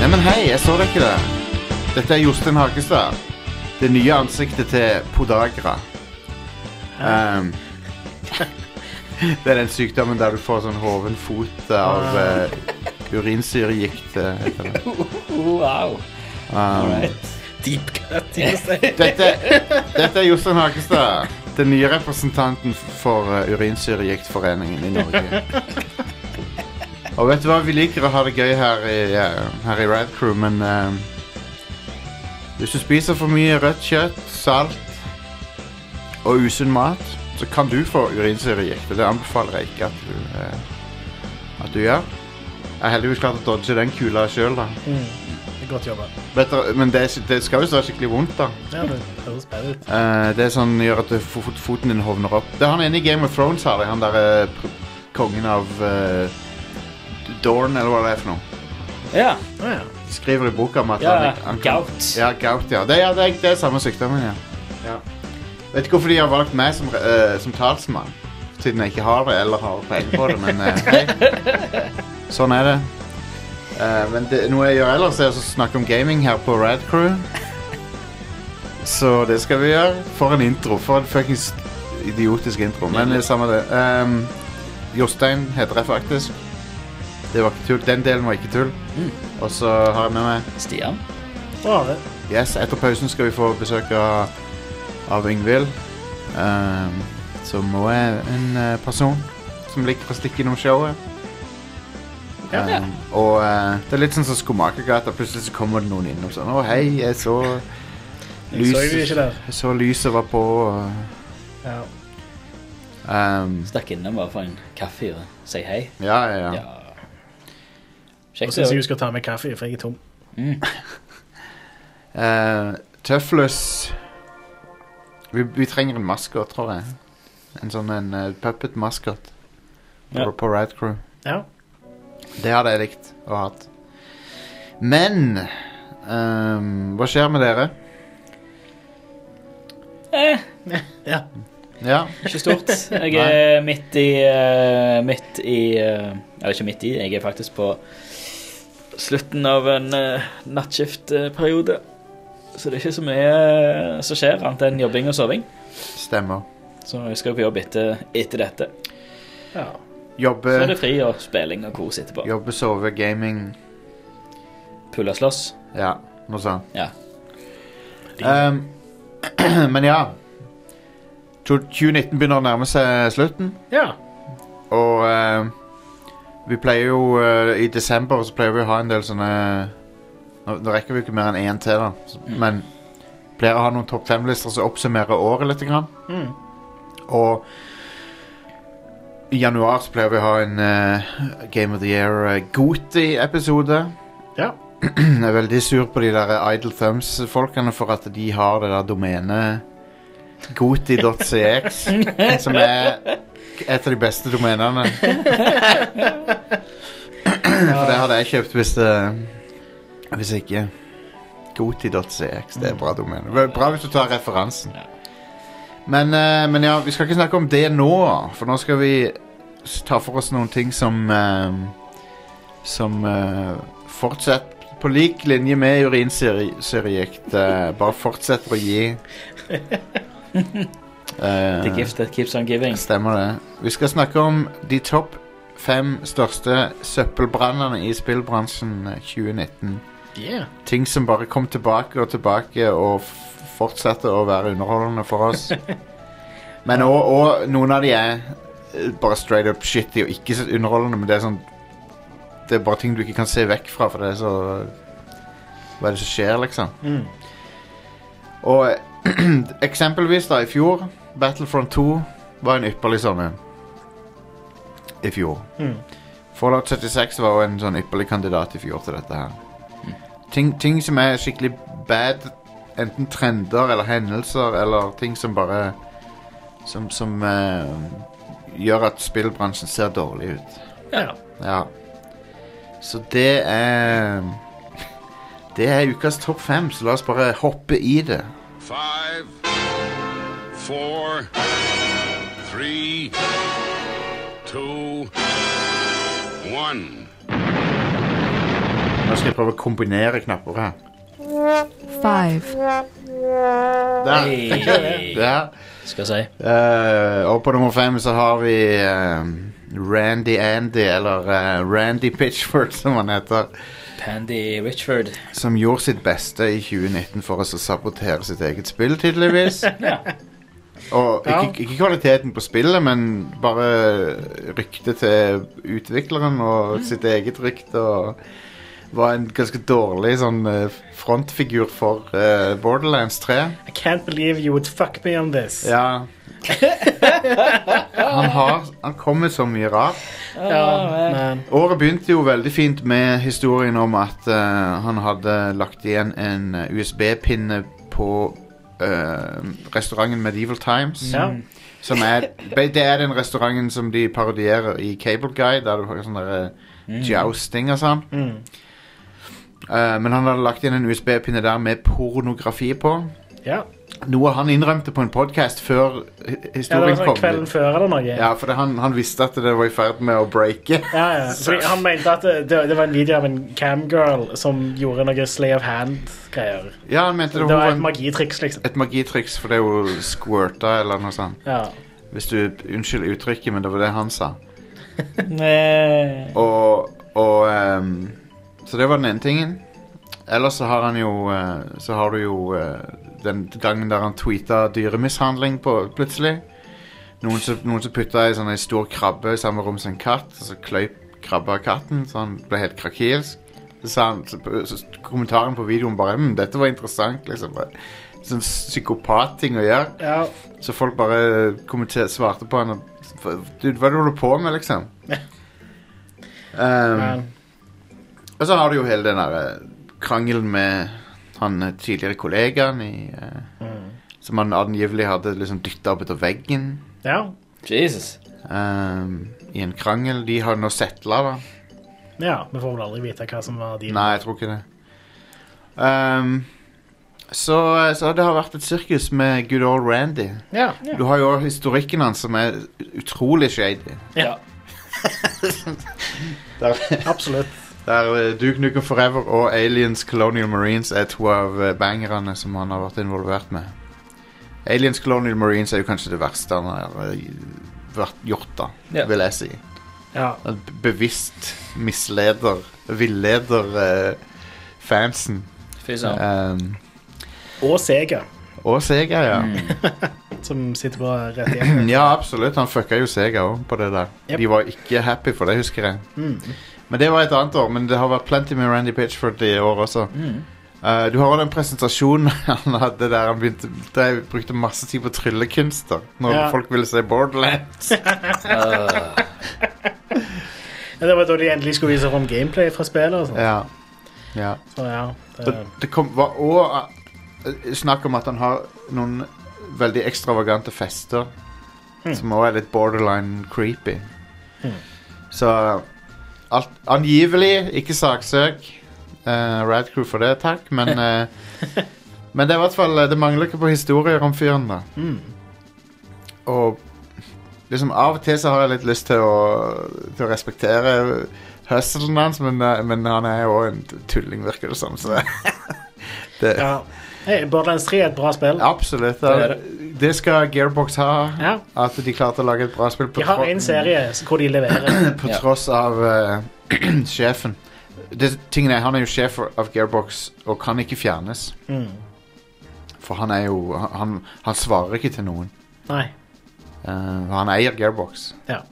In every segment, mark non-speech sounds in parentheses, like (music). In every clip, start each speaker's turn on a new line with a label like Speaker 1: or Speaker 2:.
Speaker 1: Nei, men hei, jeg så dere ikke det. Dette er Jostein Hagestad. Det nye ansiktet til Podagra. Ehm, (laughs) det er den sykdommen der du får sånn hoven fot av eh, urinsyregikt. eh, heter det.
Speaker 2: Wow.
Speaker 1: Ehm,
Speaker 2: Deep cut. (laughs) Jostein.
Speaker 1: dette, dette er Jostein Hagestad. Den nye representanten for eh, urinsyregiktforeningen i Norge. Og vet du hva, vi liker å ha det gøy her i, eh, her i Rad Crew, men eh, Hvis du spiser for mye rødt kjøtt, salt og usunn mat, så kan du få urinsyregikt. Og det anbefaler jeg ikke at du, eh, at du gjør. Jeg har heldigvis klart å dodge den kula sjøl, da.
Speaker 3: Det er Godt jobba.
Speaker 1: Vet dere- Men det, er- det skal jo være skikkelig vondt, da.
Speaker 3: Ja, det høres bedre ut.
Speaker 1: Eh, det er sånn gjør at det- fot foten din hovner opp. Det er han ene i Game of Thrones her. det er Han derre kongen av uh, Dorn, eller hva det er for noe.
Speaker 2: Ja.
Speaker 3: Å ja.
Speaker 1: De skriver i boka om at
Speaker 2: Ja,
Speaker 1: han, han kan-
Speaker 2: gout.
Speaker 1: Ja, gout, ja. Det, ja, det, er, det er samme sykdommen, ja. ja. Vet ikke hvorfor de har valgt meg som, eh, som talsmann. Siden jeg ikke har det, eller har peiling på det, men eh, hei. Sånn er det. Eh, men det, noe jeg gjør ellers, er å snakke om gaming her på Rad Crew. Så det skal vi gjøre. For en intro. For en fuckings idiotisk intro. Men det er samme det. Ehm, Jostein heter jeg faktisk. Det var ikke tull. Den delen var ikke tull. Og så har jeg med meg
Speaker 2: Stian.
Speaker 3: Og Are.
Speaker 1: Yes, etter pausen skal vi få besøk av, av Yngvild. Um, som også er en eh, person som liker å stikke innom showet.
Speaker 2: Ja.
Speaker 1: Ehm, og eh, det er litt sånn som Skomakergata. Plutselig så kommer det noen innom sånn 'Å, hei, jeg så
Speaker 3: Jeg så jo ikke der.
Speaker 1: jeg så lyset var på'. og,
Speaker 3: Ja.
Speaker 1: ehm,
Speaker 2: Stakk innom bare for en kaffe og si hei.
Speaker 1: ja, ja, ja.
Speaker 2: Ja.
Speaker 3: Og
Speaker 2: Kjekt.
Speaker 3: så
Speaker 2: det.
Speaker 3: skal jeg huske å ta med kaffe, for jeg er tom.
Speaker 1: Eh, Tøflus vi, vi trenger en maskot, tror jeg. En sånn en eh, puppet-maskot
Speaker 2: Ja.
Speaker 1: på, på Ride Crew.
Speaker 3: Ja.
Speaker 1: Det hadde jeg likt og hatt. Men ehm, Hva skjer med dere?
Speaker 2: Eh,
Speaker 3: ja.
Speaker 1: Ja,
Speaker 2: ikke stort.
Speaker 3: (laughs)
Speaker 2: Jeg er midt i eh, Midt i eh, Eller ikke midt i, jeg er faktisk på slutten av en eh, nattskiftperiode. Så det er ikke så mye eh, som skjer, annet enn jobbing og soving.
Speaker 1: stemmer.
Speaker 2: Så jeg skal på jobb etter, etter dette.
Speaker 3: ja.
Speaker 2: Så er
Speaker 1: Jobbe,
Speaker 2: det fri og spilling og kos etterpå.
Speaker 1: jobbe sove, gaming
Speaker 2: Pulle og slåss.
Speaker 1: Ja, noe sånt.
Speaker 2: Ja.
Speaker 1: Ehm, (clears throat) men ja. To- 2019 begynner å nærme seg slutten,
Speaker 3: ja.
Speaker 1: og ehm, vi pleier jo eh, I desember så pleier vi å ha en del sånne Nå, nå rekker vi ikke mer enn én til, da, så-
Speaker 2: Mm.
Speaker 1: men pleier å ha noen topp fem-lister som oppsummerer året litt. Grann.
Speaker 3: Mm.
Speaker 1: Og i januar så pleier vi å ha en eh, Game of the Year eh, Goti-episode.
Speaker 3: Ja.
Speaker 1: Jeg er veldig sur på de der Idle Thumbs-folkene for at de har det der domenet goti.cx, som er et av de beste domenene. For det hadde jeg kjøpt hvis det Hvis ikke. Goti.cx, det er bra domene. Vel, Bra hvis du tar referansen.
Speaker 2: Ja.
Speaker 1: Men, eh, men ja, vi skal ikke snakke om det nå, for nå skal vi s- ta for oss noen ting som eh, Som eh, fortsetter på lik linje med urinsyregikt. eh, bare fortsetter å gi. Eh,
Speaker 2: The gift that keeps on giving.
Speaker 1: Stemmer det. Vi skal snakke om de topp fem største søppelbrannene i spillbransjen eh, 2019.
Speaker 3: Yeah.
Speaker 1: Ting som bare kom tilbake og tilbake og f- fortsatte å være underholdende for oss. Men og, og noen av de er eh, bare straight up shitty og ikke så underholdende, men det er sånn Det er bare ting du ikke kan se vekk fra, for det er så Hva er det som skjer, liksom?
Speaker 3: Mm.
Speaker 1: Og (clears throat) eksempelvis da, i fjor Battlefront 2 var en ypperlig sånn en. I fjor.
Speaker 3: Mm.
Speaker 1: Fallout 76 var jo en sånn ypperlig kandidat i fjor til dette her. Ting, ting som er skikkelig bad, enten trender eller hendelser, eller ting som bare Som, som eh, gjør at spillbransjen ser dårlig ut.
Speaker 3: Ja.
Speaker 1: Ja. Så det er (laughs) Det er ukas topp fem, så la oss bare hoppe i det.
Speaker 4: Five, four, three, two, one.
Speaker 1: Nå skal jeg prøve å kombinere knapper her.
Speaker 5: five,
Speaker 1: Der!
Speaker 2: Hey.
Speaker 1: Der.
Speaker 2: Skal jeg si.
Speaker 1: Eh, og på nummer fem så har vi eh, Randy Andy, eller eh, Randy Pitchford (laughs) som han heter.
Speaker 2: Pandy Richford.
Speaker 1: Som gjorde sitt beste i 2019 for å så sabotere sitt eget spill, tydeligvis. Og ikke, ikke kvaliteten på spillet, men bare ryktet til utvikleren og sitt eget rykte. Og var en ganske dårlig sånn eh, frontfigur for eh, Borderlands 3.
Speaker 3: I can't believe you would fuck me on this.
Speaker 1: Ja. Han, har, han kom med så mye rart.
Speaker 3: Ja, men
Speaker 1: Året begynte jo veldig fint med historien om at eh, han hadde lagt igjen en eh, USB-pinne på eh, restauranten Medieval Times.
Speaker 3: ja.
Speaker 1: Som er, be- det er den restauranten som de parodierer i Cable Guy, der du har sånn derre jousting og sånn.
Speaker 3: Mm.
Speaker 1: Eh, men han hadde lagt igjen en USB-pinne der med pornografi på.
Speaker 3: ja.
Speaker 1: Noe han innrømte på en podkast før hi-
Speaker 3: ja det
Speaker 1: historien
Speaker 3: var sånn
Speaker 1: kom.
Speaker 3: kvelden før eller noe.
Speaker 1: Ja, for det, han, han visste at det var i ferd med å breake.
Speaker 3: Ja, ja. Fordi han mente at det, det var en video av en camgirl som gjorde noe slay of hand-greier.
Speaker 1: Ja, han mente
Speaker 3: Det
Speaker 1: det
Speaker 3: var
Speaker 1: var
Speaker 3: et
Speaker 1: en,
Speaker 3: magitriks, liksom.
Speaker 1: et magitriks fordi hun squirta eller noe sånt.
Speaker 3: Ja.
Speaker 1: Hvis du Unnskyld uttrykket, men det var det han sa.
Speaker 2: Nei.
Speaker 1: Og, og ehm, Så det var den ene tingen. Ellers så har han jo eh, Så har du jo eh, den gangen der han tweeta dyremishandling på, plutselig. Noen som, noen som putta ei sånn ei stor krabbe i samme rom som en katt, og så kløyp krabba katten, så han ble helt krakilsk. Så sa han så, så, Kommentaren på videoen bare hm, 'Dette var interessant', liksom. Bare Sånn psykopatting å gjøre.
Speaker 3: ja.
Speaker 1: Så folk bare kommenter- svarte på han og Dude, hva er det du holder på med, liksom? um,
Speaker 3: Men,
Speaker 1: og så har du jo hele den der eh, krangelen med han eh, tidligere kollegaen i eh, Som han angivelig hadde liksom dytta opp etter veggen
Speaker 3: ja.
Speaker 2: Jesus.
Speaker 1: ehm, i en krangel. De har nå settla, da.
Speaker 3: ja. Vi får vel aldri vite hva som var de
Speaker 1: Nei, jeg tror ikke det. Ehm, så, eh, så det har vært et sirkus med good old Randy.
Speaker 3: Ja.
Speaker 1: Du har jo historikken hans, som er utrolig shady. (laughs)
Speaker 2: Ja.
Speaker 3: Absolutt.
Speaker 1: Der eh, Duke Nukem Forever og Aliens Colonial Marines er to av eh, bangerne som han har vært involvert med. Aliens Colonial Marines er jo kanskje det verste han har eh, vært gjort, da,
Speaker 2: Ja.
Speaker 1: vil jeg si.
Speaker 3: Ja.
Speaker 1: Han b- bevisst misleder, villeder eh, fansen.
Speaker 2: Fy søren.
Speaker 1: Ehm,
Speaker 3: Og Sega,
Speaker 1: og Sega, ja.
Speaker 2: Mm.
Speaker 3: som sitter på rett igjen.
Speaker 1: (clears throat) (laughs) Ja, absolutt. Han fucka jo Sega òg på det der.
Speaker 3: Yep.
Speaker 1: De var ikke happy for det, husker jeg. Men det var et annet år. Men det har vært plenty med Randy Pitchford i år også.
Speaker 2: Mm.
Speaker 1: Eh, du har også den presentasjonen (laughs) han hadde der han begynte, der jeg brukte masse tid på tryllekunster. Når
Speaker 3: Ja.
Speaker 1: folk ville se Borderlands.
Speaker 2: Ah.
Speaker 3: Ja, Det var da de endelig skulle vise fram gameplay fra spillet. og sånt.
Speaker 1: Ja. ja.
Speaker 3: Så ja,
Speaker 1: Så
Speaker 3: det,
Speaker 1: det kom, var òg snakk om at han har noen veldig ekstravagante fester. Som òg er litt borderline creepy. Så alt, angivelig ikke saksøk uh, Radcrew for det, takk, men eh, Men det er i hvert fall eh, Det mangler ikke på historier om fyren, da. Og liksom av og til så har jeg litt lyst til å, til å respektere hustlen hans, men, eh, men han er jo en tulling, virker det som. Så det,
Speaker 3: ja. Hey, Borderlands 3 er et bra spill.
Speaker 1: Absolutt.
Speaker 2: Det er
Speaker 1: Det, det skal Gearbox ha.
Speaker 3: Ja.
Speaker 1: At de klarte å lage et bra spill på,
Speaker 3: De har
Speaker 1: tro-
Speaker 3: en serie s- hvor de
Speaker 1: (clears throat)
Speaker 3: leverer.
Speaker 1: på
Speaker 2: Ja.
Speaker 1: tross av eh, (clears throat) sjefen. Det, tingen er, Han er jo sjef for- av Gearbox og kan ikke fjernes.
Speaker 3: Mm.
Speaker 1: For han er jo Han, han svarer ikke til noen.
Speaker 3: Nei.
Speaker 1: Eh, han eier Gearbox,
Speaker 3: Ja.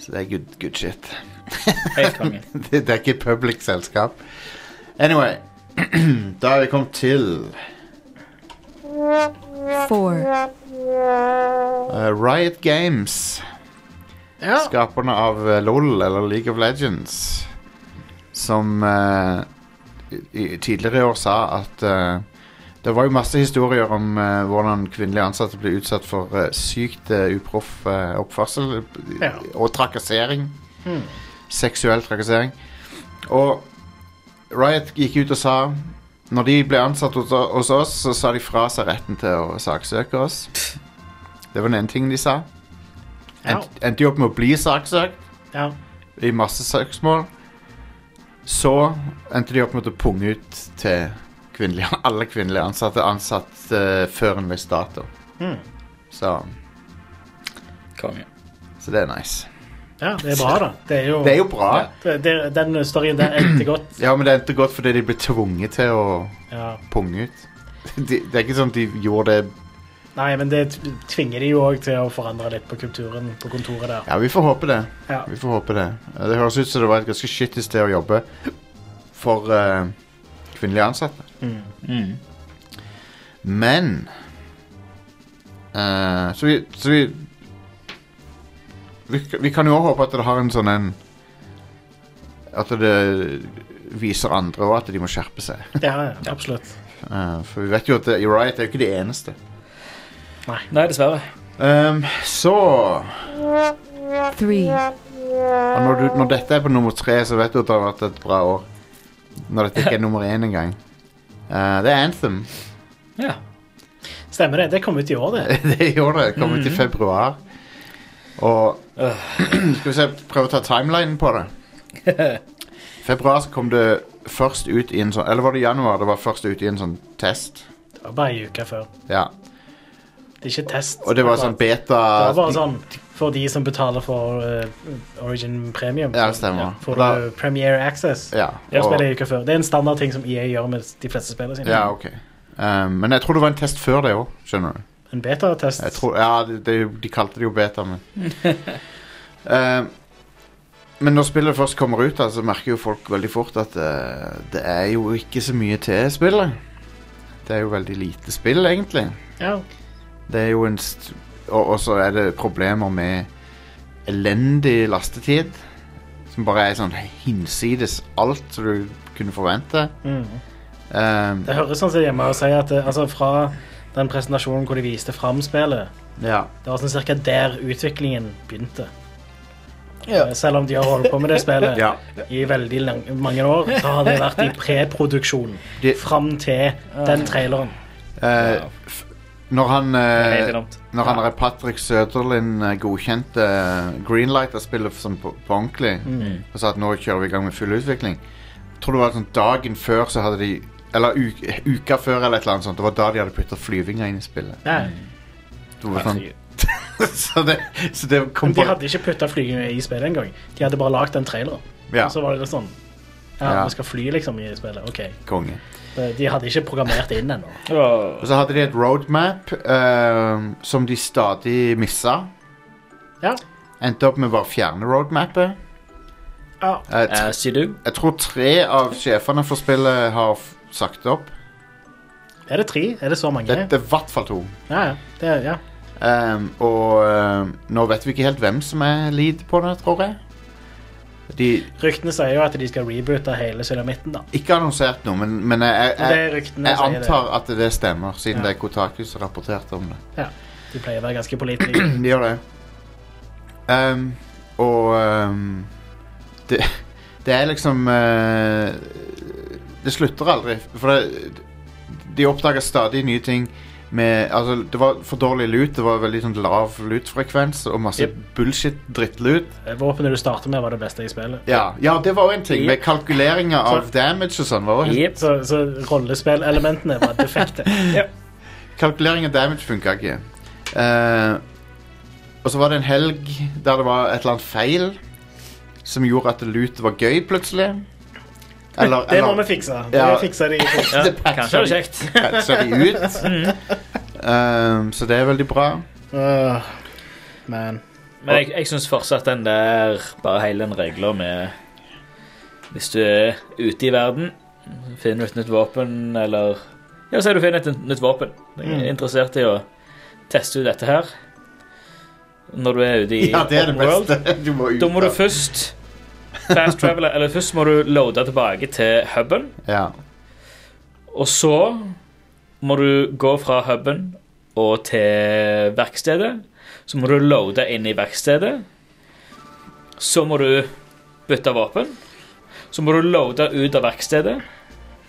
Speaker 1: så det er good, good shit. (laughs)
Speaker 2: Helt konge.
Speaker 1: det, det er ikke public selskap. Anyway, (clears throat) da er vi kommet til
Speaker 5: four,
Speaker 1: eh, Riot Games.
Speaker 3: ja.
Speaker 1: skaperne av eh, LOL, eller League of Legends, som eh, i, i- tidligere i år sa at eh, det var jo masse historier om eh, hvordan kvinnelige ansatte ble utsatt for eh, sykt eh, uproff eh, oppførsel eh,
Speaker 3: Ja.
Speaker 1: og trakassering.
Speaker 3: Mm.
Speaker 1: Seksuell trakassering. Og Riot gikk ut og sa når de ble ansatt hos- hos oss, så sa de fra seg retten til å saksøke oss. Det var den ene tingen de sa.
Speaker 3: Ja.
Speaker 1: Ent, endte jo opp med å bli saksøkt
Speaker 3: ja.
Speaker 1: i masse søksmål. Så endte de opp med å punge ut til kvinnelige, (laughs) alle kvinnelige ansatte ansatt eh, før en viss dato.
Speaker 3: Hmm.
Speaker 1: Så,
Speaker 2: Konge.
Speaker 1: så det er nice.
Speaker 3: Ja, det er bra, da. Det er jo,
Speaker 1: Det er jo bra.
Speaker 2: Ja.
Speaker 3: det, det, Den storyen der endte godt.
Speaker 1: Ja, men det endte godt fordi de ble tvunget til å
Speaker 3: Ja.
Speaker 1: punge ut. (laughs) De, det er ikke sånn at de gjorde det
Speaker 3: Nei, men det t- tvinger de jo òg til å forandre litt på kulturen på kontoret der.
Speaker 1: Ja, vi får håpe det.
Speaker 3: Ja.
Speaker 1: Vi får håpe det. Eh, Det høres ut som det var et ganske skittig sted å jobbe for eh, kvinnelige ansatte.
Speaker 3: Mm.
Speaker 2: Mm.
Speaker 1: Men eh, Så vi Så vi vi, vi kan jo også håpe at det har en sånn en At det viser andre òg at de må skjerpe seg.
Speaker 3: Ja, ja, absolutt.
Speaker 1: Eh, for vi vet jo at You're right er jo ikke de eneste.
Speaker 2: Nei, dessverre.
Speaker 1: Ehm, så
Speaker 5: three,
Speaker 1: og når, du, når dette er på nummer tre, så vet du at det har vært et bra år. Når dette ikke er nummer én engang. Eh, det er Anthem.
Speaker 2: Ja.
Speaker 3: Stemmer det. Det kom ut i år, det.
Speaker 1: (laughs) det gjorde det. Kom
Speaker 3: Mm.
Speaker 1: ut i februar. Og (clears throat)
Speaker 2: Øh.
Speaker 1: Skal vi se, prøve å ta timelinen på det.
Speaker 3: (laughs)
Speaker 1: I februar så kom det først ut i en sånn Eller var det i januar det var først ut i en sånn test?
Speaker 3: Det var bare ei uke før.
Speaker 1: Ja.
Speaker 3: Det er ikke test.
Speaker 1: Og det var sånn beta
Speaker 3: Det var bare sånn for de som betaler for eh, Origin Premium.
Speaker 1: Ja, det stemmer.
Speaker 3: Får
Speaker 1: Og da-
Speaker 3: du Premiere Access.
Speaker 1: Ja,
Speaker 3: Jeg
Speaker 1: og,
Speaker 3: spiller ei uke før. Det er en standard ting som EA gjør med de fleste spillene sine.
Speaker 1: ja ok. Um, men jeg tror det var en test før det òg, skjønner du.
Speaker 3: En betatest.
Speaker 1: Jeg tror, ja, det, det, de kalte det jo beta, men
Speaker 3: (laughs)
Speaker 1: Ehm, Men når spillet først kommer ut, da, så merker jo folk veldig fort at eh, det er jo ikke så mye til spillet. Det er jo veldig lite spill, egentlig.
Speaker 3: Ja.
Speaker 1: Det er jo en st og, og så er det problemer med elendig lastetid. Som bare er sånn hinsides alt som du kunne forvente.
Speaker 3: Mm.
Speaker 1: Ehm,
Speaker 3: Det høres sånn som hjemme å si at eh, altså, fra den presentasjonen hvor de viste fram spillet,
Speaker 1: ja.
Speaker 3: det var sånn cirka der utviklingen begynte. Eh, Selv om de har holdt på med det spillet
Speaker 1: (laughs) ja.
Speaker 3: i veldig lang, mange år, så har det vært i preproduksjon
Speaker 1: De-
Speaker 3: fram til den traileren.
Speaker 1: Eh, f når han eh,
Speaker 2: Helt enormt.
Speaker 1: Når han er Patrick Søderlind eh, godkjente Greenlight og spiller som på, på ordentlig
Speaker 3: Mm.
Speaker 1: og sa at nå kjører vi i gang med full utvikling Tror du det var sånn dagen før så hadde de Eller u uka før eller et eller annet sånt. Det var da de hadde putta flyvinga inn i spillet.
Speaker 3: Ja.
Speaker 1: Det var sånn, (laughs) så, det, så det kom
Speaker 3: Men de
Speaker 1: på
Speaker 3: hadde ikke putta flyginga i spillet engang. De hadde bare lagd den traileren.
Speaker 1: Ja,
Speaker 3: Og så var det litt sånn Ja,
Speaker 1: Ja.
Speaker 3: vi skal fly, liksom, i spillet. OK.
Speaker 1: konge.
Speaker 3: Det- De hadde ikke programmert det inn ennå.
Speaker 2: Åh.
Speaker 1: Og så hadde de et roadmap eh, som de stadig missa.
Speaker 3: Ja.
Speaker 1: Endte opp med bare å fjerne roadmapet.
Speaker 3: Ja.
Speaker 1: Eh,
Speaker 2: Eh, sier du?
Speaker 1: Jeg tror tre av sjefene for spillet har f- sagt opp.
Speaker 3: Er det tre? Er det så mange?
Speaker 1: Dette er i hvert fall to.
Speaker 3: Ja, ja. Det, er- ja.
Speaker 1: Ehm, og ehm, nå vet vi ikke helt hvem som er lead på det, tror jeg. De
Speaker 3: Ryktene sier jo at de skal reboote hele sylamitten, da.
Speaker 1: ikke har annonsert noe, men, men jeg,
Speaker 3: Det
Speaker 1: jeg,
Speaker 3: er ryktene
Speaker 1: jeg
Speaker 3: sier
Speaker 1: antar at det stemmer, siden
Speaker 3: Ja.
Speaker 1: det er Kotaku som rapporterte om det.
Speaker 3: det. De pleier å være ganske pålitelige.
Speaker 1: De gjør Mm, det. Ehm, og ehm, det, det er liksom eh, Det slutter aldri. For det, de oppdager stadig nye ting. Med, altså, det var for dårlig lut. Det var veldig sånn lav lutfrekvens og masse
Speaker 2: Jep.
Speaker 1: bullshit-drittlut.
Speaker 3: Eh, Våpenet du starter med, var det beste i spillet.
Speaker 1: Ja, ja det var jo en ting.
Speaker 2: Yep.
Speaker 1: Med kalkuleringer av
Speaker 3: Så-
Speaker 1: damage og sånn. var jo helt-
Speaker 2: Jepp.
Speaker 3: Så, så rollespillelementene var defekte.
Speaker 1: Kalkulering av damage funka ikke. Eh, og så var det en helg der det var et eller annet feil som gjorde at loot var gøy plutselig. Eller,
Speaker 3: Det må
Speaker 1: eller
Speaker 3: vi fikse. Det
Speaker 1: Ja.
Speaker 3: fikser de.
Speaker 2: Ja,
Speaker 1: Det (laughs) patcher
Speaker 2: kanskje det
Speaker 1: de.
Speaker 2: var kjekt.
Speaker 1: patcha de ut. Eh, så det er veldig bra.
Speaker 3: Uh, man.
Speaker 2: Men jeg, jeg syns fortsatt den der Bare hele den regla med Hvis du er ute i verden, finner du et nytt våpen, eller Ja, si du finner et nytt våpen. Jeg er
Speaker 3: Mm.
Speaker 2: interessert i å teste ut dette her. Når du er ute i
Speaker 1: Ja, det er det
Speaker 2: open world.
Speaker 1: beste. (laughs) Du må ut.
Speaker 2: Da må du
Speaker 1: av-
Speaker 2: først fast travele, eller først må du loade tilbake til huben,
Speaker 1: Ja.
Speaker 2: og så må du gå fra huben og til verkstedet. Så må du loade inn i verkstedet. Så må du bytte våpen. Så må du loade ut av verkstedet.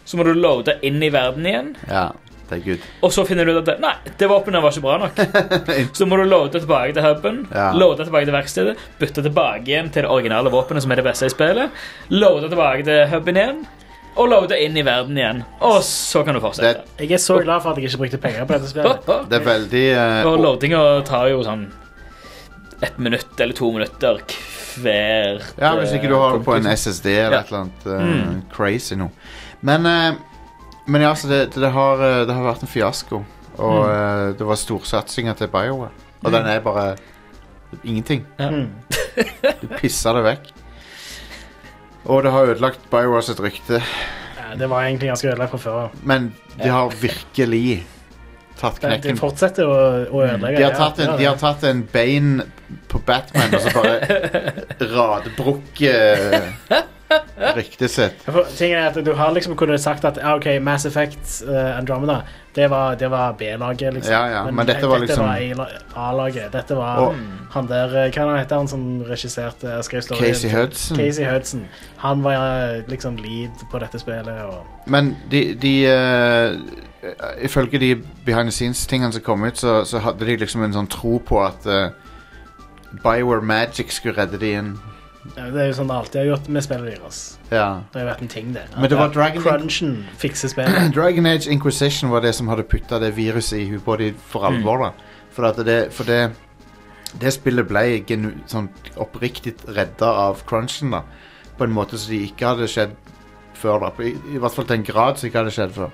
Speaker 2: Så må du loade inn i verden igjen.
Speaker 1: ja. Det er good.
Speaker 2: Og så finner du ut at det- nei, det våpenet var ikke bra nok. Så må du loade tilbake til huben,
Speaker 1: Ja.
Speaker 2: loade tilbake til verkstedet, bytte tilbake igjen til det originale våpenet, som er det beste i spillet, loade tilbake til huben igjen, og loade inn i verden igjen. Og så kan du fortsette.
Speaker 3: Jeg er så glad for at jeg ikke brukte penger på dette spillet.
Speaker 2: Hopp, hopp.
Speaker 1: Det er veldig eh,
Speaker 2: Og
Speaker 1: o-
Speaker 2: loadinga tar jo sånn ett minutt eller to minutter hver eh,
Speaker 1: Ja, hvis ikke du har det på en SSD eller
Speaker 2: Ja.
Speaker 1: et eller annet eh,
Speaker 3: Mm.
Speaker 1: crazy noe. Men, eh, men ja, altså, det, det, har, eh, det har vært en fiasko. Og
Speaker 3: Mm.
Speaker 1: eh, det var storsatsinger til BioWare. Og den er bare ingenting.
Speaker 2: Ja.
Speaker 3: Mm.
Speaker 1: Du pisser det vekk. Og det har ødelagt BioWare sitt rykte.
Speaker 3: Ja, det var egentlig ganske ødelagt fra før.
Speaker 1: Men de har virkelig tatt
Speaker 3: Men de
Speaker 1: knekken. Hmm.
Speaker 3: fortsetter å, å ødelegge.
Speaker 1: De har
Speaker 3: ja,
Speaker 1: tatt en,
Speaker 3: ja,
Speaker 1: de har tatt en bein på Batman og så
Speaker 3: (laughs)
Speaker 1: bare radbrukket eh, ryktet sitt.
Speaker 3: Ja, for Tingen er at Du har liksom kunnet sagt at ah, ok, Mass Effect eh, Andromeda Det var, det var B-laget, liksom.
Speaker 1: Ja, ja, men dette var liksom-
Speaker 3: var A- A-laget. Dette var
Speaker 1: Og-
Speaker 3: han der eh, Hva heter han som regisserte eh, skrev storyen?
Speaker 1: Casey Hudson.
Speaker 3: Casey Hudson. Han var eh, liksom lead på dette spillet. Og,
Speaker 1: Men de, de eh, Ifølge de behind the scenes-tingene som kom ut, så, så hadde de liksom en sånn tro på at eh, Bioware Magic skulle redde de inn.
Speaker 3: ja, det er jo sånn det alltid har gjort med spillet deres.
Speaker 1: Ja. (clears throat)
Speaker 3: Det har jo vært en ting, det. At
Speaker 1: Men det var Dragon-
Speaker 3: Crunchen fikser spillet.
Speaker 1: Dragon Age Inquisition var det som hadde putta det viruset i huet på dem for alvor. da For, at det, for det, det spillet ble genu, sånn oppriktig redda av crunchen, da. På en måte som de ikke hadde skjedd før. da På- I, I hvert fall til en grad som ikke hadde skjedd før.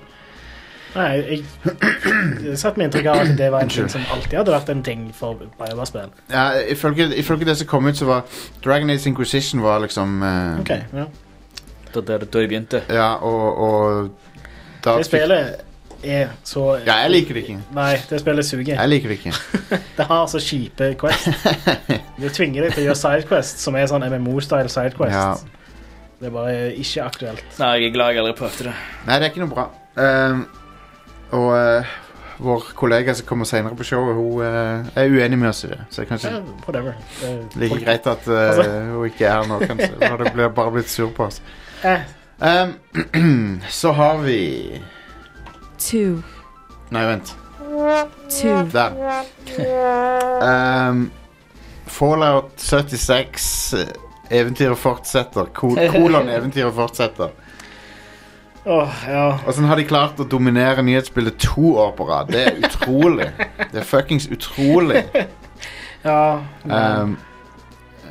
Speaker 3: Nei, jeg, jeg satt med inntrykk av at det var en ting som alltid hadde vært en ting for Bioware-spill.
Speaker 1: Ja, ifølge, ifølge det som kom ut, så var Dragon Age Inquisition var liksom eh,
Speaker 3: Ok, ja.
Speaker 2: Da, da, da jeg begynte.
Speaker 1: Ja, og, og da
Speaker 3: Det spillet er så
Speaker 1: Ja, jeg liker det ikke.
Speaker 3: Nei, det spillet suger.
Speaker 1: Jeg liker det ikke.
Speaker 3: Det har så kjipe
Speaker 1: (laughs)
Speaker 3: quest. Det tvinger deg til å gjøre sidequest, som er sånn MMO-style sidequest.
Speaker 1: Ja.
Speaker 3: Det er bare ikke aktuelt.
Speaker 2: Nei, jeg er glad jeg aldri prøvde det.
Speaker 1: Nei, det er ikke noe bra. Ehm, og eh, vår kollega som kommer senere på showet, hun eh, er uenig med oss i det. Så det er kanskje
Speaker 3: Ja, whatever. Det-
Speaker 1: like
Speaker 3: folk-
Speaker 1: greit at eh,
Speaker 3: Altså.
Speaker 1: hun ikke er her nå, kanskje.
Speaker 3: (laughs)
Speaker 1: For det blir bare blitt sur på oss.
Speaker 3: Eh,
Speaker 1: Ehm, (clears throat) så har vi
Speaker 5: two,
Speaker 1: Nei, vent.
Speaker 5: two,
Speaker 1: Der. Ehm, Fallout 76. eh, Eventyret fortsetter. Ko- Kolon eventyret fortsetter.
Speaker 3: Åh, ja.
Speaker 1: Åssen har de klart å dominere nyhetsbildet to år på rad? Det er utrolig. Det er fuckings utrolig.
Speaker 3: ja.
Speaker 1: Um,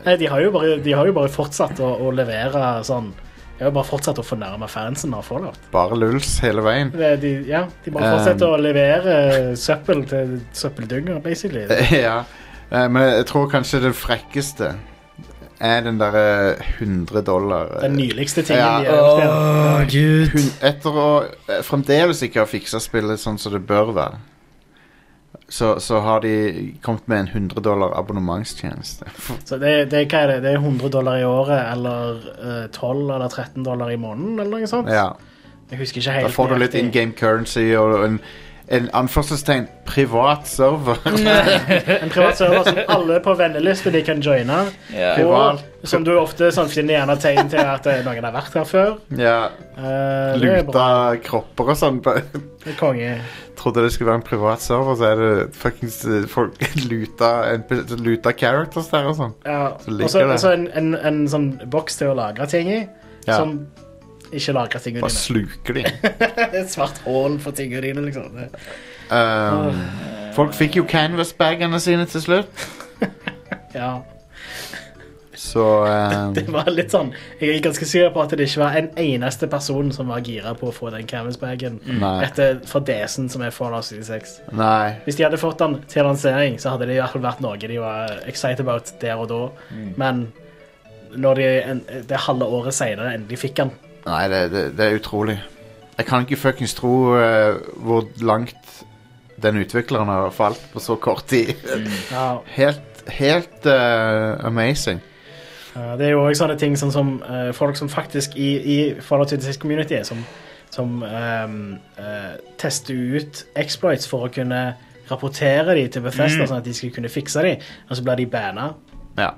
Speaker 3: Nei, de har jo bare, de har jo bare fortsatt å, å levere sånn De har jo bare fortsatt å fornærme fansen av Fallout.
Speaker 1: bare lulls hele veien. (laughs)
Speaker 3: Det- De, ja, de bare fortsetter
Speaker 1: Um.
Speaker 3: å levere søppel til søppeldynger, basically.
Speaker 1: ja. Eh, Men jeg tror kanskje det frekkeste er den derre 100 dollar eh,
Speaker 3: Den nyligste tingen
Speaker 1: Ja.
Speaker 3: de har gjort. ja.
Speaker 2: gud.
Speaker 1: hun- Etter å eh, fremdeles ikke ha fiksa spillet sånn som det bør være, så, så har de kommet med en 100 dollar abonnementstjeneste.
Speaker 3: Så det, det, hva er det? det er 100 dollar i året, eller eh, 12 eller 13 dollar i måneden, eller noe sånt?
Speaker 1: Ja.
Speaker 3: Jeg husker ikke helt.
Speaker 1: Da får du litt in game
Speaker 3: nøyaktig.
Speaker 1: currency og en, en anførselstegn privat server.
Speaker 3: (laughs) En privat server som alle på venneliste de kan joine.
Speaker 2: Ja.
Speaker 1: Privat.
Speaker 3: Og som du ofte sånn, finner gjerne tegn til at eh, noen har vært her før.
Speaker 1: ja,
Speaker 3: Eh, det er bra.
Speaker 1: Luta kropper og sånn.
Speaker 3: Det er Konge.
Speaker 1: Trodde det skulle være en privat server, så er det fuckings eh, folk (laughs) luta, NP luta characters der og sånn.
Speaker 3: Ja.
Speaker 1: liker
Speaker 3: Og så
Speaker 1: det.
Speaker 3: og så en, en, en sånn boks til å lagre ting i,
Speaker 1: Ja.
Speaker 3: som ikke lagrer tingene
Speaker 1: Bare
Speaker 3: dine. (laughs)
Speaker 1: sluker de.
Speaker 3: Det er et svart hål for tingene dine, liksom. Det-
Speaker 1: Um, folk fikk jo canvas-bagene sine til slutt,
Speaker 3: Ja. (laughs)
Speaker 1: så um,
Speaker 3: Det var litt sånn Jeg er ganske sikker på at det ikke var en eneste person som var gira på å få den canvasbagen
Speaker 1: Mm. Nei.
Speaker 3: etter for DC-en som er Fallout 76.
Speaker 1: Nei.
Speaker 3: Hvis de hadde fått den til lansering, så hadde det i hvert fall vært noe de var excited about der og da,
Speaker 1: Mm.
Speaker 3: men når de en, det halve året seinere endelig fikk den
Speaker 1: Nei, det, det, det er utrolig. Jeg kan ikke fuckings tro eh, hvor langt den utvikleren har falt på så kort tid. (laughs)
Speaker 3: ja,
Speaker 1: Helt, helt eh, amazing.
Speaker 3: eh, Det er jo òg sånne ting sånn som eh, folk som faktisk i, i Fallout 76-community som, som ehm, eh, tester ut exploits for å kunne rapportere de til
Speaker 1: Mm.
Speaker 3: Bethesda, sånn at de skulle kunne fikse de, og så blir de banna.
Speaker 1: Ja.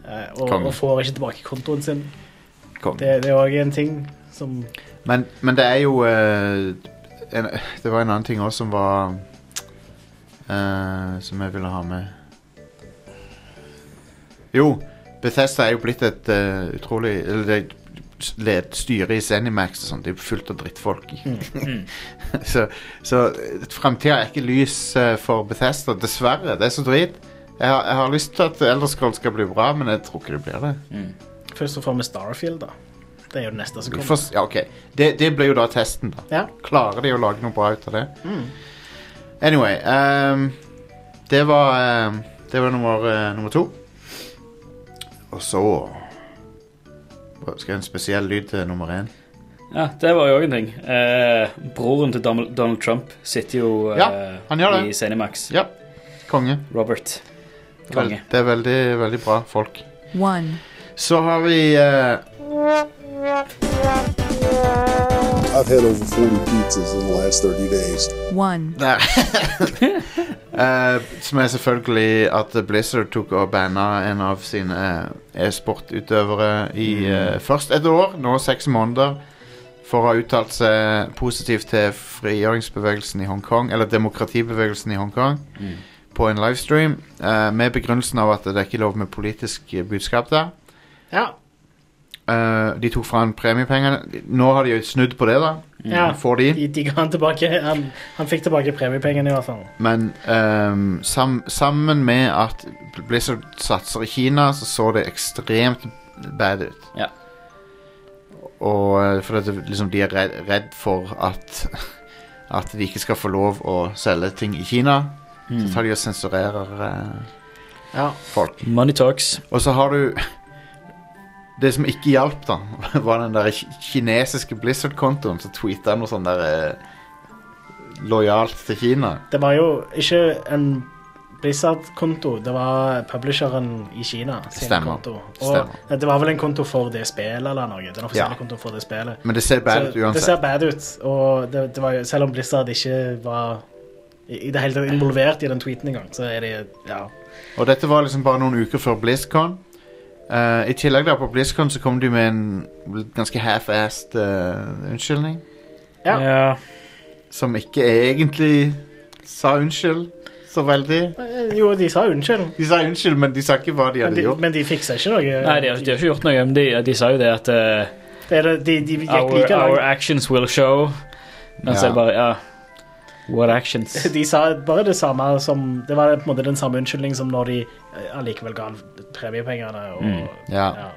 Speaker 3: Eh, og,
Speaker 1: Konge.
Speaker 3: og får ikke tilbake kontoen sin.
Speaker 1: Kom.
Speaker 3: Det, det er òg en ting som
Speaker 1: Men, men det er jo eh, en, det var en annen ting òg som var eh, Som jeg ville ha med. Jo, Bethesda er jo blitt et eh, utrolig Eller det er et styre i Zenimax og sånn. Det er jo fullt av drittfolk. (laughs) så så framtida er ikke lys eh, for Bethesda, dessverre. Det er så drit. Jeg har, jeg har lyst til at Elderscroll skal bli bra, men jeg tror ikke det blir det.
Speaker 3: Først og fremst Starfield, da. Det er jo det neste som
Speaker 1: Vi
Speaker 3: kommer.
Speaker 1: får- ja, ok. det, det blir jo da testen, da.
Speaker 3: Ja.
Speaker 1: Klarer de å lage noe bra ut av det? Anyway ehm, Det var ehm, Det var nummer, eh, nummer to. Og så Hva- Skal jeg ha en spesiell lyd til nummer én?
Speaker 2: Ja, det var jo òg en ting. Eh, broren til Donald Donald Trump sitter jo eh,
Speaker 1: Ja, han gjør det.
Speaker 2: i Cinemax.
Speaker 1: Ja. Konge.
Speaker 2: Robert.
Speaker 1: Vel,
Speaker 2: Konge.
Speaker 1: det er veldig, veldig bra folk.
Speaker 5: one,
Speaker 1: Så har vi eh,
Speaker 6: I've had over 40 pizzas in the last 30 days.
Speaker 5: one,
Speaker 1: Der. (laughs) Eh, som er selvfølgelig at Blizzard tok og banna en av sine eh, e-sportutøvere i eh, først et år, nå seks måneder, for å ha uttalt seg positivt til frigjøringsbevegelsen i Hongkong, eller demokratibevegelsen i Hongkong, på en livestream, eh, med begrunnelsen av at det er ikke lov med politisk eh, budskap der.
Speaker 3: Ja.
Speaker 1: Eh, de tok fra han premiepengene. Nå har de jo snudd på det, da.
Speaker 3: ja.
Speaker 1: Får de.
Speaker 3: De, de ga han tilbake Han, han fikk tilbake premiepengene, i hvert fall.
Speaker 1: Men ehm, sam sammen med at Blizzard satser i Kina, så så det ekstremt bad ut.
Speaker 2: Ja.
Speaker 1: Og eh, for at det, liksom, de er redd, redd for at (laughs) At de ikke skal få lov å selge ting i Kina. Så tar de og sensurerer eh,
Speaker 3: Mm. Ja.
Speaker 1: folk.
Speaker 2: Money Talks.
Speaker 1: Og så har du (laughs) Det som ikke hjalp, da, (laughs) var den der ki- kinesiske Blizzard-kontoen som tweeta noe sånn der eh, lojalt til Kina.
Speaker 3: Det var jo ikke en Blizzard-konto, det var publisheren i Kina sin
Speaker 1: Stemmer.
Speaker 3: konto. Og
Speaker 1: Stemmer.
Speaker 3: det var vel en konto for det spillet eller noe. Den offisielle
Speaker 1: Ja.
Speaker 3: kontoen for det spillet.
Speaker 1: Men det ser bad
Speaker 3: Så
Speaker 1: ut
Speaker 3: Det
Speaker 1: uansett.
Speaker 3: ser bad ut, og det, det var jo, selv om Blizzard ikke var i i det hele tatt involvert i den tweeten engang, så er det ja.
Speaker 1: Og dette var liksom bare noen uker før BlizzCon. Eh, I tillegg da på BlizzCon så kom de med en ganske half-assed eh, unnskyldning.
Speaker 3: Ja.
Speaker 1: Som ikke egentlig sa unnskyld så veldig.
Speaker 3: Eh, Jo, de sa unnskyld,
Speaker 1: De sa unnskyld, men de sa ikke hva de
Speaker 3: men
Speaker 1: hadde
Speaker 3: de,
Speaker 1: gjort.
Speaker 3: men de fiksa ikke noe.
Speaker 2: Nei, de har, de har ikke gjort noe, men de, de sa jo det at eh,
Speaker 3: Det er det- de, de gikk
Speaker 2: our,
Speaker 3: like
Speaker 2: our
Speaker 3: langt.
Speaker 2: actions will show. Men så
Speaker 1: Ja.
Speaker 2: er det bare ja. What actions?
Speaker 1: (laughs)
Speaker 3: De sa bare det samme som Det var på en måte den samme unnskyldningen som når de eh, allikevel ga han premiepengene og
Speaker 1: Ja.
Speaker 3: ja.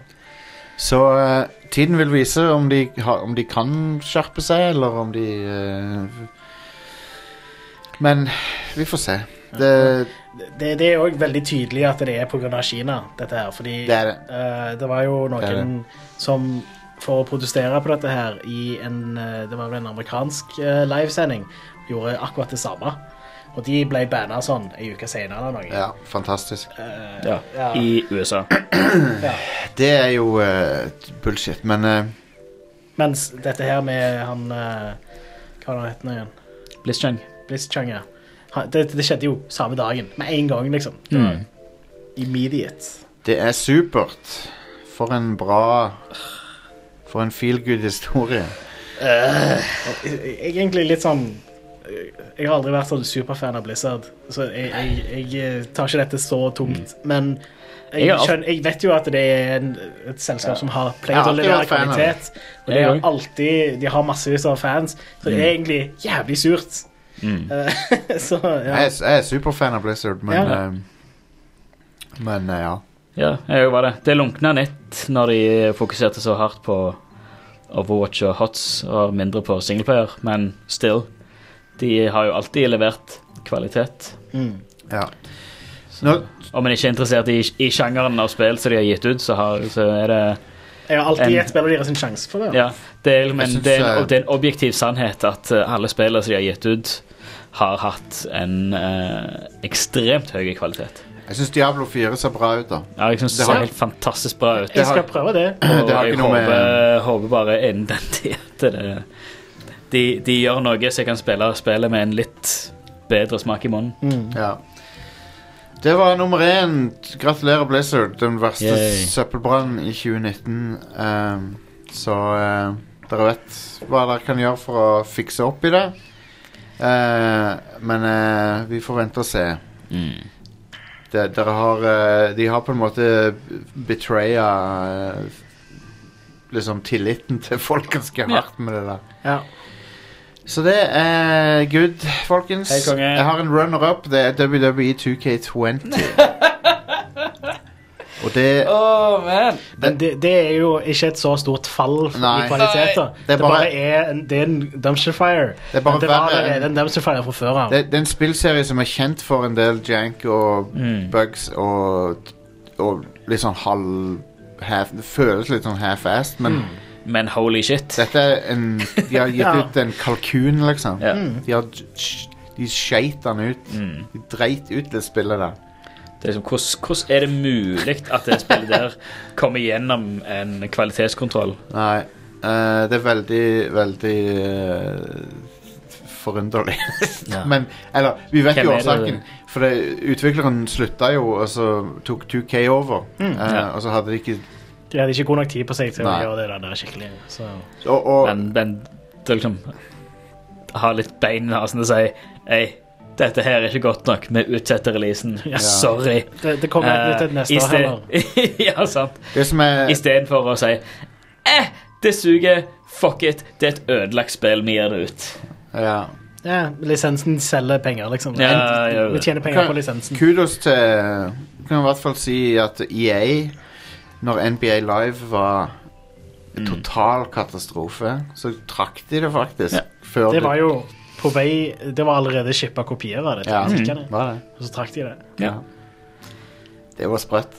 Speaker 1: Så eh, tiden vil vise om de, har- om de kan skjerpe seg, eller om de eh, Men vi får se. Det,
Speaker 3: Det, det er òg veldig tydelig at det er pga. Kina, dette her. Fordi
Speaker 1: Det er det.
Speaker 3: eh, det var jo noen
Speaker 1: Det er
Speaker 3: som for å protestere på dette her i en eh, Det var vel en amerikansk eh, livesending. Gjorde akkurat det samme. Og de ble banna sånn ei uke seinere eller noe.
Speaker 1: ja, fantastisk.
Speaker 2: ja.
Speaker 3: Ja.
Speaker 2: I USA.
Speaker 1: Det er jo eh, bullshit, men eh,
Speaker 3: Mens dette her med han eh, Hva var det han het nå igjen?
Speaker 2: Blitzchung.
Speaker 3: Blitzchung, ja. Han- Det, det skjedde jo samme dagen. Med en gang, liksom. Det
Speaker 2: Mm.
Speaker 3: var Immediate.
Speaker 1: Det er supert. For en bra For en feelgood historie.
Speaker 3: Jeg jeg er egentlig litt sånn Jeg har aldri vært sånn superfan av Blizzard, så jeg, jeg, jeg tar ikke dette så tungt. Men jeg,
Speaker 2: Jeg har alt-
Speaker 3: skjønner, jeg vet jo at det er en, et selskap som har
Speaker 1: Jeg
Speaker 3: pleid
Speaker 1: har
Speaker 3: å
Speaker 1: alltid
Speaker 3: levere
Speaker 1: vært fan av det.
Speaker 3: kvalitet. Og de
Speaker 2: Jeg
Speaker 3: har
Speaker 2: òg.
Speaker 3: alltid De har massevis av fans, så det er egentlig jævlig surt. (laughs)
Speaker 1: Mm.
Speaker 3: Eh, så ja.
Speaker 1: Jeg, er- jeg er superfan av Blizzard, men
Speaker 3: Ja.
Speaker 1: eh, Men eh, ja.
Speaker 2: Ja, jeg var det. Det lunkna nett når de fokuserte så hardt på Overwatch og Hots og mindre på singleplayer, men still. De har jo alltid levert kvalitet.
Speaker 3: Mm.
Speaker 1: ja. Nå,
Speaker 2: Om en ikke er interessert i, i sjangeren av spill som de har gitt ut, så, har, så er det
Speaker 3: Jeg har alltid
Speaker 2: En-
Speaker 3: gitt spillet deres en sjanse for det.
Speaker 2: Ja, det er, men
Speaker 1: Jeg synes,
Speaker 2: det, er en,
Speaker 1: eh,
Speaker 2: det er en objektiv sannhet at eh, alle spillene som de har gitt ut, har hatt en eh, ekstremt høy kvalitet.
Speaker 1: jeg syns Diablo 4 ser bra ut, da.
Speaker 2: Ja, jeg synes
Speaker 1: Det
Speaker 2: det
Speaker 1: har-
Speaker 2: ser helt fantastisk bra ut.
Speaker 1: det
Speaker 3: Jeg
Speaker 1: har-
Speaker 3: skal prøve det.
Speaker 2: (clears throat) Og
Speaker 1: Det har
Speaker 2: jeg
Speaker 1: ikke noe
Speaker 2: håper,
Speaker 1: med-
Speaker 2: håper bare innen (laughs) den tid at det, de, de gjør noe så jeg kan spille spillet med en litt bedre smak i
Speaker 1: Mm.
Speaker 2: munnen.
Speaker 1: Ja. Det var nummer én. Gratulerer, Blizzard. Den verste
Speaker 2: Yay.
Speaker 1: søppelbrannen i 2019. Ehm, så eh, dere vet hva dere kan gjøre for å fikse opp i det. Eh, men eh, vi får vente og se.
Speaker 2: Mm.
Speaker 1: Det, dere har eh, De har på en måte betraya eh, Liksom tilliten til folk ganske hardt med det der.
Speaker 3: Ja.
Speaker 1: Så det er good, folkens.
Speaker 2: Hei, konge.
Speaker 1: Jeg har en runner-up. Det er E WWE 2K20. og det
Speaker 2: Oh, man.
Speaker 3: Men det, det er jo ikke et så stort fall
Speaker 1: Nei.
Speaker 3: i kvaliteter.
Speaker 1: Nei.
Speaker 3: Det, bare er en, det er en dumpster fire.
Speaker 1: Det er bare
Speaker 3: Men det var
Speaker 1: verre enn-
Speaker 3: allerede en dumpster fire fra før av.
Speaker 1: Det, det er en spillserie som er kjent for en del jank og
Speaker 2: Mm.
Speaker 1: bugs og, og litt sånn halv half, Det føles litt sånn half-assed, men
Speaker 2: Men holy shit.
Speaker 1: dette er en De har gitt
Speaker 3: Ja.
Speaker 1: ut en kalkun, liksom.
Speaker 2: Ja.
Speaker 1: De har j- De skeit den ut.
Speaker 2: Mm.
Speaker 1: De dreit ut det spillet der.
Speaker 2: Det er liksom, hvordan, hvordan er det mulig at det spillet der kommer gjennom en kvalitetskontroll?
Speaker 1: Nei. eh, det er veldig, veldig eh, forunderlig.
Speaker 2: Ja.
Speaker 1: (laughs) Men Eller, vi vet
Speaker 2: Hvem
Speaker 1: jo
Speaker 2: er det?
Speaker 1: årsaken. For det, utvikleren slutta jo, og så tok 2K over. Eh,
Speaker 2: Mm, ja.
Speaker 1: Og så hadde de ikke
Speaker 3: De hadde ikke god nok tid på seg til å
Speaker 1: Nei.
Speaker 3: gjøre det der, der skikkelig. Så.
Speaker 1: Og, og
Speaker 2: Men, men det er liksom har litt bein i halsen og sier Hei, dette her er ikke godt nok. Vi utsetter releasen. (laughs) Sorry.
Speaker 3: Det, det kommer
Speaker 2: Eh,
Speaker 3: ikke til neste
Speaker 2: i
Speaker 3: år
Speaker 2: sted-
Speaker 3: heller.
Speaker 2: (laughs) ja, sant.
Speaker 1: Det som
Speaker 2: Eh.
Speaker 1: er
Speaker 2: Istedenfor å si Eh, det suger. Fuck it. Det er et ødelagt spill. Vi gir det ut.
Speaker 1: ja.
Speaker 3: Ja, lisensen selger penger, liksom.
Speaker 2: Ja, ja, ja.
Speaker 3: Vi tjener penger på lisensen.
Speaker 1: Kudos til Du kan i hvert fall si at EA, når NBA Live var
Speaker 2: Mm.
Speaker 1: en total katastrofe, så trakk de det faktisk. Før
Speaker 3: Det var jo på vei Det var allerede shippa kopier av det. til
Speaker 1: ja,
Speaker 2: Mm.
Speaker 3: butikkene,
Speaker 1: var det.
Speaker 3: Og så trakk de det.
Speaker 1: Ja. Det var sprøtt.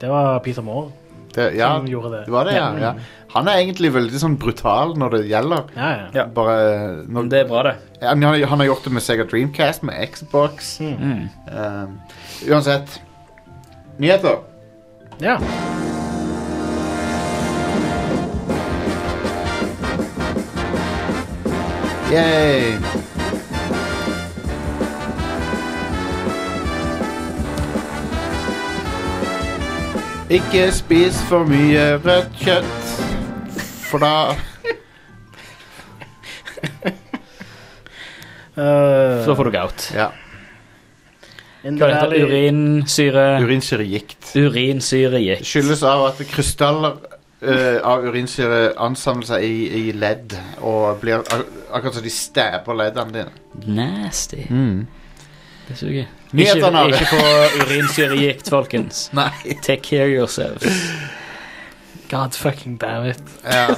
Speaker 3: Det var Peter Moore
Speaker 1: Det, ja,
Speaker 3: som gjorde det.
Speaker 1: det var det, ja, ja. Han er egentlig veldig sånn brutal når det gjelder.
Speaker 3: Ja, ja.
Speaker 2: Ja.
Speaker 1: Bare når,
Speaker 2: Det er bra, det.
Speaker 1: han, har- han har gjort det med Sega Dreamcast, med Xbox.
Speaker 3: Mm.
Speaker 1: Um, uansett. Nyheter.
Speaker 3: ja.
Speaker 1: Yay! Ikke spis for mye rødt kjøtt, for da
Speaker 3: Eh,
Speaker 2: Så får du gout.
Speaker 1: Ja.
Speaker 3: in the
Speaker 2: Hva heter det?
Speaker 3: valley.
Speaker 2: Urinsyre
Speaker 1: Urinsyregikt.
Speaker 2: Urinsyre gikk.
Speaker 1: Skyldes av at krystaller eh, av urinsyre ansamler seg i, i ledd og blir ak akkurat som de stæper leddene dine.
Speaker 2: Nasty. Det suger. Ikke,
Speaker 1: Nyhetene av det.
Speaker 2: ikke få urinsyregikt, folkens. (laughs)
Speaker 1: Nei.
Speaker 2: Take care of yourselves.
Speaker 3: God fucking damn it.
Speaker 1: Ja.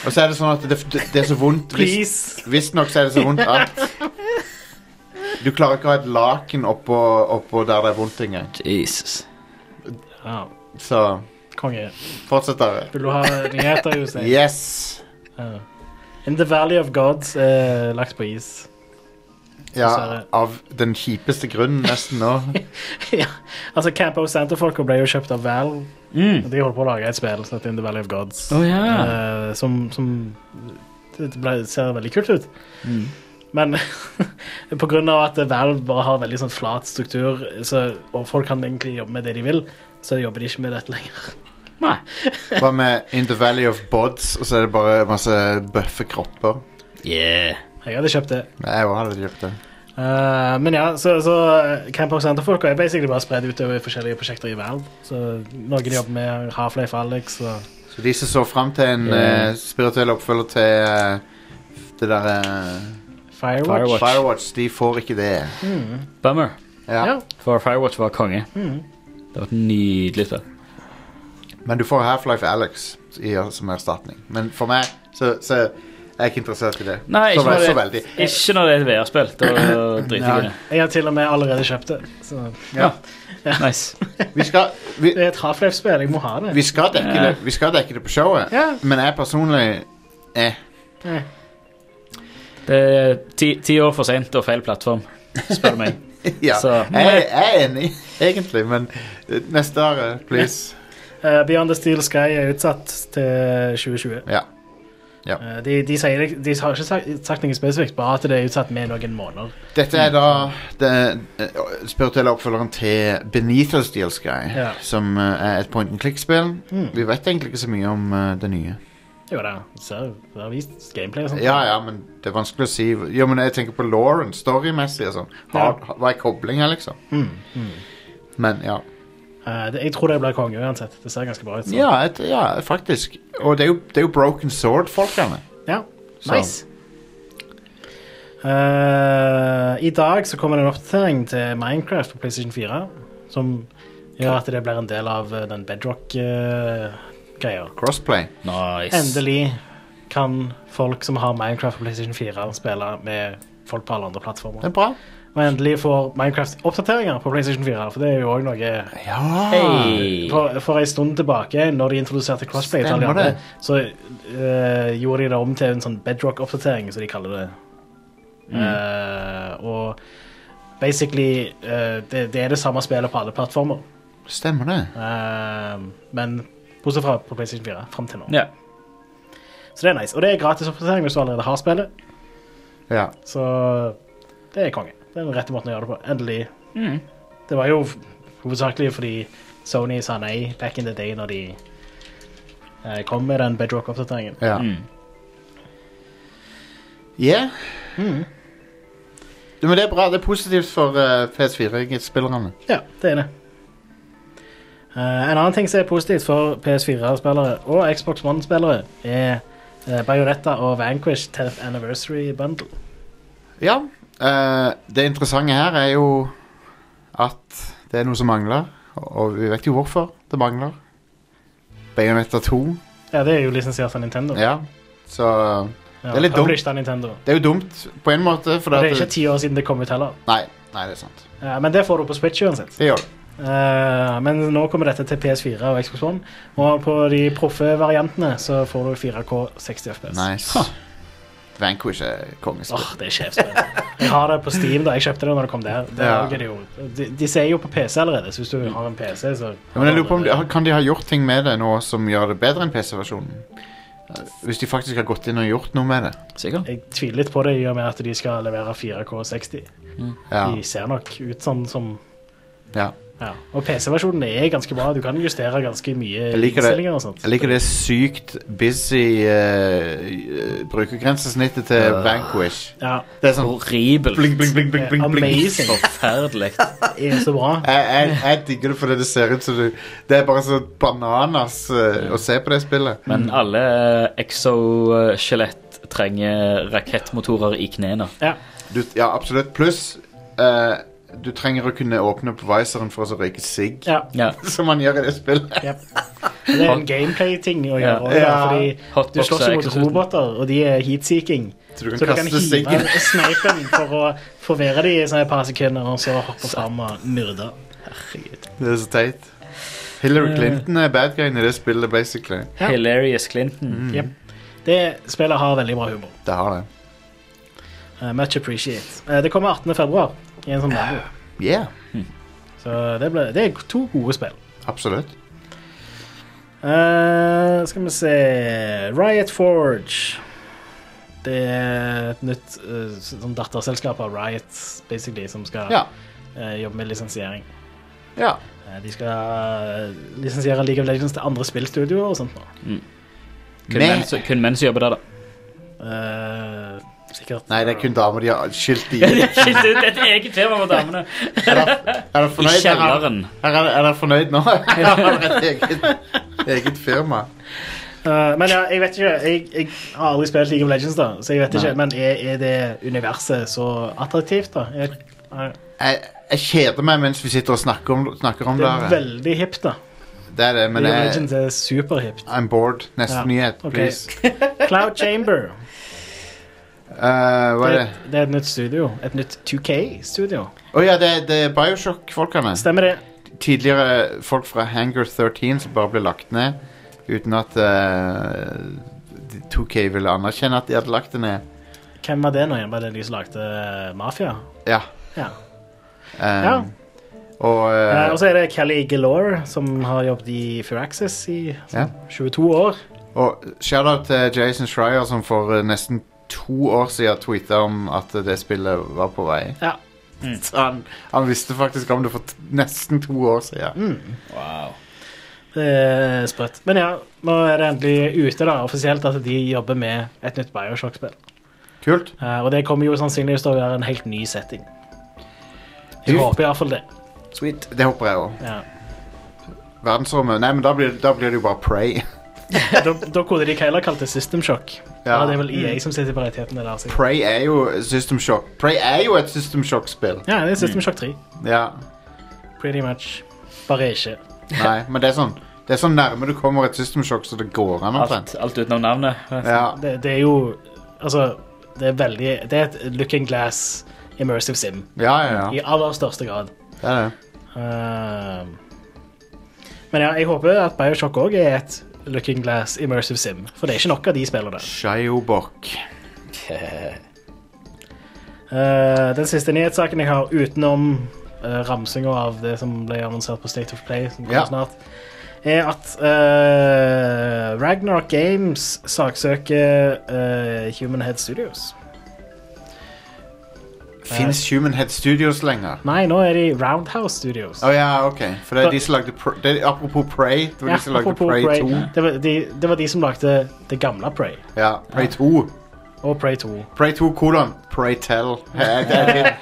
Speaker 1: Og så er det sånn at det, det er så vondt hvis-
Speaker 3: Please.
Speaker 1: Visstnok så er det så vondt at Du klarer ikke å ha et laken oppå, oppå der det er vondt engang.
Speaker 2: Jesus.
Speaker 3: Ja,
Speaker 1: Så
Speaker 3: konge.
Speaker 1: fortsett, dere.
Speaker 3: Vil du ha nyheter,
Speaker 1: (laughs)
Speaker 3: Jostein?
Speaker 1: Yes!
Speaker 3: Ja. In the Valley of Gods er lagt på is.
Speaker 1: Ja, av den kjipeste grunnen nesten nå.
Speaker 3: ja. Altså, Campo Santafolka ble jo kjøpt av Val.
Speaker 2: Mm.
Speaker 3: De holder på å lage et spill som heter In the Valley of Gods.
Speaker 2: Å ja.
Speaker 3: Eh, som som det ble, ser veldig kult ut.
Speaker 2: Mm.
Speaker 3: Men (laughs) på grunn av at Valve bare har veldig sånn flat struktur, så, og folk kan egentlig jobbe med det de vil, så jobber de ikke med dette lenger.
Speaker 2: Nei.
Speaker 1: Hva med In the Valley of Bods, og så er det bare masse bøffe kropper.
Speaker 2: Yeah.
Speaker 3: Jeg hadde kjøpt det.
Speaker 1: Nei, Jeg hadde kjøpt det.
Speaker 3: Eh, men ja, så, så Camp Rock Center-folka er basically bare spredd utover forskjellige prosjekter i Valve. Så noen de jobber med Half-Life Alex og
Speaker 1: Så de som så fram til en
Speaker 2: Yeah.
Speaker 1: eh, spirituell oppfølger til eh, det derre
Speaker 3: Firewatch.
Speaker 2: Firewatch.
Speaker 1: Firewatch, de får ikke det.
Speaker 2: Bummer.
Speaker 1: Ja.
Speaker 3: Ja.
Speaker 2: For Firewatch var konge. Det var et nydelig spill.
Speaker 1: Men du får Half-Life Alex i, som erstatning. Men for meg så, så er jeg ikke interessert i det.
Speaker 2: Nei,
Speaker 1: så,
Speaker 2: ikke
Speaker 1: ve- så
Speaker 2: når
Speaker 1: veldig.
Speaker 2: det, ikke når det er et VR-spill.
Speaker 1: (clears throat)
Speaker 2: Da driter jeg i det.
Speaker 3: Jeg har til og med allerede kjøpt det. Så
Speaker 1: Ja.
Speaker 2: Nice.
Speaker 1: Vi skal, vi,
Speaker 3: det er et Half-Life-spill. Jeg må ha det.
Speaker 1: vi, skal dekke
Speaker 2: Ja.
Speaker 1: det, vi skal dekke det på showet,
Speaker 3: Ja.
Speaker 1: men jeg personlig eh. (laughs)
Speaker 3: Eh,
Speaker 2: Det er ti, ti år for seint og feil plattform, spør du meg.
Speaker 1: (laughs) Ja,
Speaker 2: Så-
Speaker 1: jeg, jeg er enig, (laughs) egentlig, men eh, neste år, eh, please.
Speaker 3: eh, Beyond the Steel Sky er utsatt til 2020.
Speaker 1: Ja.
Speaker 3: Eh, De, de, sier, det- de har ikke sagt, sagt noe spesifikt, bare at det er utsatt med noen måneder.
Speaker 1: Dette
Speaker 3: Mm.
Speaker 1: er da den eh, spirituelle oppfølgeren til Benito Steel Sky,
Speaker 3: Ja.
Speaker 1: som eh, er et point and click-spill.
Speaker 3: Mm.
Speaker 1: Vi vet egentlig ikke så mye om eh, det nye.
Speaker 3: Det er jo det. Du ser- Du har vist gameplay og sånt.
Speaker 1: Ja, ja, men det er vanskelig å si. Jo, men jeg tenker på Lauren, storymessig og sånn. Har-
Speaker 3: Ja. Mm,
Speaker 1: har- Hva er koblinga, liksom? Men ja.
Speaker 3: Eh, det, jeg tror det blir konge uansett. Det ser ganske bra ut. så.
Speaker 1: Ja, et, ja, faktisk. Og det er jo, det er jo Broken Sword-folkene.
Speaker 3: Ja,
Speaker 1: Så.
Speaker 3: nice. Eh, I dag så kommer det en oppdatering til Minecraft på PlayStation 4, som gjør at det blir en del av eh, den eh, bedrock-greia.
Speaker 1: Crossplay.
Speaker 2: Nice.
Speaker 3: Endelig kan folk som har Minecraft på PlayStation 4, spille med folk på alle andre
Speaker 1: Det
Speaker 3: plattformer.
Speaker 1: er bra.
Speaker 3: Og endelig får Minecraft oppdateringer på PlayStation 4, for det er jo òg noe eh,
Speaker 1: Ja.
Speaker 2: Hey.
Speaker 3: for, for en stund tilbake, når de introduserte Crossplay, til alle
Speaker 1: Stemmer det.
Speaker 3: andre, så eh, gjorde de det om til en sånn bedrock-oppdatering, som de kaller det. Eh, og basically eh, det, det er det samme spillet på alle plattformer.
Speaker 1: Stemmer det.
Speaker 3: Eh, men bortsett fra på PlayStation 4 fram til nå.
Speaker 2: Ja.
Speaker 3: Så det er nice. Og det er gratis oppdatering hvis du allerede har spillet.
Speaker 1: Ja.
Speaker 3: Så det er konge. Det er den rette måten å gjøre det på. Endelig. Det var jo hovedsakelig fordi Sony sa nei back in the day når de eh, kom med den Bedrock-oppdateringen.
Speaker 1: Ja.
Speaker 2: Mm.
Speaker 1: Yeah.
Speaker 3: Mm.
Speaker 1: Du, men det er bra. Det er positivt for eh, PS4-spillerne.
Speaker 3: Ja, det er det. Eh, en annen ting som er positivt for PS4-spillere og Xbox One-spillere, er eh, Bayonetta og Vanquish 10th Anniversary Bundle.
Speaker 1: Ja. eh, det interessante her er jo at det er noe som mangler, og vi vet jo hvorfor det mangler. Bayonetta 2.
Speaker 3: Ja, det er jo lisensiert av Nintendo.
Speaker 1: Ja. Så
Speaker 3: Ja,
Speaker 1: det er litt dumt.
Speaker 3: published av Nintendo.
Speaker 1: det er jo dumt på en måte, for
Speaker 3: Og det
Speaker 1: at
Speaker 3: er ikke ti år siden det kom ut heller.
Speaker 1: Nei, nei, det er sant.
Speaker 3: Eh, men det får du på Switch uansett.
Speaker 1: Det gjør det.
Speaker 3: Eh, men nå kommer dette til PS4 og Xbox One. Og på de proffe variantene så får du 4K 60 FPS.
Speaker 1: Nice. Vanquish er
Speaker 3: Åh,
Speaker 1: kongespill.
Speaker 3: det er sjefspill. Jeg har det på Steam, da. Jeg kjøpte det når det kom der. Det
Speaker 1: Ja.
Speaker 3: er jo, de, de ser jo på PC allerede, så hvis du har en PC, så
Speaker 1: Ja, men jeg lurer på om de, Kan de ha gjort ting med det nå som gjør det bedre enn PC-versjonen? Eh, Hvis de faktisk har gått inn og gjort noe med det.
Speaker 2: Sikker?
Speaker 3: Jeg tviler litt på det i og med at de skal levere 4K 60.
Speaker 1: Ja,
Speaker 3: De ser nok ut sånn som
Speaker 1: ja.
Speaker 3: ja. Og PC-versjonen er ganske bra. Du kan justere ganske mye
Speaker 1: Jeg liker det.
Speaker 3: innstillinger og sånt.
Speaker 1: Jeg liker det sykt busy eh, eh, brukergrensesnittet til Vanquish.
Speaker 3: Ja,
Speaker 1: Det er sånn
Speaker 2: Horribelt.
Speaker 1: blink, blink, blink, blink, blink, blink.
Speaker 3: Amazing.
Speaker 2: Forferdelig.
Speaker 3: Det er så bra.
Speaker 1: Jeg, jeg, jeg digger det fordi det ser ut som du Det er bare så bananas eh, å se på det spillet.
Speaker 2: Men alle exo-skjelett trenger rakettmotorer i knærne.
Speaker 3: Ja.
Speaker 1: Du, ja, absolutt. Pluss eh, du trenger å kunne åpne opp viseren for å så røyke sigg,
Speaker 3: ja.
Speaker 2: Ja.
Speaker 1: (laughs) som man gjør i det spillet.
Speaker 3: Yep. Det er en gameplay-ting å gjøre.
Speaker 2: Ja.
Speaker 3: også,
Speaker 1: Ja.
Speaker 3: Fordi du
Speaker 2: Hotbox
Speaker 3: slåss
Speaker 2: er
Speaker 3: jo mot
Speaker 2: eksklusivt.
Speaker 3: roboter, og de er heatseeking.
Speaker 1: Så du kan
Speaker 3: Så du kan
Speaker 1: kaste siggen.
Speaker 3: hive (laughs) sneipen for å forvirre de i sånne et par sekunder, og så hoppe fram og myrde.
Speaker 1: Det er så teit. Hillary Clinton er bad guyen i det spillet, basically.
Speaker 3: Ja.
Speaker 2: Hilarious Clinton.
Speaker 1: Mm.
Speaker 3: Yep. Det spillet har veldig bra humor.
Speaker 1: Det har det.
Speaker 3: Eh, much appreciate. Eh, det kommer 18. februar i en sånn demo.
Speaker 1: Yeah,
Speaker 3: Så det, ble, det er to gode spill.
Speaker 1: absolutt.
Speaker 3: Eh, skal vi se Riot Forge. Det er et nytt eh, sånn datterselskap av Riot, basically, som skal
Speaker 1: Ja.
Speaker 3: eh, jobbe med lisensiering.
Speaker 1: ja.
Speaker 3: Eh, De skal eh, lisensiere League of Legends til andre spillstudioer og sånt. nå.
Speaker 2: Kun,
Speaker 1: Men-
Speaker 2: menn, som- kun menn som jobber (laughs) der, da.
Speaker 3: Eh, sikkert.
Speaker 1: Nei, det er kun damer de har skilt i. Er
Speaker 2: Skilt ut et eget firma for damene.
Speaker 1: dere
Speaker 2: I
Speaker 1: fornøyd? Er
Speaker 2: kjelleren.
Speaker 1: dere- er dere fornøyd nå? (laughs) Jeg har et eget, eget firma.
Speaker 3: Eh, men ja, jeg vet ikke. Jeg, jeg har aldri spilt League of Legends, da, så jeg vet ikke. Men er, er det universet så attraktivt, da? Jeg, eh,
Speaker 1: Jeg, jeg kjeder meg mens vi sitter og snakker om, snakker om
Speaker 3: det
Speaker 1: det.
Speaker 3: er
Speaker 1: her.
Speaker 3: veldig hipt, da.
Speaker 1: Det er det, men
Speaker 3: League of
Speaker 1: jeg,
Speaker 3: Legends er superhipt.
Speaker 1: I'm bored. Neste
Speaker 3: Ja,
Speaker 1: nyhet,
Speaker 3: ok.
Speaker 1: please. (laughs)
Speaker 3: Cloud Chamber.
Speaker 1: Eh, hva er
Speaker 3: Det er,
Speaker 1: det?
Speaker 3: et- det er et nytt studio. Et nytt 2K-studio.
Speaker 1: Å ja, det, det er Bioshock-folkene.
Speaker 3: Stemmer det?
Speaker 1: tidligere folk fra Hangar 13 som bare ble lagt ned uten at eh, de- 2K ville anerkjenne at de hadde lagt det ned.
Speaker 3: Hvem var det nå igjen? Var det de som lagde eh, Mafia?
Speaker 1: Ja.
Speaker 3: Ja.
Speaker 1: eh,
Speaker 3: Ja.
Speaker 1: Og eh,
Speaker 3: Eh, og så er det Kelly Galore, som har jobbet i Firaxis i
Speaker 1: Ja.
Speaker 3: sånn 22 år.
Speaker 1: Og shout-out til Jason Schreier, som for eh, nesten to år siden tweeta om at det spillet var på vei.
Speaker 3: Ja.
Speaker 1: Mm. (laughs) Mm. Så han, han visste faktisk om det for t nesten to år siden.
Speaker 2: Wow.
Speaker 3: Det er sprøtt. Men ja, nå er det endelig ute da, offisielt at de jobber med et nytt Bioshock-spill.
Speaker 1: Kult.
Speaker 3: Eh, og det kommer jo sannsynligvis til å være en helt ny setting. Jeg
Speaker 1: Kult.
Speaker 3: håper iallfall det.
Speaker 2: Sweet.
Speaker 1: Det håper jeg òg. (laughs)
Speaker 3: Ja.
Speaker 1: Verdensrommet Nei, men da blir, da blir det jo bare Prey. (laughs)
Speaker 3: Da, da kunne de heller kalt det System Shock.
Speaker 1: Ja.
Speaker 3: Ja. Det er vel EA som sitter på rettighetene der. sikkert.
Speaker 1: Prey er jo System Shock. Prey er jo et System Shock-spill.
Speaker 3: Ja, det er
Speaker 1: Mm.
Speaker 3: System Shock 3.
Speaker 1: Ja.
Speaker 3: Pretty much. Bare ikke.
Speaker 1: Nei, men det er sånn Det er sånn nærme du kommer et System Shock, så det går an omtrent.
Speaker 2: Alt, alt utenom navnet.
Speaker 1: Ja.
Speaker 3: Det, det er jo Altså, det er veldig Det er et look and glass immersive sim
Speaker 1: ja, ja, ja.
Speaker 3: i aller største grad.
Speaker 1: Det er det.
Speaker 3: Ehm, men ja, jeg håper at Bioshock òg er et looking glass immersive sim. For det er ikke nok av de spillene. der.
Speaker 1: Shiobok.
Speaker 3: Eh, den siste nyhetssaken jeg har utenom uh, ramsinga av det som ble annonsert på State of Play, som kommer
Speaker 1: Ja.
Speaker 3: snart, er at eh, Ragnarok Games saksøker eh, Human Head Studios.
Speaker 1: Fins Human Head Studios lenger?
Speaker 3: Nei, nå er de Roundhouse Studios.
Speaker 1: Å ja, OK. For det er de som lagde Pre- det er, Apropos Prey. Det var
Speaker 3: Ja,
Speaker 1: de som lagde
Speaker 3: apropos
Speaker 1: Prey
Speaker 3: Prey.
Speaker 1: 2.
Speaker 3: Det, var de, det var de som lagde det gamle Prey
Speaker 1: Ja, Prey 2.
Speaker 3: og Prey 2.
Speaker 1: Prey 2 kolon Prey Tell. Det, det, det,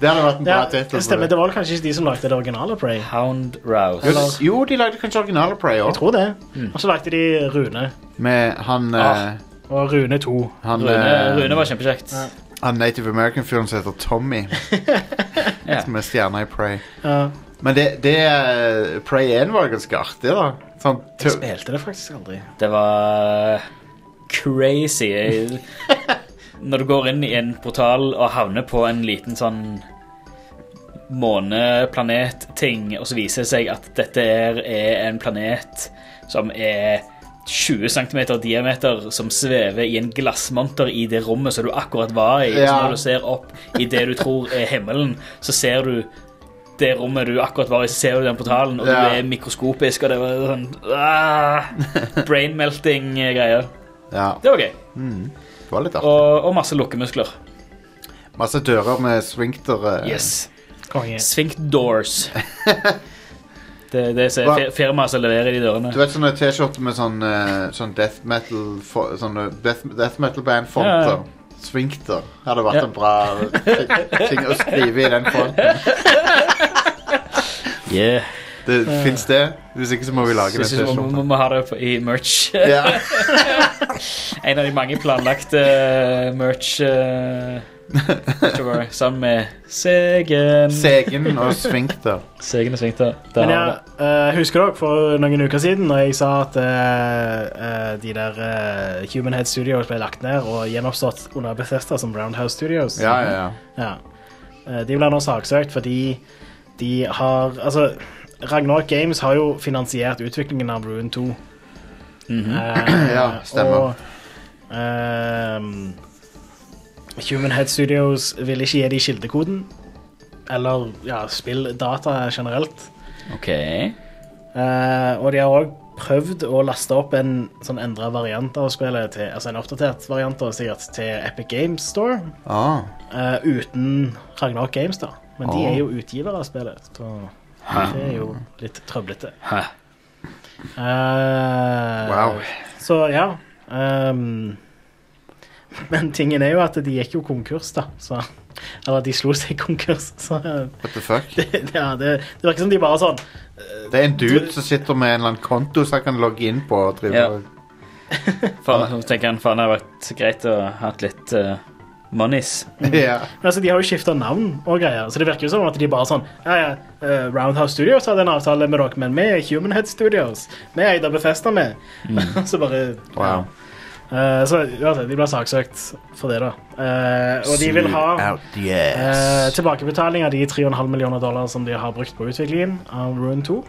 Speaker 1: det hadde vært en bra
Speaker 3: Ja,
Speaker 1: tittel.
Speaker 3: det stemmer. Det var vel kanskje ikke de som lagde det originale Prey.
Speaker 2: Hound Rouse.
Speaker 1: Jo, de- Jo, de lagde kanskje originale Prey
Speaker 3: Jeg
Speaker 1: òg.
Speaker 3: tror det. Og så lagde de Rune.
Speaker 1: Med han eh,
Speaker 2: Ah.
Speaker 3: Og Rune 2.
Speaker 1: Han,
Speaker 2: Rune,
Speaker 1: eh,
Speaker 2: Rune var kjempekjekt.
Speaker 1: han native american-fyren som heter Tommy.
Speaker 2: Ja.
Speaker 1: Som er stjerna i Prey.
Speaker 3: Ja.
Speaker 1: Men det, det eh, Prey 1 var ganske artig, da. Sånn,
Speaker 3: Jeg
Speaker 1: tu-
Speaker 3: spilte det faktisk aldri.
Speaker 2: Det var crazy. Jeg- (laughs) Når du går inn i en portal og havner på en liten sånn måneplanet-ting, og så viser det seg at dette er, er en planet som er 20 cm diameter, som svever i en glassmonter i det rommet som du akkurat var i. Så
Speaker 1: Ja.
Speaker 2: når du ser opp i det du tror er himmelen, så ser du det rommet du akkurat var i, så ser du den portalen, og
Speaker 1: Ja.
Speaker 2: du er mikroskopisk, og det var sånn ah, Brainmelting-greier.
Speaker 1: ja,
Speaker 2: Det var gøy.
Speaker 1: det var litt artig.
Speaker 2: Og, og masse lukkemuskler.
Speaker 1: Masse dører med swinkter. eh.
Speaker 2: Yes.
Speaker 3: Konge.
Speaker 2: Sphinct Doors. Det, det er
Speaker 1: Hva-
Speaker 2: fir- firmaet som leverer de dørene.
Speaker 1: Du vet sånne T-skjorter med sånn, eh, sånn death metal fo- Sånne death, death metal band-fonter.
Speaker 2: Ja, ja.
Speaker 1: Swinkter. Hadde vært
Speaker 2: Ja.
Speaker 1: en bra ti- ting å skrive i den fonten.
Speaker 2: Yeah.
Speaker 1: Det Fins det? Hvis ikke så må vi lage den
Speaker 2: Synes jeg vi må,
Speaker 1: T-skjorten.
Speaker 2: må ha det på, i merch. (laughs)
Speaker 1: Ja.
Speaker 2: En av de mange planlagte eh, merch eh, merchover, sammen med Segen.
Speaker 1: Segen og sfinkter.
Speaker 2: Segen og Svinkter. Der
Speaker 3: Men
Speaker 2: har
Speaker 3: ja,
Speaker 2: vi det.
Speaker 3: eh, husker dere for noen uker siden når jeg sa at eh, eh, de der eh, Human Head Studios ble lagt ned og gjenoppstått under Bethesda som Roundhouse Studios?
Speaker 1: Ja, ja, ja.
Speaker 3: Ja. Eh, De blir nå saksøkt fordi de har Altså, Ragnarok Games har jo finansiert utviklingen av Rune 2. Eh,
Speaker 1: (clears throat) Ja, stemmer.
Speaker 3: Og ehm, Human Head Studios vil ikke gi de kildekoden. Eller ja, spilldata generelt.
Speaker 2: OK.
Speaker 3: Eh, og de har òg prøvd å laste opp en sånn endra variant av spillet, til, altså en oppdatert variant da, sikkert, til Epic Games Store.
Speaker 1: Ah.
Speaker 3: Eh, uten Ragnarok Games, da. Men de
Speaker 1: Åh.
Speaker 3: er jo utgivere av spillet, så det er jo litt trøblete.
Speaker 2: Hæ.
Speaker 3: Eh,
Speaker 1: Wow.
Speaker 3: Så ja. ehm, men tingen er jo at de gikk jo konkurs, da. Så, eller de slo seg konkurs. Så (laughs) eh,
Speaker 1: What the fuck?
Speaker 3: det, ja, det, det virker som de bare sånn
Speaker 1: Det er en dude som sitter med en eller annen konto som han kan logge inn på. Og drive
Speaker 2: Ja.
Speaker 1: og- (laughs)
Speaker 2: Faen, så tenker han faen det hadde vært greit å ha litt eh, monies.
Speaker 1: ja.
Speaker 3: Men altså, De har jo skifta navn og greier, så det virker jo som at de bare sånn ja, ja, eh, Roundhouse Studios hadde en avtale med dere, men vi er Human Head Studios. Vi er Eida Befesta med. så bare
Speaker 1: (laughs) Wow.
Speaker 3: Eh, så uansett, de blir saksøkt for det, da. Eh, og de vil ha
Speaker 1: Out the ass.
Speaker 3: eh, tilbakebetaling av de 3,5 millioner dollar som de har brukt på utviklingen av Rune 2.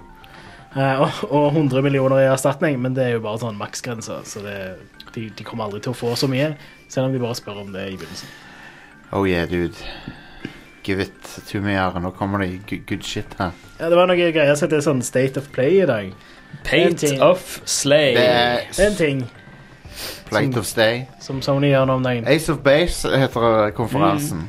Speaker 3: Eh, og, og 100 millioner i erstatning, men det er jo bare sånn maksgrense. Så det, de, de kommer aldri til å få så mye, selv om de bare spør om det i begynnelsen.
Speaker 1: Oh yeah, dude. Give it to me, Are. Nå kommer det good, good shit her.
Speaker 3: Ja, det var noe greier som heter sånn State of Play i dag. En
Speaker 2: Paint
Speaker 3: ting.
Speaker 2: of Slay.
Speaker 1: Det er
Speaker 3: En ting
Speaker 1: Plate of Stay.
Speaker 3: som Sony gjør nå om dagen.
Speaker 1: Ace of Base heter eh, konferansen.
Speaker 3: Mm.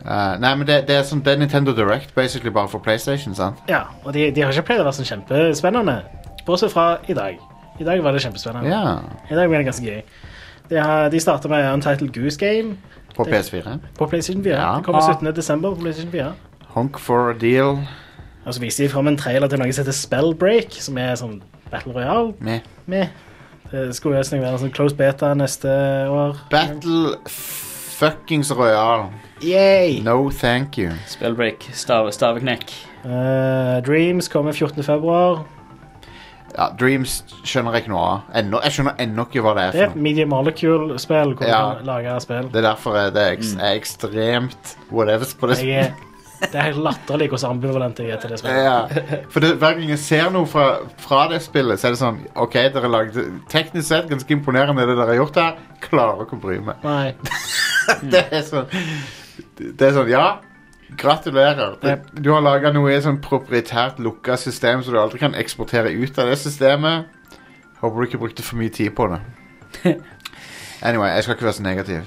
Speaker 1: Eh, nei, men det, det er som det er Nintendo Direct, basically bare for PlayStation, sant?
Speaker 3: Ja, og de, de har ikke pleid å være sånn kjempespennende. Bortsett fra i dag. I dag var det kjempespennende.
Speaker 1: Ja.
Speaker 3: I dag var det ganske gøy. De, har- de starta med Untitled Goose Game
Speaker 1: På PS4.
Speaker 3: på PlayStation 4.
Speaker 1: Ja.
Speaker 3: Det kommer 17. desember på PlayStation 4.
Speaker 1: Honk for a deal.
Speaker 3: Og så viser de fram en trailer til noe som heter Spellbreak, som er sånn Battle Royale.
Speaker 1: Med
Speaker 3: Meh. Det skulle jo nesten være en sånn close beta neste år.
Speaker 1: Battle fuckings Royal.
Speaker 3: Yay!
Speaker 1: No thank you.
Speaker 2: Spellbreak, stave, staveknekk.
Speaker 3: Eh, Dreams kommer 14. februar.
Speaker 1: Ja, Dreams skjønner jeg ikke noe av. Ennå- Jeg skjønner ennå ikke hva det er
Speaker 3: Det er
Speaker 1: for
Speaker 3: et
Speaker 1: noe.
Speaker 3: Media Molecule-spill hvor
Speaker 1: Ja.
Speaker 3: du kan lage spill.
Speaker 1: Det er derfor jeg- det er, eks er ekstremt whatevers på det
Speaker 3: Mm. Jeg er, det er helt latterlig hvor ambivalent jeg er til det spillet.
Speaker 1: Ja, for det, hver gang jeg ser noe fra, fra det spillet, så er det sånn OK, dere lagde teknisk sett ganske imponerende det dere har gjort her. Klarer ikke å bry meg.
Speaker 3: Nei.
Speaker 1: (laughs) Det er sånn, det er sånn Ja, gratulerer. Det, du har laga noe i et sånn proprietært lukka system så du aldri kan eksportere ut av det systemet. Håper du ikke brukte for mye tid på det. Anyway, jeg skal ikke være så negativ.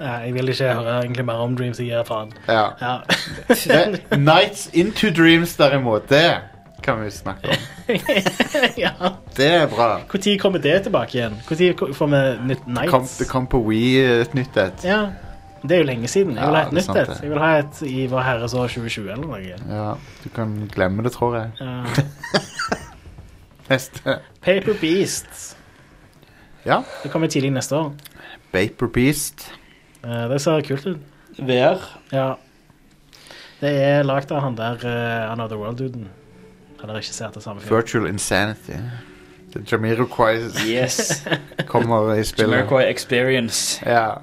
Speaker 3: Nei, jeg vil ikke høre egentlig mer om Dreams. Jeg gir faen.
Speaker 1: Ja.
Speaker 3: Ja.
Speaker 1: Det, Nights into dreams, derimot, det kan vi snakke om.
Speaker 3: ja.
Speaker 1: Det er bra.
Speaker 3: Når kommer det tilbake igjen? Når får vi nytt
Speaker 1: Det kom,
Speaker 3: Nights?
Speaker 1: det kom på Wii eh, et nytt et.
Speaker 3: Ja. Det er jo lenge siden. Jeg
Speaker 1: Ja,
Speaker 3: vil ha
Speaker 1: det
Speaker 3: et
Speaker 1: er
Speaker 3: nytt
Speaker 1: sant
Speaker 3: et.
Speaker 1: det.
Speaker 3: Jeg vil ha et i Vår Herres år 2020 eller noe.
Speaker 1: Ja, du kan glemme det, tror jeg.
Speaker 3: Ja.
Speaker 1: Neste.
Speaker 3: Paper Beast.
Speaker 1: Ja.
Speaker 3: Det kommer tidlig neste år.
Speaker 1: Vapor Beast.
Speaker 3: Eh, Det ser kult ut.
Speaker 2: VR.
Speaker 3: Ja. Det er lagd av han der eh, Another World-duden. Han har regissert det samme filmen.
Speaker 1: Virtual Insanity. Jamiroquai (laughs)
Speaker 2: Yes.
Speaker 1: kommer i spillet.
Speaker 2: Jamiroquai Experience.
Speaker 1: Ja.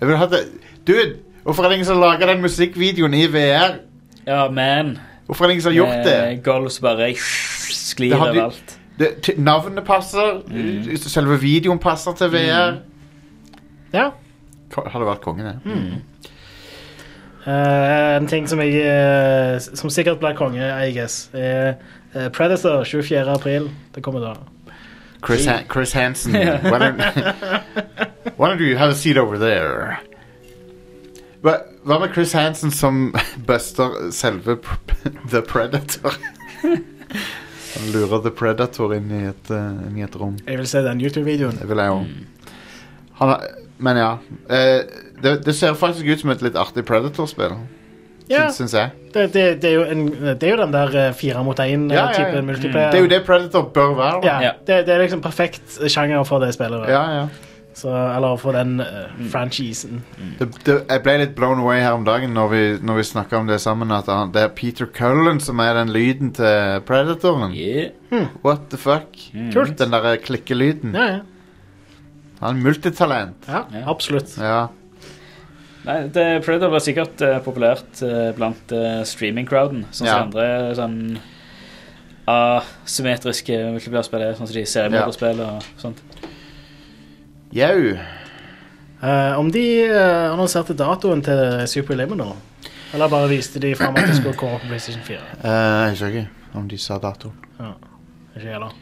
Speaker 1: Jeg vil ha det Dude, hvorfor er det ingen som lager den musikkvideoen i VR?
Speaker 2: Ja, man.
Speaker 1: Hvorfor er det ingen som har gjort
Speaker 2: Eh,
Speaker 1: det?
Speaker 2: Golf som bare sklir
Speaker 1: Det hadde-
Speaker 2: over alt.
Speaker 1: det t- navnet passer, selve videoen passer til VR.
Speaker 3: Ja.
Speaker 1: Ko- Hadde vært kongen, det.
Speaker 3: Eh, en ting som, jeg, eh, s- som sikkert blir konge, I guess, er eh, Predator 24. april. Det kommer da.
Speaker 1: Chris, Han Chris Hansen. Why don't, why don't you have a seat over there? Hva, hva med Chris Hansen som (laughs) buster selve pr- (laughs) The
Speaker 3: (laughs)
Speaker 1: Predator? Han lurer The Predator inn i et, eh, inn i et rom.
Speaker 3: Jeg vil se den YouTube-videoen.
Speaker 1: Det vil jeg jo.
Speaker 3: Mm.
Speaker 1: Han har, men ja. eh, det, det ser faktisk ut som et litt artig Predator-spill,
Speaker 3: Ja,
Speaker 1: syns jeg.
Speaker 3: det, det, det, er jo en, det er jo den der eh, fire mot
Speaker 1: Ja, ja, ja.
Speaker 3: én-typen multiplayer.
Speaker 1: Det er jo det Predator bør være. da.
Speaker 3: Ja,
Speaker 2: Ja.
Speaker 3: det, det er liksom perfekt sjanger for det spillet.
Speaker 1: Ja, ja.
Speaker 3: Så, eller for den eh, franchisen.
Speaker 1: det, det, jeg ble litt blown away her om dagen når vi, når vi snakka om det sammen, at han, det er Peter Cullen som er den lyden til Predatoren.
Speaker 2: Yeah.
Speaker 1: What the fuck?
Speaker 3: Kult.
Speaker 1: Den derre klikkelyden.
Speaker 3: Ja, ja.
Speaker 1: Han er multitalent.
Speaker 3: ja,
Speaker 2: Ja.
Speaker 3: absolutt.
Speaker 1: Ja.
Speaker 2: Nei, det, Predator var sikkert eh, populært eh, blant eh, streaming-crowden. Sånn som
Speaker 1: Ja.
Speaker 2: andre sånn asymmetriske multiplayerspill er. Sånn som de seriemorderspill og sånt.
Speaker 1: Jau.
Speaker 3: Eh, om de eh, annonserte datoen til eh, Super Liminal, eller bare viste de fram at det skulle komme på PlayStation 4?
Speaker 1: Eh, jeg husker ikke om de sa dato.
Speaker 3: Ikke jeg heller.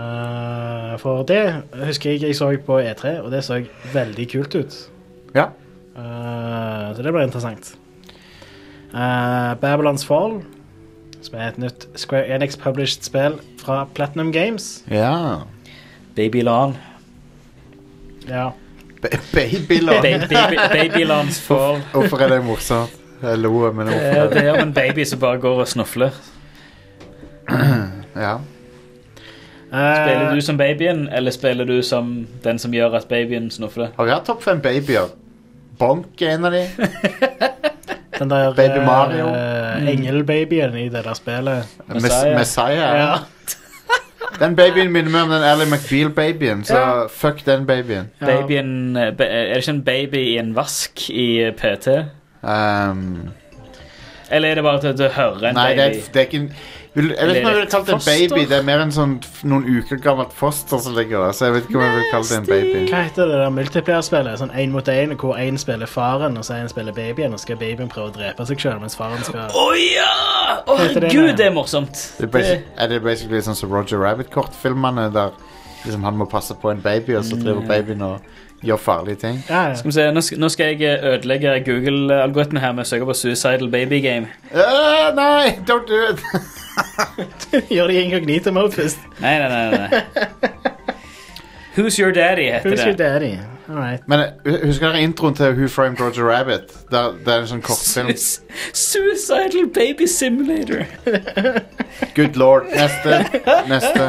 Speaker 3: Eh, for det husker jeg jeg så på E3, og det så veldig kult ut.
Speaker 1: Ja.
Speaker 3: Eh, så det ble interessant. Eh, Babylons Fall, som er et nytt Square Enix published spill fra Platinum Games.
Speaker 1: Ja.
Speaker 2: Babylan.
Speaker 3: Ja.
Speaker 1: Ba- Babyland.
Speaker 2: Ba- (laughs) baby- Babylans fall.
Speaker 1: Hvorfor er det morsomt? Jeg lo, men
Speaker 2: Det
Speaker 1: hvorfor er
Speaker 2: er- eh, det
Speaker 1: det
Speaker 2: er om en baby som bare går og snufler.
Speaker 1: Ja.
Speaker 3: Eh,
Speaker 2: Spiller du som babyen, eller spiller du som den som gjør at babyen snufler?
Speaker 1: Har vi hatt Topp fem babyer? Bonk er en av de.
Speaker 3: den der
Speaker 1: Baby Mario. Mm.
Speaker 3: eh, engelbabyen i det der spillet.
Speaker 1: Messiah.
Speaker 2: Messiah.
Speaker 1: Messiah.
Speaker 3: Ja.
Speaker 1: Den babyen minner meg om den Ally McBeal-babyen, så
Speaker 3: Ja.
Speaker 1: fuck den babyen.
Speaker 2: Babyen eh, ba- Er det ikke en baby i en vask i eh, PT?
Speaker 1: Um,
Speaker 2: Eller er det bare at du hører en
Speaker 1: nei, det er,
Speaker 2: baby?
Speaker 1: det er ikke en vil, Jeg vet ikke om jeg
Speaker 2: Eller
Speaker 1: ville kalt det en baby.
Speaker 2: foster?
Speaker 1: Det er mer en sånn f- noen uker gammelt foster som ligger der. Så jeg vet ikke om jeg ville kalt det en baby.
Speaker 3: Hva heter det der multiplayer-spillet? Sånn en mot en, hvor en spiller faren, og så en spiller babyen, og så skal babyen prøve å drepe seg selv, mens faren skal...
Speaker 2: Å ja! Å
Speaker 3: Heter det-
Speaker 2: herregud, det er morsomt!
Speaker 1: Det er, basic, er det basically sånn som Roger Rabbit-kortfilmene, der liksom han må passe på en baby,
Speaker 2: Mm.
Speaker 1: og så driver babyen og gjør farlige ting.
Speaker 3: Ja, ja.
Speaker 2: Skal vi se, nå skal, nå skal jeg eh, ødelegge Google-algoritmen her med å søke på Suicidal Baby Game.
Speaker 1: Øh, nei, don't Eh, do it!
Speaker 3: (laughs)
Speaker 1: (laughs)
Speaker 3: Gjør de inkognito mode først.
Speaker 2: Nei, nei, nei. nei. Who's Your Daddy heter
Speaker 3: Who's your
Speaker 2: det.
Speaker 3: daddy? All right.
Speaker 1: Men eh, husker dere introen til Who Framed Roger Rabbit? Der, det er en sånn kortfilm.
Speaker 2: (laughs) Su- Suicidal Baby Simulator.
Speaker 1: Good lord. Neste. Neste.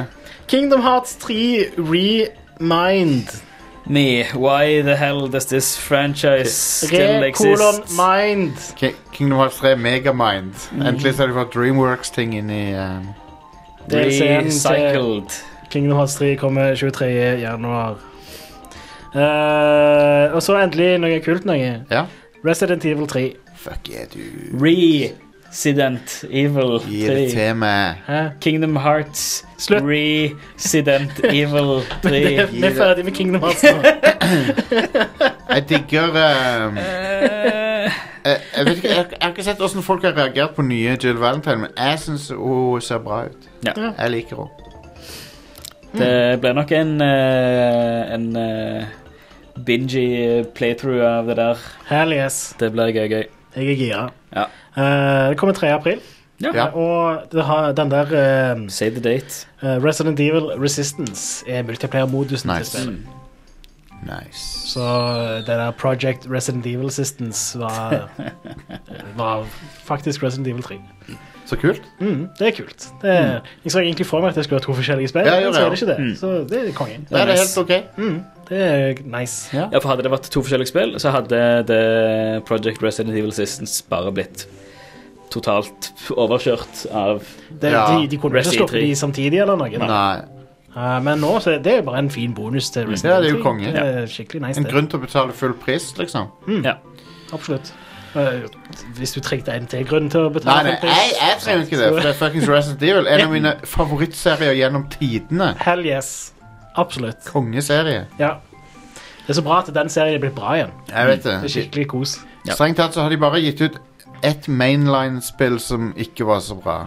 Speaker 3: Kingdom Hearts 3 Remind.
Speaker 2: Me, why the hell does this franchise still
Speaker 3: Re kolon
Speaker 2: exist?
Speaker 3: mind.
Speaker 1: Ki- Kingdom Hearts 3 Megamind. Endelig så har de fått Dreamworks-ting inn i um,
Speaker 3: DLC-en til
Speaker 2: Recycled.
Speaker 3: Kingdom Hearts 3 kommer 23. januar. Eh, og så endelig noe kult noe.
Speaker 1: Ja.
Speaker 3: Resident Evil 3.
Speaker 1: Fuck yeah, du.
Speaker 2: Resident Evil
Speaker 1: Gi det
Speaker 2: 3.
Speaker 1: til meg.
Speaker 3: Hæ?
Speaker 2: Kingdom Hearts.
Speaker 3: Slutt.
Speaker 2: Resident Evil 3.
Speaker 3: Vi er ferdig med Kingdom
Speaker 1: (laughs)
Speaker 3: Hearts nå.
Speaker 1: Jeg digger um,
Speaker 2: Eh,
Speaker 1: jeg, jeg, vet ikke, jeg, jeg har ikke sett hvordan folk har reagert på nye Jill Valentine, men jeg syns hun ser bra ut.
Speaker 2: Ja.
Speaker 1: Jeg liker henne.
Speaker 2: Det ble nok en eh, En eh, bingy playthrough av det der.
Speaker 3: Hell yes.
Speaker 2: Det blir gøy, gøy.
Speaker 3: Jeg er gira.
Speaker 2: Ja.
Speaker 3: Eh, det kommer 3. april.
Speaker 1: Ja.
Speaker 3: Og det har, den der eh,
Speaker 2: Save the date.
Speaker 3: eh, Resident Evil Resistance er multiplayer-modusen. til
Speaker 1: Nice.
Speaker 3: spillet.
Speaker 2: Mm.
Speaker 1: Nice.
Speaker 3: Så eh, det der Project Resident Evil Assistance
Speaker 1: (laughs)
Speaker 3: var, var faktisk Resident Evil 3.
Speaker 1: Så kult.
Speaker 3: Mm, det er kult. Det er, Jeg så egentlig for meg at det skulle være to forskjellige spill,
Speaker 1: Mm. Ja,
Speaker 3: men
Speaker 1: jo,
Speaker 3: så
Speaker 1: ja.
Speaker 3: er det ikke det.
Speaker 2: Mm.
Speaker 3: Så det er konge.
Speaker 1: Det er det
Speaker 2: nice.
Speaker 1: helt ok.
Speaker 3: Mm, det er nice.
Speaker 1: Ja.
Speaker 2: Ja, for Hadde det vært to forskjellige spill, så hadde det Project Resident Evil Assistance bare blitt totalt overkjørt av
Speaker 3: Det,
Speaker 1: Ja.
Speaker 3: de, de kunne ikke
Speaker 2: Resident
Speaker 3: sluppet
Speaker 2: Evil.
Speaker 3: de samtidig eller noe. Da.
Speaker 1: Nei.
Speaker 3: Eh, men nå så er det er bare en fin bonus til Resident
Speaker 1: Ja,
Speaker 3: Evil
Speaker 1: det er jo
Speaker 3: 3.
Speaker 1: konge.
Speaker 3: Det er skikkelig nice,
Speaker 1: En
Speaker 3: det.
Speaker 1: grunn til å betale full pris, liksom.
Speaker 3: Mm.
Speaker 2: Ja.
Speaker 3: Absolutt. Eh, hvis du trengte en til grunn til å
Speaker 1: Nei,
Speaker 3: betale
Speaker 1: nei, jeg, jeg trenger ikke det, for det er fuckings Resident Evil. En av mine favorittserier gjennom tidene.
Speaker 3: Hell yes. Absolutt.
Speaker 1: Kongeserie.
Speaker 3: Ja. Det er så bra at den serien er blitt bra igjen.
Speaker 1: Jeg vet
Speaker 3: Det er
Speaker 1: det.
Speaker 3: skikkelig kos.
Speaker 2: Ja.
Speaker 1: Strengt tatt så har de bare gitt ut ett mainline-spill som ikke var så bra.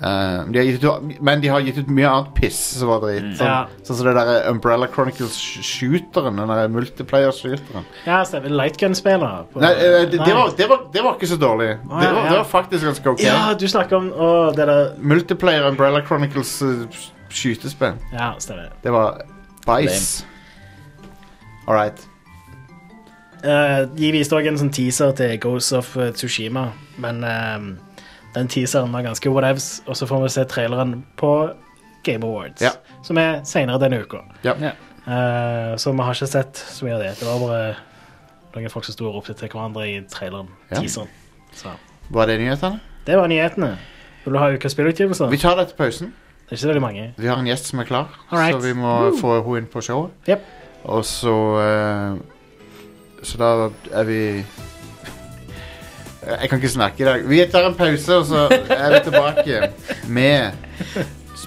Speaker 1: Eh, de har gitt ut, men de har gitt ut mye annet piss som var dritt. Sånn
Speaker 3: Ja.
Speaker 1: sånn som det der Umbrella Chronicles-shooteren. Den der multiplayer-shooteren.
Speaker 3: Ja, stemmer. Lightgun-spiller. på-
Speaker 1: Nei, eh, det, det,
Speaker 3: Nei.
Speaker 1: var, det, var, det var ikke så dårlig.
Speaker 3: Å,
Speaker 1: Det
Speaker 3: ja,
Speaker 1: var,
Speaker 3: ja.
Speaker 1: det var faktisk ganske ok.
Speaker 3: Ja, du snakker om å, det der
Speaker 1: Multiplayer Umbrella Chronicles eh, sk- skytespill.
Speaker 3: Ja, stemmer.
Speaker 1: Det var bæsj. All right.
Speaker 3: Eh, de viste òg en sånn teaser til Ghost of eh, Tsushima, men ehm, den teaseren var ganske whatevs, og så får vi se traileren på Game Awards,
Speaker 1: Ja.
Speaker 3: som er seinere denne uka.
Speaker 1: Ja.
Speaker 2: Ja.
Speaker 3: Eh, så vi har ikke sett så mye av det. Det var bare noen folk som sto og ropte til hverandre i traileren.
Speaker 1: Ja.
Speaker 3: Teaseren. Så
Speaker 1: Var det nyhetene?
Speaker 3: det var nyhetene. Vil du ha ukas spillutgivelser?
Speaker 1: Vi tar det til pausen.
Speaker 3: Det er ikke så veldig mange.
Speaker 1: Vi har en gjest som er klar,
Speaker 3: Alright.
Speaker 1: så vi må få henne inn på showet.
Speaker 3: Jep.
Speaker 1: Og så eh, Så da er vi Jeg kan ikke snakke i dag. Vi tar en pause, og så er vi tilbake med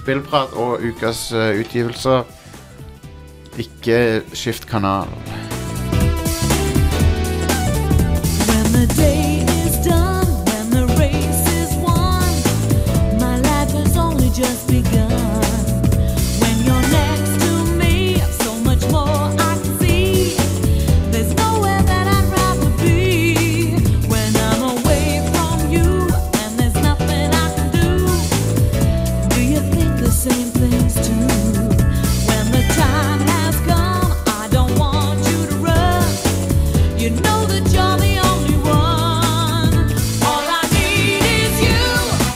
Speaker 1: spillprat og ukas eh, utgivelser. Ikke skift kanal.
Speaker 7: When the day is done, when the race is won, my life has only just begun. When you're next to me, so much more I see. There's nowhere that I'd rather be. When I'm away from you and there's nothing I can do. Do you think the same things too? When the time has come, I don't want you to rush. You know that you're the only one. All I need is you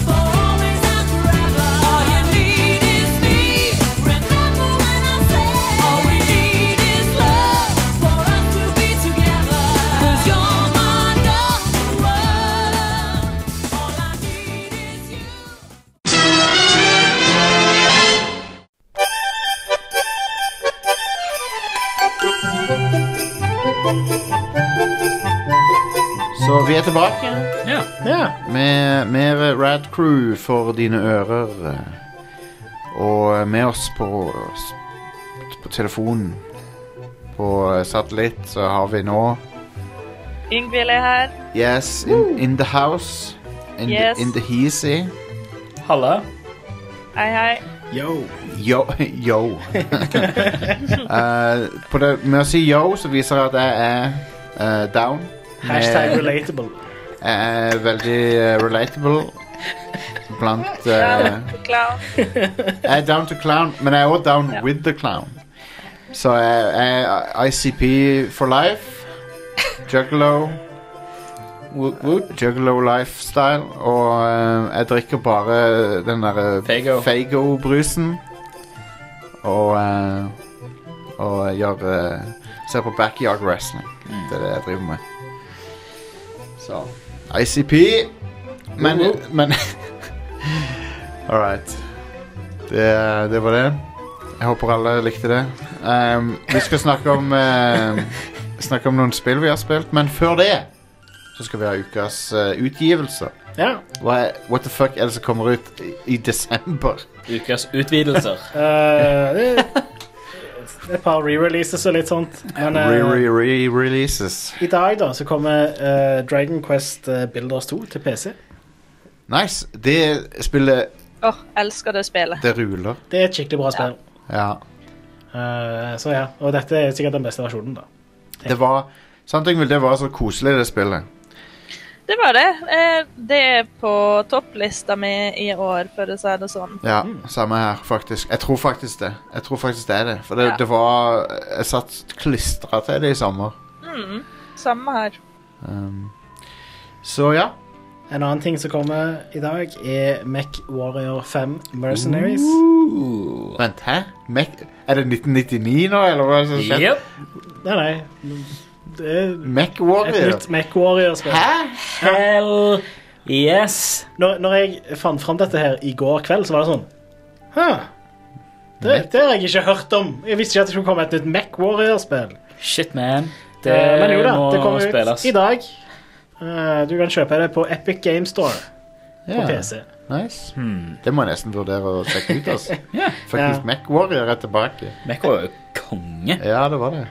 Speaker 7: for always and forever. Oh, All you need is me. Remember when I said all we need is love for us to be together. 'Cause you're my number one. All I need is you.
Speaker 1: Så vi er tilbake
Speaker 2: ja.
Speaker 3: Ja.
Speaker 1: med mer Rad Crew for dine ører. Og med oss på, på telefonen på satellitt så har vi nå
Speaker 8: Yngvild er her.
Speaker 1: Yes, in, in the house. In,
Speaker 8: Yes.
Speaker 1: the, in the heasy.
Speaker 2: Halla.
Speaker 8: Hei, hei.
Speaker 3: Yo.
Speaker 1: Yo.
Speaker 3: (laughs)
Speaker 1: yo. Eh, på det, med å si yo, så viser jeg at jeg er eh, down.
Speaker 3: Hashtag
Speaker 1: Med-
Speaker 3: relatable.
Speaker 1: Jeg er veldig eh, relatable. blant eh,
Speaker 8: Klar.
Speaker 1: Jeg er down to clown, men jeg er også down with the clown. Så jeg jeg er ICP for life. Juggalo. Woot woot. Juggalo lifestyle. Og eh, jeg drikker bare den derre
Speaker 2: Faygo.
Speaker 1: Fago-brusen. Og eh, Og gjør eh, Ser på backyard wrestling. Det er det jeg driver med. Så ICP. Men, men (laughs) All right. Det, det var det. Jeg håper alle likte det. Ehm, vi skal snakke om eh, Snakke om noen spill vi har spilt, men før det så skal vi ha ukas eh, utgivelser.
Speaker 3: Ja.
Speaker 1: Hva er, what the fuck er det som kommer ut i, i desember?
Speaker 2: Ukas
Speaker 3: (laughs)
Speaker 2: utvidelser.
Speaker 3: eh, det det er et par re-releases og litt sånt.
Speaker 1: (laughs)
Speaker 3: Men eh,
Speaker 1: Re-re-re-releases.
Speaker 3: i dag da, så kommer eh, Dragon Quest eh, Builders 2 til PC.
Speaker 1: Nice. Det spillet
Speaker 8: Åh, elsker det spillet.
Speaker 1: Det ruler.
Speaker 3: Det er et skikkelig bra spill.
Speaker 1: Ja.
Speaker 3: Eh, så ja, Og dette er sikkert den beste versjonen, da.
Speaker 1: Det var Sant Yngvild, det var så koselig, det spillet.
Speaker 8: Det var det. Eh, Det er på topplista mi i år, for å si det sånn.
Speaker 1: Ja, samme her, faktisk. Jeg tror faktisk det. Jeg tror faktisk det er det. For det,
Speaker 8: Ja.
Speaker 1: det var eh, Jeg satt klistra til det i sommer.
Speaker 8: Samme her.
Speaker 1: Um, så ja.
Speaker 3: En annen ting som kommer i dag, er Mech Warrior 5 Mercenaries.
Speaker 1: Vent, hæ? Mac er det 1999 nå, eller hva er det som skjer?
Speaker 2: Yep.
Speaker 3: Nei, nei. Det er
Speaker 1: Mac
Speaker 3: et
Speaker 1: Warrior?
Speaker 3: nytt Mech Warrior-spill.
Speaker 2: Hell yes.
Speaker 3: Når, når jeg fant fram dette her i går kveld, så var det sånn Hæ? Det, det har jeg ikke hørt om. Jeg visste ikke at det skulle komme et nytt Mac Warrior-spill.
Speaker 2: Shit, man. Det
Speaker 3: Eh, Men jo da,
Speaker 2: må
Speaker 3: det kommer ut
Speaker 2: spilles.
Speaker 3: i dag. Eh, Du kan kjøpe det på Epic Game Store på
Speaker 1: Ja,
Speaker 3: PC.
Speaker 1: Nice. Det må jeg nesten vurdere å sjekke ut, altså.
Speaker 2: Ja.
Speaker 1: Faktisk,
Speaker 3: Ja.
Speaker 1: Mac Warrior er tilbake.
Speaker 2: Mekko er jo konge.
Speaker 1: Ja, det var det.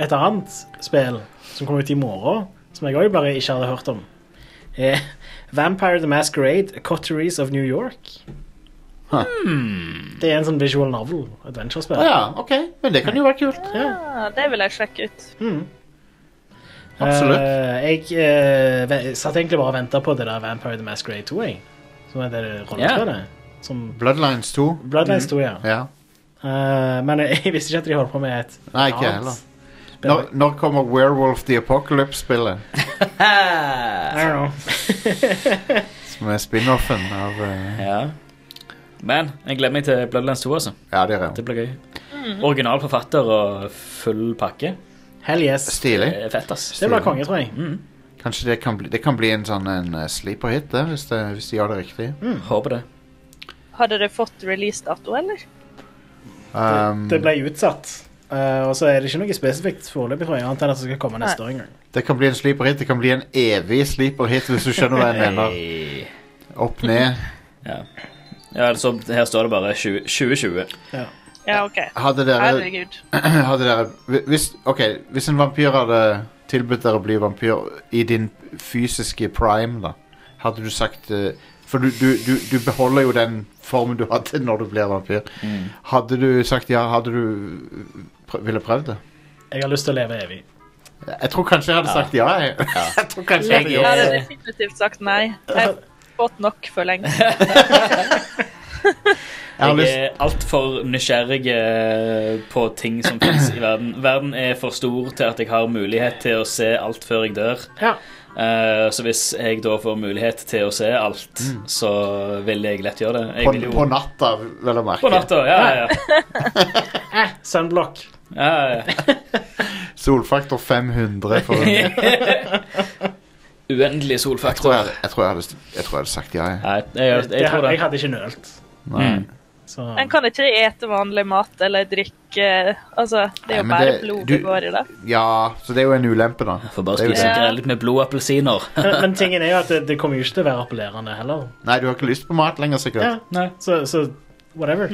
Speaker 3: Et annet spill som kommer ut i morgen, som jeg òg bare ikke hadde hørt om, er Vampire the Masquerade Cotteries of New York.
Speaker 1: Huh.
Speaker 3: Det er en sånn visual novel adventure-spill.
Speaker 1: Hmm. Å ja, OK. Men det kan jo være kult.
Speaker 8: Ja, Ah, det vil jeg sjekke ut.
Speaker 1: Absolutt.
Speaker 3: Eh, jeg eh, ve- satt egentlig bare og venta på det der Vampire the Masquerade 2, jeg. Som er det rollespillet. Som
Speaker 1: Bloodlines 2.
Speaker 3: Bloodlines 2, ja.
Speaker 1: Ja.
Speaker 3: Eh, men jeg, jeg visste ikke at de holdt på med et
Speaker 1: Nei, ikke jeg heller. Når, når kommer Werewolf the Apocalypse-spillet?
Speaker 3: I don't know.
Speaker 1: Som er spin-offen av eh,
Speaker 2: Ja. Men jeg gleder meg til Bloodlands 2, altså.
Speaker 1: Ja, det er det.
Speaker 2: Det blir gøy. Original forfatter og full pakke.
Speaker 3: Hell yes.
Speaker 1: Stilig.
Speaker 2: Det er fett, ass.
Speaker 3: Det blir konge, tror jeg.
Speaker 1: Kanskje det kan bli, det kan bli en sånn en eh, sleeper hit, det, hvis, det, hvis de gjør det riktig.
Speaker 2: Håper det.
Speaker 8: Har dere fått release-dato, eller?
Speaker 1: Um,
Speaker 3: Det
Speaker 2: Mm.
Speaker 1: det,
Speaker 3: ble utsatt. Eh, og så er det ikke noe spesifikt foreløpig, tror jeg, annet enn at det skal komme neste år en gang.
Speaker 1: kan bli en sleeper hit. Det kan bli en evig sleeper hit, hvis du skjønner hva jeg mener.
Speaker 2: Hey.
Speaker 1: Opp ned.
Speaker 2: Ja, altså, her står det bare 20 2020.
Speaker 8: Ja, OK.
Speaker 1: Hadde dere,
Speaker 8: Herregud.
Speaker 1: (clears throat) hadde dere hvis, Ok, hvis en vampyr hadde tilbudt dere å bli vampyr i din fysiske prime, da, hadde du sagt eh, For du, du, du, du beholder jo den formen du hadde når du blir vampyr.
Speaker 2: Mm.
Speaker 1: Hadde du sagt ja, hadde du pr ville prøvd det?
Speaker 3: Jeg har lyst til å leve evig.
Speaker 1: Jeg tror kanskje jeg hadde sagt ja. Jeg, jeg tror kanskje jeg hadde
Speaker 8: Jeg
Speaker 1: gjort
Speaker 8: hadde
Speaker 1: det.
Speaker 8: definitivt sagt nei. Jeg har fått nok for lenge.
Speaker 1: Jeg har
Speaker 2: Jeg
Speaker 1: lyst
Speaker 2: er altfor nysgjerrig eh, på ting som finnes i verden. Verden er for stor til at jeg har mulighet til å se alt før jeg dør.
Speaker 3: Ja.
Speaker 2: Eh, så hvis jeg da får mulighet til å se alt, så vil jeg lett gjøre det. Jeg
Speaker 1: På,
Speaker 2: vil jo...
Speaker 1: på natta, vel å merke.
Speaker 2: På natta, ja, ja, ja.
Speaker 3: Sunblock.
Speaker 2: ja, ja, ja.
Speaker 1: Solfaktor 500. For,
Speaker 2: (laughs)
Speaker 1: jeg, tror
Speaker 2: Uendelig
Speaker 1: jeg,
Speaker 2: solfaktor.
Speaker 1: jeg, tror jeg, hadde, jeg tror jeg hadde sagt ja. Jeg.
Speaker 2: Nei, jeg, jeg,
Speaker 3: Det
Speaker 2: tror det.
Speaker 3: ha- jeg hadde ikke nølt.
Speaker 1: Nei.
Speaker 2: Mm.
Speaker 3: Så
Speaker 8: En kan ikke ete vanlig mat eller drikke Altså, det er jo
Speaker 1: Nei, men
Speaker 8: bare
Speaker 1: det-
Speaker 8: blod
Speaker 1: du-
Speaker 8: det går i det.
Speaker 1: Ja, så det er jo en ulempe, da.
Speaker 2: Får bare
Speaker 1: Det er jo
Speaker 2: spise
Speaker 1: det.
Speaker 8: Ja.
Speaker 2: grellet med blodappelsiner.
Speaker 3: men, men tingen er jo at det, det kommer jo ikke til å være appellerende heller.
Speaker 1: Nei, du har ikke lyst på mat lenger,
Speaker 3: Ja,
Speaker 1: sikkert.
Speaker 2: Nei.
Speaker 3: så, så whatever.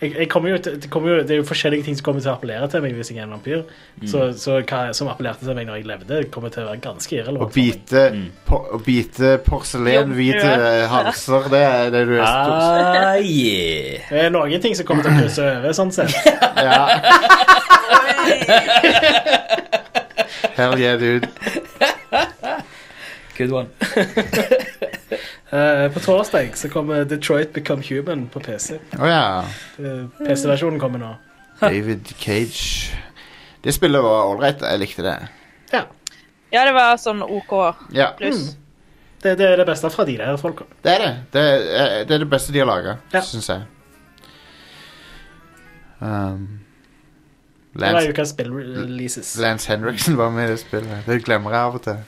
Speaker 3: Jeg, jeg kommer jo, til- det, kommer jo, det er jo forskjellige ting som kommer til å appellere til meg hvis jeg er en vampyr.
Speaker 2: Mm.
Speaker 3: Så, så hva som appellerte til meg når jeg levde, kommer til å være ganske
Speaker 1: Å
Speaker 3: irrelevant. for meg.
Speaker 1: bite,
Speaker 2: Mm.
Speaker 1: po å bite porselenhvite
Speaker 8: Jomfrue.
Speaker 1: halser, det er det du er stort
Speaker 2: Ah, yeah.
Speaker 3: Det er noen ting som kommer til å krysse over, sånn sett.
Speaker 2: (laughs) Ah.
Speaker 1: ja. Hell yeah, dude.
Speaker 2: Good one.
Speaker 3: Eh, på torsdag så kommer Detroit Become Human på PC.
Speaker 1: Å ja.
Speaker 3: Eh, PC-versjonen kommer nå.
Speaker 8: Mm.
Speaker 1: David Cage. Det spillet var ålreit. Jeg likte det.
Speaker 8: Ja, det var sånn OK
Speaker 1: Ja,
Speaker 8: pluss.
Speaker 3: Mm. Det, det er det beste fra de der folka.
Speaker 1: det er det. Det er det, er det beste de har laga,
Speaker 3: Ja.
Speaker 1: syns jeg. Um,
Speaker 3: Det var
Speaker 1: Lance,
Speaker 3: ukas spillreleases.
Speaker 1: Lance Henriksen var med i det spillet. Det glemmer jeg av og til.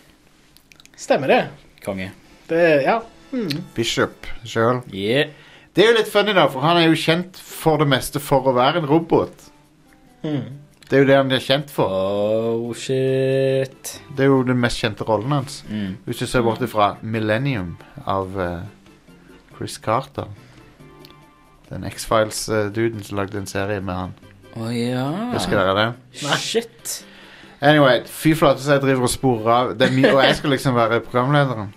Speaker 3: Stemmer det.
Speaker 2: Konge.
Speaker 3: Det er, ja. Mm.
Speaker 1: Bishop sjøl.
Speaker 2: Yeah.
Speaker 1: Det er jo litt funny, da, for han er jo kjent for det meste for å være en robot.
Speaker 3: Mm.
Speaker 1: Det er jo det han er kjent for.
Speaker 2: Oh, shit.
Speaker 1: Det er jo den mest kjente rollen hans.
Speaker 2: Mm.
Speaker 1: Hvis du ser bort fra Millennium av eh, Chris Carter. Den X-Files-duden som lagde en serie med han.
Speaker 2: Å ja.
Speaker 1: Husker dere det?
Speaker 2: Oh, Shit.
Speaker 1: Anyway, fy flate så jeg driver og sporer av. Det er mye, og jeg skal liksom være programlederen.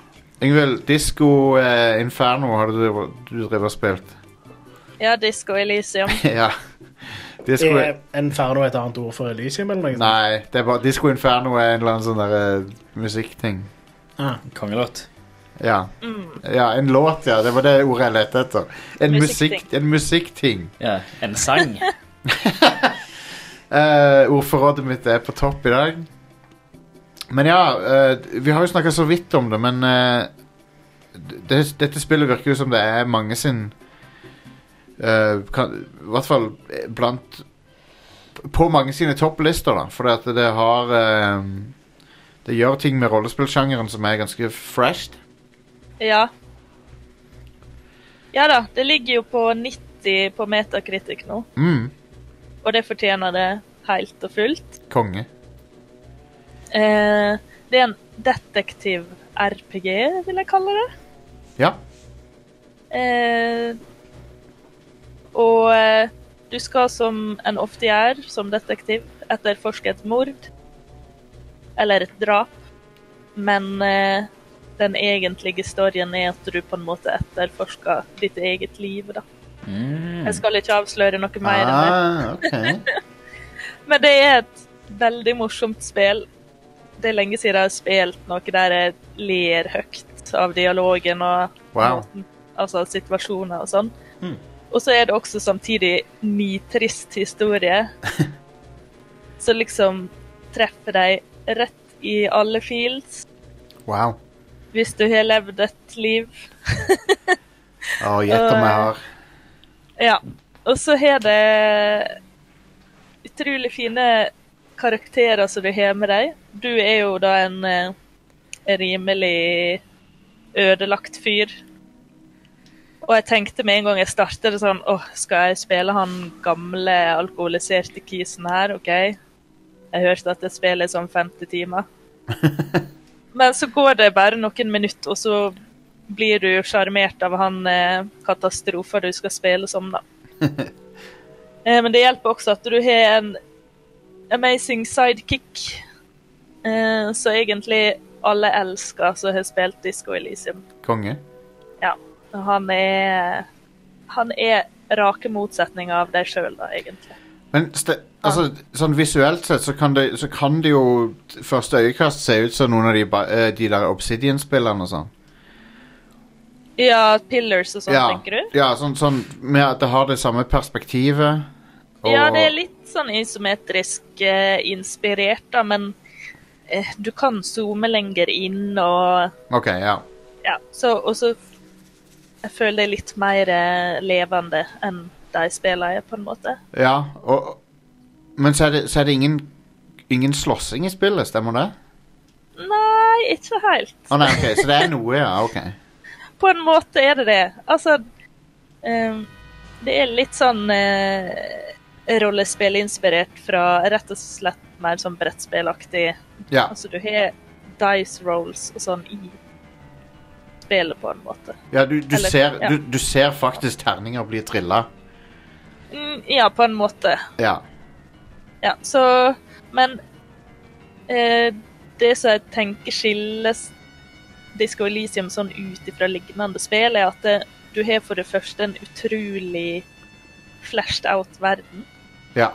Speaker 1: Yngvild, Disko eh, Inferno har du driver, du driver og spilt. (laughs)
Speaker 8: Ja, Disco Elysium.
Speaker 1: ja. Disco,
Speaker 3: Er Inferno et annet ord for Elysium? eller noe sånt?
Speaker 1: nei, det er bare, Disco Inferno er en eller annen sånn der eh, musikkting.
Speaker 3: Ah.
Speaker 2: Kongelåt.
Speaker 1: Ja. ja, en låt, ja. Det var det ordet jeg lette etter. En
Speaker 8: Musikkting.
Speaker 1: musikk- en musikkting.
Speaker 2: Ja. En (laughs) sang.
Speaker 1: Eh, ordforrådet mitt er på topp i dag. Men ja, eh, vi har jo snakka så vidt om det, men eh, det, dette spillet virker jo som det er mange sin eh, kan, I hvert fall blant På mange sine topplister, da. Fordi at det har eh, Det gjør ting med rollespillsjangeren som er ganske fresh.
Speaker 8: Ja. Ja da, det ligger jo på 90 på Metacritic nå,
Speaker 1: Mm,
Speaker 8: og det fortjener det helt og fullt.
Speaker 1: konge.
Speaker 8: Eh, det er en detektiv-RPG, vil jeg kalle det.
Speaker 1: Ja.
Speaker 8: Eh, og eh, du skal, som en ofte gjør som detektiv, etterforske et mord. Eller et drap. Men eh, den egentlige storyen er at du på en måte etterforsker ditt eget liv, da.
Speaker 2: Mm.
Speaker 8: Jeg skal ikke avsløre noe mer enn det.
Speaker 1: Ah, ok.
Speaker 8: Men det er et veldig morsomt spill. Det er lenge siden jeg har spilt noe der jeg ler høyt av dialogen og
Speaker 1: Wow.
Speaker 8: måten, altså situasjoner og sånn.
Speaker 3: Mm.
Speaker 8: Og så er det også samtidig nitrist historie. så liksom treffer deg rett i alle fields
Speaker 1: Wow.
Speaker 8: hvis du har levd et liv.
Speaker 1: Å, gjett om jeg har
Speaker 8: Ja. Og så har det utrolig fine karakterer som du har med deg. Du er jo da en eh, rimelig ødelagt fyr. Og jeg tenkte med en gang jeg startet det sånn Åh, skal jeg spille han gamle alkoholiserte kisen her? OK. Jeg hørte at det spillet er sånn 50 timer. Men så går det bare noen minutter, og så blir du sjarmert av han eh, katastrofa du skal spille som, da. eh, men det hjelper også at du har en amazing sidekick, eh, så egentlig alle elsker som har spilt Disco Elysium.
Speaker 1: konge.
Speaker 8: Han er Han er rake motsetninger av deg sjøl, da, egentlig.
Speaker 1: Men ste, altså, sånn visuelt sett så kan, det, så kan det jo t- første øyekast se ut som noen av de, ba- eh, de der Obsidian-spillerne og sånn.
Speaker 8: Ja, Pillars og sånn,
Speaker 1: Ja,
Speaker 8: tenker du?
Speaker 1: ja sånn, sånn med at det har det samme perspektivet. og-
Speaker 8: Ja, det er litt sånn isometrisk eh, inspirert, da, men eh, du kan zoome lenger inn og
Speaker 1: Ok, ja.
Speaker 8: Ja, så, og så Jeg føler det er litt mer eh, levende enn de spillene, på en måte.
Speaker 1: ja og, men så er det, så er det ingen, ingen slåssing i spillet, stemmer det?
Speaker 8: Nei, ikke helt.
Speaker 1: Å nei, ok, så det er noe, ja. Ok.
Speaker 8: På en måte er det det. Altså ehm, Det er litt sånn eh, rollespillinspirert fra rett og slett mer sånn brettspillaktig.
Speaker 1: Ja,
Speaker 8: Altså, du har dice rolls og sånn i spillet, på en måte.
Speaker 1: ja, du, du,
Speaker 8: Eller-
Speaker 1: ser,
Speaker 8: ja.
Speaker 1: du, du ser faktisk terninger bli trilla.
Speaker 8: Mm, ja, på en måte.
Speaker 1: Ja.
Speaker 8: Ja, så Men eh, det som jeg tenker skilles Disco Elysium sånn ut ifra lignende spill, er at det, du har for det første en utrolig flashed out-verden.
Speaker 1: Ja.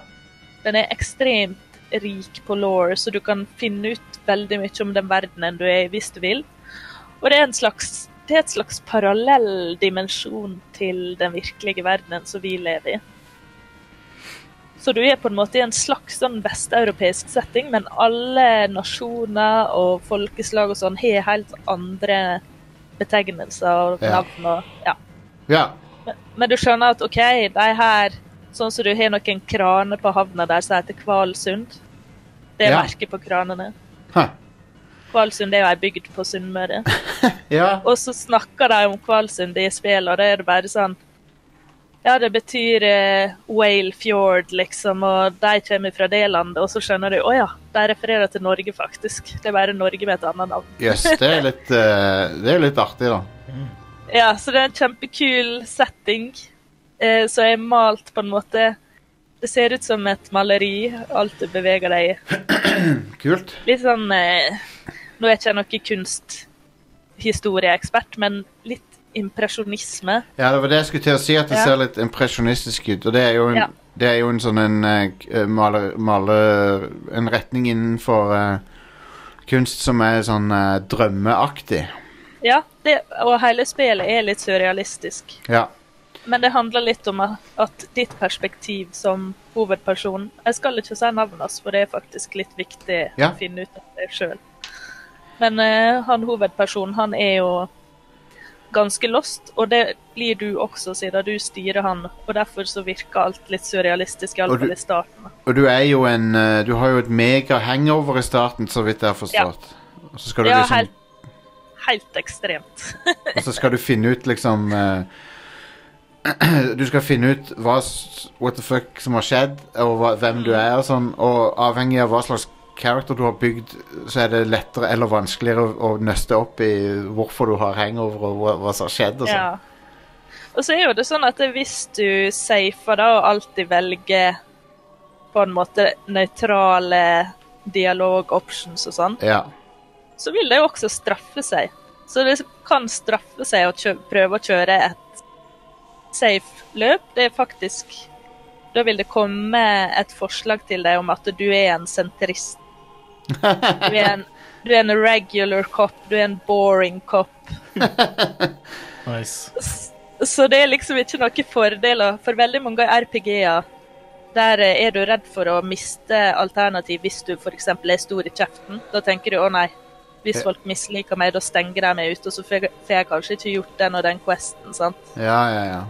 Speaker 8: Den er ekstremt rik på law, så du kan finne ut veldig mye om den verdenen du er i, hvis du vil. Og det er en slags Det er et slags parallell dimensjon til den virkelige verdenen som vi lever i. Så du er på en måte i en slags sånn vesteuropeisk setting, men alle nasjoner og folkeslag og sånn har helt andre betegnelser og
Speaker 1: Ja.
Speaker 8: navn og Ja.
Speaker 1: Ja.
Speaker 8: Men du skjønner at OK, de her Sånn som du har noen kraner på havna der som heter Kvalsund. Det er
Speaker 1: Ja.
Speaker 8: merket på kranene.
Speaker 1: Huh.
Speaker 8: Kvalsund er jo ei bygd på Sunnmøre.
Speaker 1: ja.
Speaker 8: Og så snakker de om Kvalsund i spillet, og da er det bare sånn Ja, det betyr eh, Whale Fjord, liksom, og de kommer fra det landet, og så skjønner du Å ja, de refererer til Norge, faktisk. Det er bare Norge med et annet navn.
Speaker 1: Jøss, det er litt eh, Det er litt artig, da.
Speaker 8: Ja, så det er en kjempekul setting. Eh, så jeg har malt på en måte Det ser ut som et maleri, alt du beveger deg i.
Speaker 1: Kult.
Speaker 8: Litt sånn eh, Nå er ikke jeg noen kunsthistorieekspert, men litt impresjonisme.
Speaker 1: Ja, det var det jeg skulle til å si, at det
Speaker 8: Ja.
Speaker 1: ser litt impresjonistisk ut. Og det er jo en,
Speaker 8: Ja.
Speaker 1: det er jo en sånn en eh, k- eh, maler, maler En retning innenfor eh, kunst som er sånn eh, drømmeaktig.
Speaker 8: Ja, det, og hele spillet er litt surrealistisk.
Speaker 1: Ja.
Speaker 8: Men det handler litt om at- at ditt perspektiv som hovedperson Jeg skal ikke si navnet hans, for det er faktisk litt viktig
Speaker 1: Ja.
Speaker 8: å finne ut av det sjøl. Men eh, han hovedpersonen, han er jo ganske lost, og det blir du også, siden du styrer han. Og derfor så virker alt litt surrealistisk,
Speaker 1: Og du-
Speaker 8: iallfall i starten.
Speaker 1: Og du er jo en eh, Du har jo et mega hangover i starten, så vidt jeg har forstått. Og så skal du
Speaker 8: Ja,
Speaker 1: liksom
Speaker 8: helt, helt ekstremt.
Speaker 1: Og så skal du finne ut liksom eh, (clears throat) Du skal finne ut hva, s- what the fuck som har skjedd, og hva, hvem du er og sånn. Og avhengig av hva slags character du har bygd, så er det lettere eller vanskeligere å, å nøste opp i hvorfor du har hangover og hva, hva som har skjedd. Og sånn.
Speaker 8: Ja. Og så er jo det sånn at hvis du safer da og alltid velger på en måte nøytrale dialog-options og sånn,
Speaker 1: Ja.
Speaker 8: så vil det jo også straffe seg. Så det kan straffe seg å kjø prøve å kjøre et safe løp. Det er faktisk Da vil det komme et forslag til deg om at du er
Speaker 1: (laughs)
Speaker 8: en sentrist. Du er en, du er en regular cop, du er en boring cop.
Speaker 3: Nice.
Speaker 8: Så det er liksom ikke noen fordeler. For veldig mange RPG-er der eh, er du redd for å miste alternativ hvis du f.eks. er stor i kjeften. Da tenker du å nei, hvis folk misliker meg, da stenger de meg ute, og så får jeg- får jeg kanskje ikke gjort den og den questen. sant?
Speaker 1: ja, ja, ja.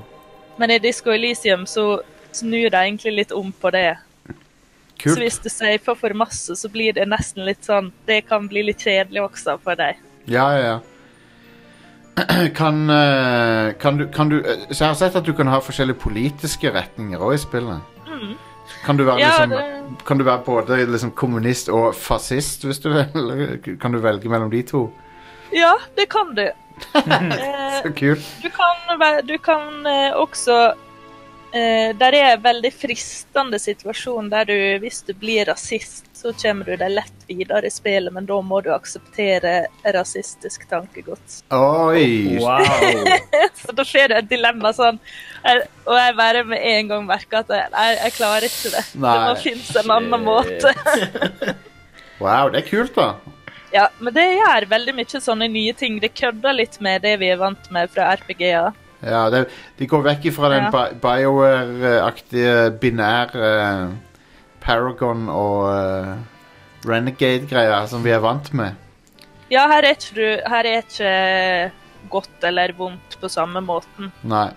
Speaker 8: Men i Disco Elysium så snur de egentlig litt om på det. Så
Speaker 1: Kult.
Speaker 8: hvis du safer for masse, så blir det nesten litt sånn Det kan bli litt kjedelig også for deg.
Speaker 1: Ja, ja, (clears throat) ja. Kan, eh, kan du, kan du eh, Så jeg har sett at du kan ha forskjellige politiske retninger òg i spillet. Kan du være
Speaker 8: Mm. Ja,
Speaker 1: liksom
Speaker 8: det
Speaker 1: Kan du være både liksom, kommunist og fascist, hvis du vil? (laughs) Eller Kan du velge mellom de to?
Speaker 8: Ja, det kan du. eh,
Speaker 1: Så kult.
Speaker 8: Du kan, væ- du kan eh, også eh, Der er en veldig fristende situasjon der du, hvis du blir rasist, så kommer du deg lett videre i spillet, men da må du akseptere rasistisk tankegods. (laughs)
Speaker 1: Oi!
Speaker 3: Wow.
Speaker 8: Så da skjer det et dilemma sånn, eh, og jeg bare med en gang merker at jeg, jeg, jeg klarer ikke det. Det
Speaker 1: Nei.
Speaker 8: må finnes en annen måte. (laughs)
Speaker 1: Wow, det er kult, da.
Speaker 8: Ja, men det gjør veldig mye sånne nye ting. Det kødder litt med det vi er vant med fra RPG-er.
Speaker 1: Ja, det, de går vekk ifra den
Speaker 8: Ja.
Speaker 1: Bi- BioWare-aktige binær eh, Paragon og eh, Renegade-greia som vi er vant med.
Speaker 8: Ja, her er ikke, du- her er ikke godt eller vondt på samme måten.
Speaker 1: Nei.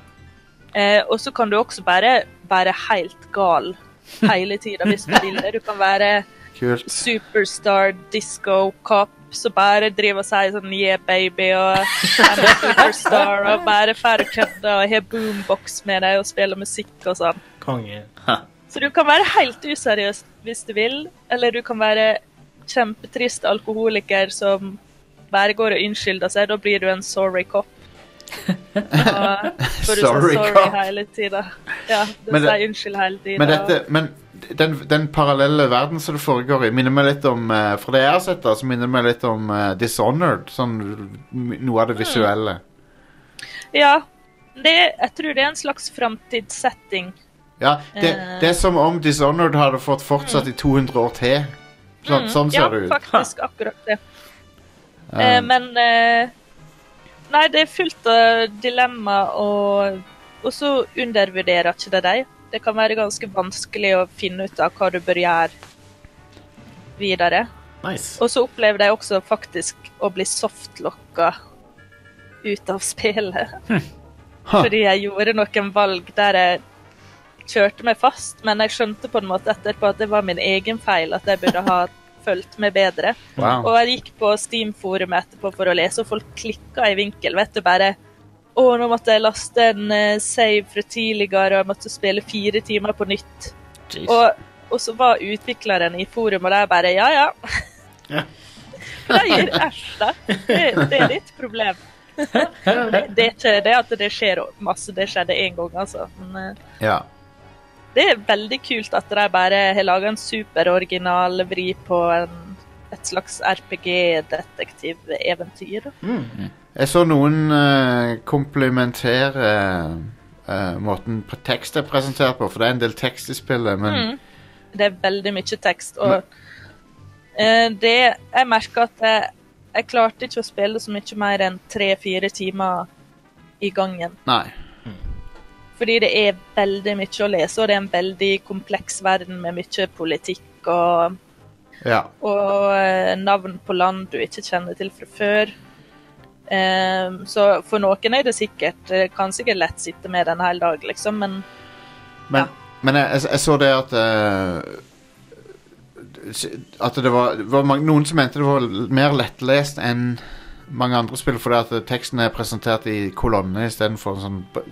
Speaker 8: Eh, og så kan du også bare være helt gal hele tida hvis du vil det. Du kan være
Speaker 1: Kult.
Speaker 8: superstar disco cop som bare driver og sier sånn yeah baby og I'm a superstar og bare færre kødder og har boombox med deg og spiller musikk og sånn.
Speaker 3: Konge.
Speaker 8: Så du kan være helt useriøs hvis du vil, eller du kan være kjempetrist alkoholiker som bare går og unnskylder seg. Da blir du en sorry cop. Da får
Speaker 1: (laughs)
Speaker 8: du si
Speaker 1: Sorry
Speaker 8: sorry
Speaker 1: cop.
Speaker 8: hele tida. Ja, du
Speaker 1: Men det-
Speaker 8: sier unnskyld hele tida.
Speaker 1: Men, dette, men den, den parallelle verden som det foregår i, minner meg litt om eh, For det jeg har sett, da, så minner meg litt om eh, Dishonored. Sånn noe av
Speaker 8: Mm.
Speaker 1: det visuelle.
Speaker 8: Ja. Det, jeg tror det er en slags framtidssetting.
Speaker 1: Ja, det,
Speaker 8: Eh. Mm.
Speaker 1: det er som om Dishonored hadde fått fortsatt i 200 år til. Sånn, sånn ser
Speaker 8: ja,
Speaker 1: det ut.
Speaker 8: faktisk akkurat det.
Speaker 1: Um,
Speaker 8: Eh, men eh, Nei, det er fullt av dilemma, og, og så undervurderer ikke det deg. Det kan være ganske vanskelig å finne ut av hva du bør gjøre videre.
Speaker 3: Nice.
Speaker 8: Og så opplever de også faktisk å bli softlokka ut av spillet. Fordi jeg gjorde noen valg der jeg kjørte meg fast, men jeg skjønte på en måte etterpå at det var min egen feil, at jeg burde ha fulgt med bedre.
Speaker 1: Wow.
Speaker 8: Og jeg gikk på Steam-forumet etterpå for å lese, og folk klikka i vinkel, vet du, bare Å, nå måtte jeg laste en eh, save fra tidligere, og jeg måtte spille fire timer på nytt.
Speaker 2: Jeez.
Speaker 8: Og, og så var utvikleren i forum, og der bare ja, ja.
Speaker 3: Ja.
Speaker 8: (laughs) For det gir æsj, da. Det, det er ditt problem. det, det er ikke det at det skjer masse. Det skjedde én gang, altså. Men eh,
Speaker 1: Ja.
Speaker 8: det er veldig kult at de bare har laga en superoriginal vri på en, et slags RPG-detektiveventyr.
Speaker 1: Jeg så noen eh, komplementere eh, måten pre- tekst er presentert på, for det er en del tekst i spillet, men
Speaker 8: Mm. Det er veldig mye tekst. Og eh, det Jeg merka at jeg, jeg klarte ikke å spille så mye mer enn tre-fire timer i gangen.
Speaker 1: nei.
Speaker 8: Fordi det er veldig mye å lese, og det er en veldig kompleks verden med mye politikk og,
Speaker 1: Ja.
Speaker 8: og eh, navn på land du ikke kjenner til fra før. Ehm, så for noen er det sikkert Det kan sikkert lett sitte med den en hel dag, liksom, men
Speaker 1: Men,
Speaker 8: Ja.
Speaker 1: men jeg, jeg, jeg så det at eh, At det var, det var mange, noen som mente det var l- mer lettlest enn mange andre spill, fordi at eh, teksten er presentert i kolonner istedenfor sånn b-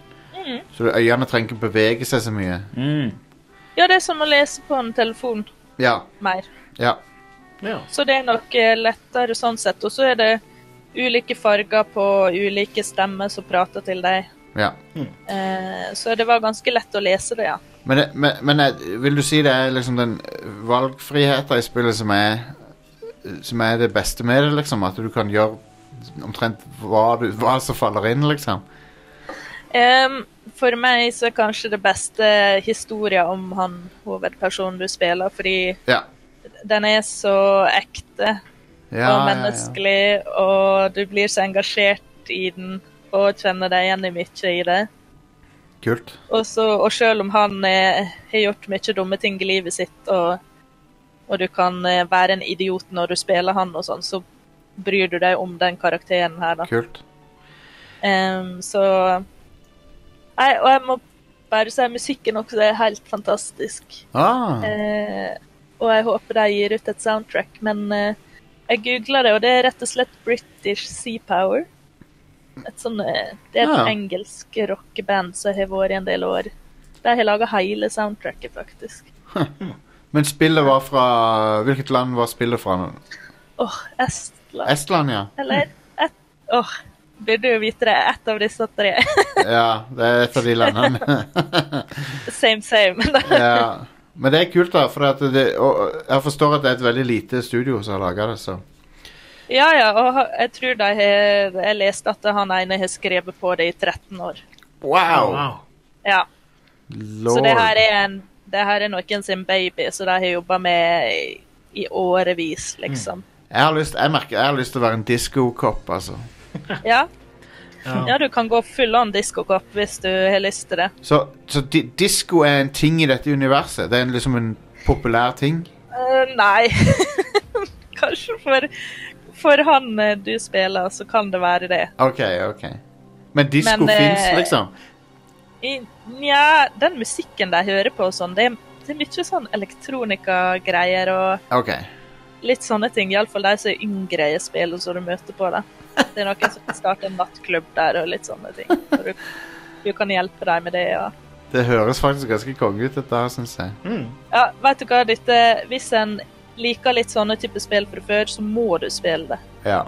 Speaker 1: Så øynene trenger ikke bevege seg så mye.
Speaker 2: Mm.
Speaker 8: Ja, det er som å lese på en telefon
Speaker 1: Ja.
Speaker 8: mer.
Speaker 1: Ja.
Speaker 3: Ja.
Speaker 8: Så det er nok eh, lettere sånn sett. Og så er det ulike farger på ulike stemmer som prater til deg.
Speaker 1: ja.
Speaker 8: Eh, så det var ganske lett å lese det, ja.
Speaker 1: Men, det- men, men jeg- vil du si det er liksom den valgfriheten i spillet som er Som er det beste med det, liksom? At du kan gjøre omtrent hva, du, hva som faller inn, liksom?
Speaker 8: Em, for meg så er kanskje det beste historien om han hovedpersonen du spiller, fordi
Speaker 1: Ja.
Speaker 8: den er så ekte
Speaker 1: Ja,
Speaker 8: og
Speaker 1: ja, ja.
Speaker 8: menneskelig, og du blir så engasjert i den og kjenner deg igjen i mye i det.
Speaker 1: Kult.
Speaker 8: Og, så, og selv om han eh, har gjort mye dumme ting i livet sitt, og, og du kan eh, være en idiot når du spiller han og sånn, så bryr du deg om den karakteren her, da.
Speaker 1: Kult.
Speaker 8: Ehm, så Nei, og jeg må bare si musikken også er helt fantastisk.
Speaker 1: Ah.
Speaker 8: Eh, og jeg håper de gir ut et soundtrack, men eh, jeg googla det, og det er rett og slett British Sea Power. Et sånn, eh, det er et
Speaker 1: Ja.
Speaker 8: engelsk rockeband som har vært i en del år. De har laga hele soundtracket, faktisk.
Speaker 1: Men spillet var fra Hvilket land var spillet fra? nå?
Speaker 8: Åh, Estland
Speaker 1: Estland, ja.
Speaker 8: Eller et, Åh, burde jo vite det. Ett av disse tre.
Speaker 1: Ja, det er et av de landene.
Speaker 8: (laughs)
Speaker 1: (laughs)
Speaker 8: same, same. (laughs)
Speaker 1: ja. Men det er kult, da. For at det, og jeg forstår at det er et veldig lite studio som har laga det. Så.
Speaker 8: ja, ja, og ha- jeg tror de har Jeg leste at han ene har skrevet på det i 13 år.
Speaker 1: Wow!
Speaker 3: Wow.
Speaker 8: Ja.
Speaker 1: Lord.
Speaker 8: Så det her er, en, det her er noen sin baby, så de har jobba med i, i årevis, liksom.
Speaker 1: jeg, har lyst, jeg, merker, jeg har lyst til å være en diskokopp, altså.
Speaker 8: Ja.
Speaker 3: Ja.
Speaker 8: ja, du kan gå full on diskokopp hvis du har lyst til det.
Speaker 1: Så, så di disko er en ting i dette universet? Det er en, liksom en populær ting?
Speaker 8: Eh, nei. (laughs) Kanskje for, for han eh, du spiller, så kan det være det.
Speaker 1: OK, OK. Men disko
Speaker 8: Men, eh,
Speaker 1: fins, liksom?
Speaker 8: I, nja, den musikken de hører på og sånn, det, er- det er mye sånn elektronikagreier og
Speaker 1: OK.
Speaker 8: litt sånne ting. Iallfall de som er yngre i spillet som du møter på. da. Det er noen som starter en nattklubb der og litt sånne ting. Og du, du kan hjelpe dem med det. og...
Speaker 1: Det høres faktisk ganske konge ut, dette her, syns jeg.
Speaker 8: Ja, vet du hva, dette, hvis en liker litt sånne type spill fra før, så må du spille det.
Speaker 1: Ja.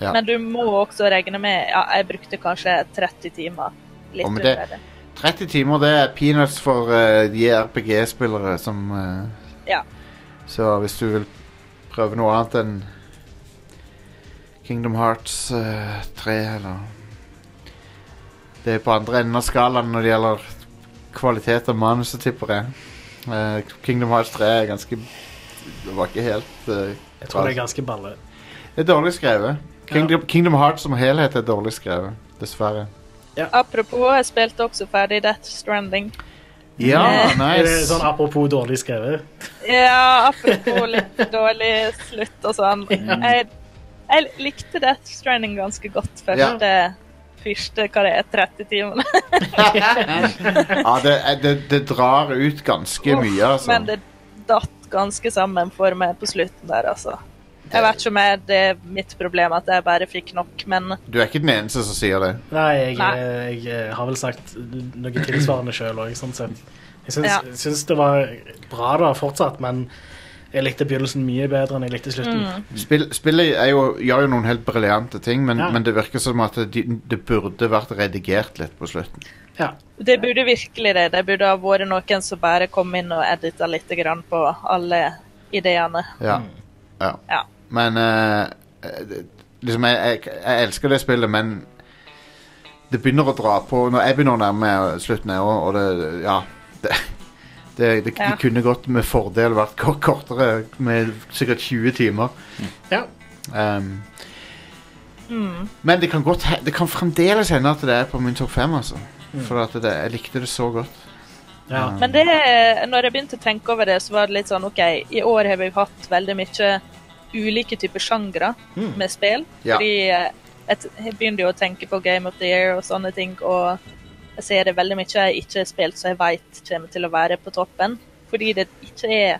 Speaker 1: Ja.
Speaker 8: Men du må også regne med Ja, jeg brukte kanskje 30 timer. Litt
Speaker 1: Om
Speaker 8: under
Speaker 1: det-
Speaker 8: det. det.
Speaker 1: 30 timer, det er peanuts for eh, de RPG-spillere som eh,
Speaker 8: Ja.
Speaker 1: Så hvis du vil prøve noe annet enn Kingdom Hearts eh, 3, eller Det er på andre enden av skalaen når det gjelder kvalitet og manus, tipper jeg. Eh, Kingdom Hearts 3 er ganske Det var ikke helt eh,
Speaker 3: Jeg tror det er ganske balle.
Speaker 1: Det er dårlig skrevet. Kingdom, Kingdom Hearts som helhet er dårlig skrevet, dessverre.
Speaker 8: Apropos, jeg spilte også ferdig Death Stranding.
Speaker 1: Ja,
Speaker 8: Eh.
Speaker 3: Er det sånn
Speaker 1: nice.
Speaker 3: apropos dårlig skrevet?
Speaker 8: Ja, apropos litt dårlig slutt og sånn. Jeg, jeg likte Death Stranding ganske godt første, første hva det er, 30 timene.
Speaker 1: Ja, det, eh, det, det drar ut ganske mye, altså.
Speaker 8: Men det datt ganske sammen for meg på slutten der, altså. Jeg vet ikke om jeg, det er mitt problem at jeg bare fikk nok, men
Speaker 1: Du er ikke den eneste som sier det.
Speaker 3: Nei, jeg,
Speaker 8: Nei.
Speaker 3: jeg, eh, har vel sagt noe tilsvarende sjøl òg, sånn sett. Jeg syns,
Speaker 8: Ja.
Speaker 3: syns det var bra da, fortsatt, men jeg likte begynnelsen mye bedre enn jeg likte slutten.
Speaker 8: Mm.
Speaker 1: Spill, spillet er jo, gjør jo noen helt briljante ting, men,
Speaker 3: Ja.
Speaker 1: men det virker som at det, det burde vært redigert litt på slutten.
Speaker 3: Ja.
Speaker 8: det burde virkelig det. Det burde ha vært noen som bare kom inn og edita litt grann på alle ideene.
Speaker 1: Ja. ja.
Speaker 8: Ja.
Speaker 1: Men eh, eh, liksom, jeg, jeg, jeg elsker det spillet, men det begynner å dra på når Jeg begynner å nærme meg slutten, jeg òg, og det Ja. Det, det, det,
Speaker 8: Ja.
Speaker 1: det kunne godt med fordel vært kor- kortere, med sikkert 20 timer.
Speaker 3: Ja.
Speaker 1: Ehm,
Speaker 8: Mm.
Speaker 1: Men det kan, godt, he- det kan fremdeles hende at det er på min topp fem, altså. For at det, jeg likte det så godt.
Speaker 3: ja.
Speaker 8: Men det, når jeg begynte å tenke over det, så var det litt sånn OK, i år har vi hatt veldig mye ulike typer sjangre med spill.
Speaker 1: Ja.
Speaker 8: Fordi eh, jeg t- jeg begynner jo å tenke på Game of the Year og sånne ting, og jeg ser det veldig mye jeg ikke har spilt som jeg vet kommer til å være på toppen. Fordi det ikke er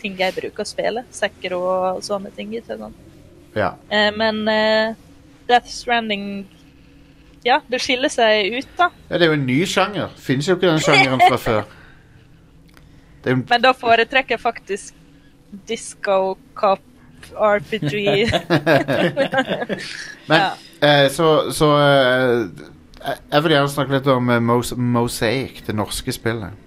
Speaker 8: ting jeg bruker å spille. Sekker og sånne ting. Ikke sant?
Speaker 1: Ja.
Speaker 8: Eh, Men eh, Death Stranding Ja, det skiller seg ut, da.
Speaker 1: ja, det er jo en ny sjanger. Fins jo ikke den sjangeren
Speaker 8: (laughs)
Speaker 1: fra før. Det er jo en
Speaker 8: Men da foretrekker jeg faktisk disco, cop, (laughs) RPG
Speaker 1: (laughs) Men,
Speaker 8: Ja.
Speaker 1: eh, så, så eh, jeg- Jeg vil gjerne snakke litt om eh, Mos Mosaic, det norske spillet.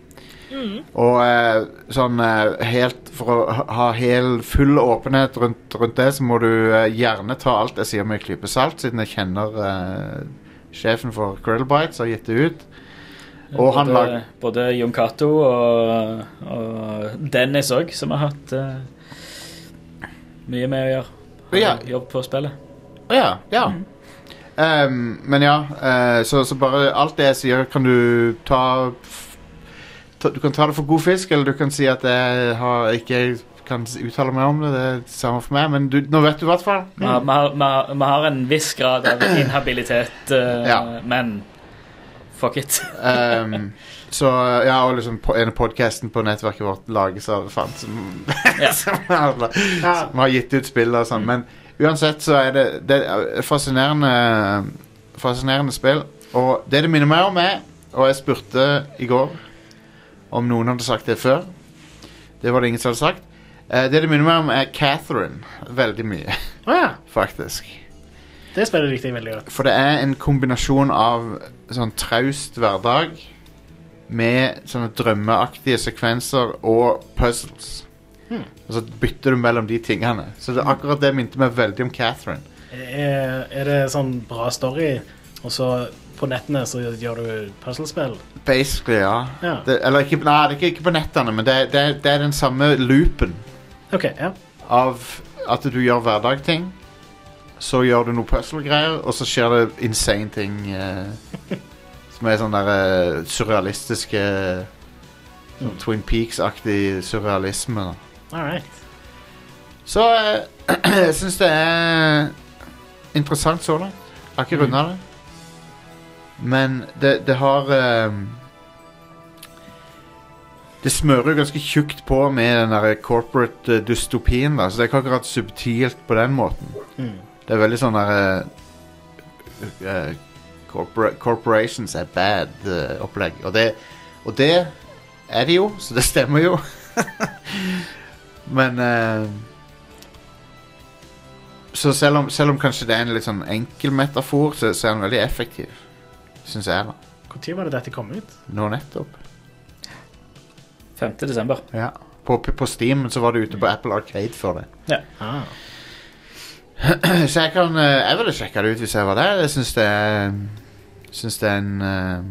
Speaker 1: Og eh, sånn eh, helt For å ha- ha hel, full åpenhet rundt, rundt det, så må du eh, gjerne ta alt jeg sier med en klype salt, siden jeg kjenner eh, sjefen for Krillbite, som har gitt det ut. Og han lag...
Speaker 2: både, både Jon Cato og, og Dennis òg, som har hatt eh, mye med å gjøre. Har
Speaker 1: Ja.
Speaker 2: Jobb på spillet.
Speaker 1: Å ja. ja. Ehm, men ja, eh, så, så bare alt det jeg sier, kan du ta, f- ta Du kan ta det for god fisk, eller du kan si at jeg har, ikke kan s- uttale meg om det. Det er det samme for meg, men du, nå vet du i hvert fall.
Speaker 2: Vi har, vi har- vi har, vi har en viss grad av
Speaker 1: (clears throat)
Speaker 2: inhabilitet, eh,
Speaker 1: Ja.
Speaker 2: men fuck
Speaker 1: (laughs)
Speaker 2: it.
Speaker 1: Ehm, så ja, og liksom po- en av podkasten på nettverket vårt lages av fant som,
Speaker 2: Ja.
Speaker 1: som, har, som har gitt ut spill og sånn. Men uansett så er det, det er fascinerende, fascinerende spill. Og det det minner meg om, er Og jeg spurte i går om noen hadde sagt det før. Det var det ingen som hadde sagt. Eh, det det minner meg om, er Catherine veldig mye, (laughs)
Speaker 3: Å ja.
Speaker 1: faktisk.
Speaker 3: Det spillet likte jeg veldig godt.
Speaker 1: For det er en kombinasjon av sånn traust hverdag med sånne drømmeaktige sekvenser og puzzles. Og så bytter du mellom de tingene. Så det, akkurat det minte meg veldig om Catherine.
Speaker 3: Er, er det sånn bra story, og så på nettene så gjør du puzzlespill?
Speaker 1: Basically, ja.
Speaker 3: Ja.
Speaker 1: Det, eller ikke, nei, det er ikke, ikke på nettene, men det, er- det, er- det er den samme loopen
Speaker 3: OK, ja.
Speaker 1: av at du gjør hverdagting. Så gjør du noe puzzle-greier, og så skjer det insane ting eh, som er sånne der, eh, surrealistiske sånn Twin Peaks-aktig surrealisme. Da.
Speaker 3: All right.
Speaker 1: Så eh, (clears throat) jeg syns det er interessant så langt. Jeg har ikke runda det. Men det, det har eh, Det smører jo ganske tjukt på med den der corporate eh, dystopien. da, Så det er ikke akkurat subtilt på den måten. Det er veldig sånn der eh, eh, corpora Corporations are bad-opplegg. og, det, og det er det jo, så det stemmer jo. (laughs) Men eh, Så selv om, selv om kanskje det er en litt sånn enkel metafor, så, så er den veldig effektiv. Syns jeg, da.
Speaker 3: Når var det dette kom ut?
Speaker 1: Nå nettopp.
Speaker 2: 5. desember.
Speaker 1: Ja. På, på Steam så var det ute på Apple Arcade før det.
Speaker 3: Ah.
Speaker 1: (clears throat) Så jeg kan eh, Jeg ville sjekka det ut hvis jeg var der. Jeg syns det er Syns det er en eh,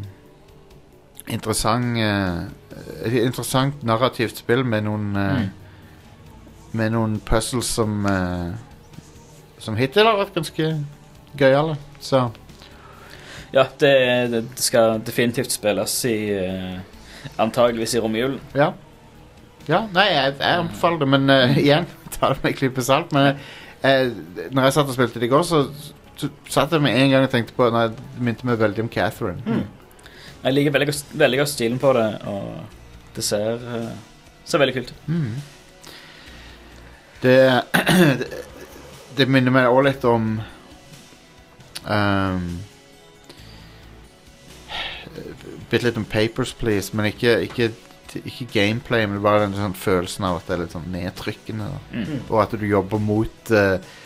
Speaker 1: interessant eh, Et interessant narrativt spill med noen eh, Med noen puzzles som eh, som hittil har vært ganske gøyale. Så
Speaker 2: Ja, det, det skal definitivt spilles i eh, Antageligvis i romjulen.
Speaker 1: ja. Ja, nei, jeg, jeg anbefaler det, men eh, (laughs) igjen ta det med en klype salt. Men eh, når jeg satt og spilte det i går, så, så satt jeg med en gang og tenkte på Nei, det minte meg veldig om Catherine.
Speaker 2: Jeg liker veldig, godt- veldig godt stilen på det, og det ser, eh, ser veldig kult ut.
Speaker 1: Mm. Det (clears throat) det- Det minner meg også litt om ehm, Bitte litt om Papers, Please, men ikke, ikke, ikke gameplay, men bare den sånn følelsen av at det er litt sånn nedtrykkende. Da. Og at du jobber mot eh,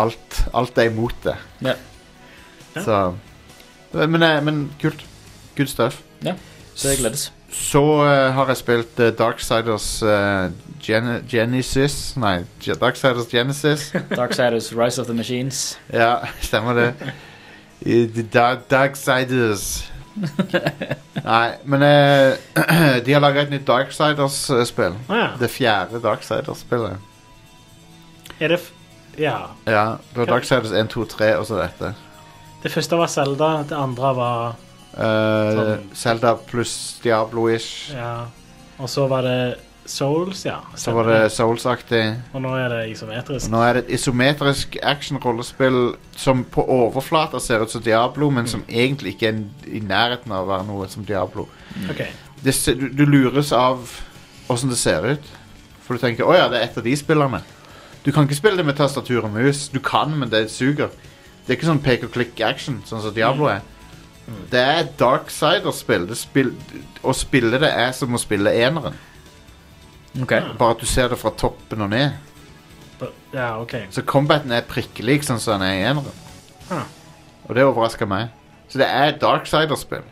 Speaker 1: alt. Alt er imot det.
Speaker 2: Ja.
Speaker 1: Så men, eh, men kult. Good stuff.
Speaker 2: Så jeg gledes.
Speaker 1: Så eh, har jeg spilt eh, Darksiders eh, Gen Genesis Nei, Ge- Darksiders Genesis.
Speaker 2: Darksiders Rise of the Machines.
Speaker 1: Ja, stemmer det. I the Dark, Darksiders. Nei, men eh, (clears throat) de har laga et nytt Darksiders-spill.
Speaker 3: Å ja.
Speaker 1: Det fjerde Darksiders-spillet.
Speaker 3: Er det f Ja.
Speaker 1: Ja, det var
Speaker 3: Hva-
Speaker 1: Darksiders 1, 2, 3 og så dette.
Speaker 3: Det første var Selda, det andre var
Speaker 1: Uh,
Speaker 3: Sånn.
Speaker 1: Zelda pluss Diablo-ish.
Speaker 3: Ja. Og så var det Souls, ja.
Speaker 1: Så var det Souls-aktig.
Speaker 3: Og nå er det isometrisk.
Speaker 1: Nå er det et isometrisk action-rollespill som på overflata ser ut som Diablo, men som egentlig ikke er i nærheten av å være noe som Diablo.
Speaker 3: OK.
Speaker 1: Det, se- du, du lures av åssen det ser ut, for du tenker 'Å ja, det er et av de spillerne'. Du kan ikke spille det med tastatur og mus. Du kan, men det suger. Det er ikke sånn pek og klikk action, sånn som Diablo er. Det er et darksider-spill. Det spill- Å spille det er som å spille eneren,
Speaker 2: Ok.
Speaker 1: bare at du ser det fra toppen og ned.
Speaker 3: Ja, OK.
Speaker 1: Så combaten er prikkelik sånn som den er i eneren.
Speaker 3: Ah.
Speaker 1: Og det overrasker meg. Så det er et Darksider-spill.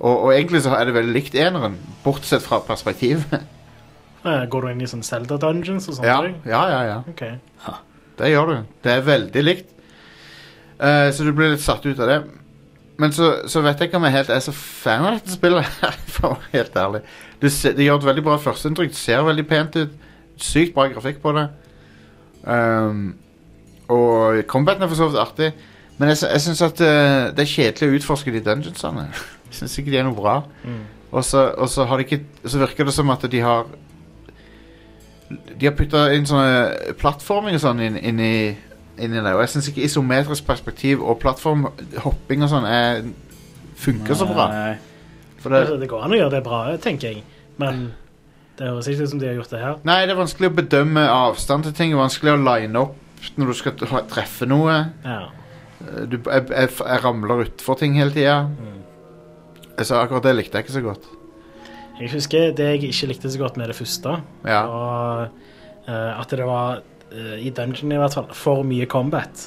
Speaker 1: Og, og egentlig så er det veldig likt eneren, bortsett fra perspektivet.
Speaker 3: Eh, Går du inn i sånn Zelda Dungeons og sånne
Speaker 1: ja,
Speaker 3: ting?
Speaker 1: (laughs) ja, ja, ja.
Speaker 3: OK.
Speaker 1: Det gjør du. Det er veldig likt. Eh, så du blir litt satt ut av det. Men så, så vet jeg ikke om jeg helt er så fan av dette spillet. (laughs) her, for å være helt ærlig. Det, se- det gjør et veldig bra førsteinntrykk. Det Ser veldig pent ut. Sykt bra grafikk på det. Ehm, og combaten er for så vidt artig. Men jeg, sy- jeg syns at eh, det er kjedelig å utforske de dungeonsene. Jeg syns ikke de er noe bra. Og så, og så, har de ikke, så virker det som at de har De har putta inn sånne plattforming og sånn inn, inn, i, inn i det. Og jeg syns ikke isometrisk perspektiv og plattformhopping og sånn er, funker så bra.
Speaker 2: Nei.
Speaker 1: For
Speaker 3: Altså,
Speaker 1: det,
Speaker 3: det går an å gjøre det bra, tenker jeg. Men det høres ikke ut som de har gjort det her.
Speaker 1: nei, det er vanskelig å bedømme avstand til ting. Det er vanskelig å line opp når du skal t- ha- treffe noe.
Speaker 3: Ja.
Speaker 1: Du, jeg, jeg, jeg ramler utfor ting hele tida. Så akkurat det likte jeg ikke så godt.
Speaker 3: Jeg husker det jeg ikke likte så godt med det første.
Speaker 1: Ja.
Speaker 3: Og eh, at det var, eh, i dungeon i hvert fall, for mye combat.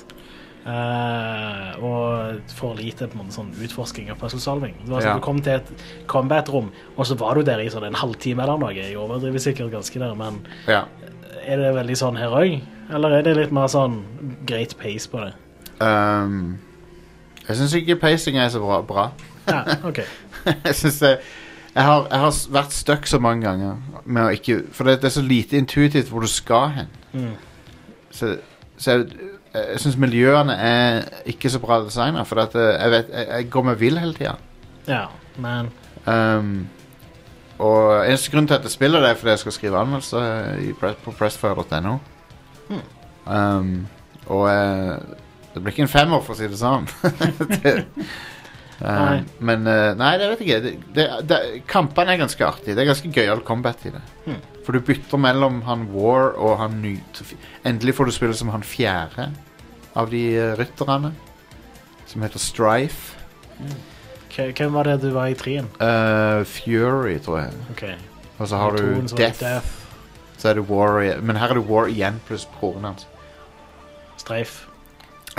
Speaker 3: Eh, og for lite på en måte, sånn utforsking og puzzlesolving. Det var sånn,
Speaker 1: Ja.
Speaker 3: Du kom til et combat-rom, og så var du der i sånn en halvtime eller noe. Jeg overdriver sikkert ganske der, men
Speaker 1: ja.
Speaker 3: er det veldig sånn her òg? Eller er det litt mer sånn great pace på det?
Speaker 1: Ehm, jeg syns ikke pacing er så bra. bra.
Speaker 3: Ja,
Speaker 1: (laughs)
Speaker 3: OK.
Speaker 1: jeg synes jeg, jeg, har, jeg har s- vært stuck så mange ganger med å ikke, For det, det er så lite intuitivt hvor du skal hen.
Speaker 3: Mm.
Speaker 1: Så, så jeg, jeg syns miljøene er ikke så bra designa, for at eh, jeg, vet, jeg, jeg går meg vill hele tida.
Speaker 3: Ja, men
Speaker 1: Um, og eneste grunn til at jeg spiller det, er fordi jeg skal skrive anmeldelse i pre på pressfire.no. Um, og eh, det blir ikke en femmer, for å si det sånn. (laughs) det, um,
Speaker 3: Nei.
Speaker 1: Men eh, Nei, det vet jeg ikke. Det, det, det, kampene er ganske artige. Det er ganske gøyal combat i det. For du bytter mellom han War og han ny... Endelig får du spille som han fjerde av de eh, rytterne, som heter Strife.
Speaker 3: K- Hvem var det du var i trien?
Speaker 1: Eh, Fury, tror jeg.
Speaker 3: Ok.
Speaker 1: Og så har
Speaker 3: I
Speaker 1: du
Speaker 3: toen så var det
Speaker 1: Death, så er det War igjen. Men her er det War igjen pluss broren hans.
Speaker 3: Streif.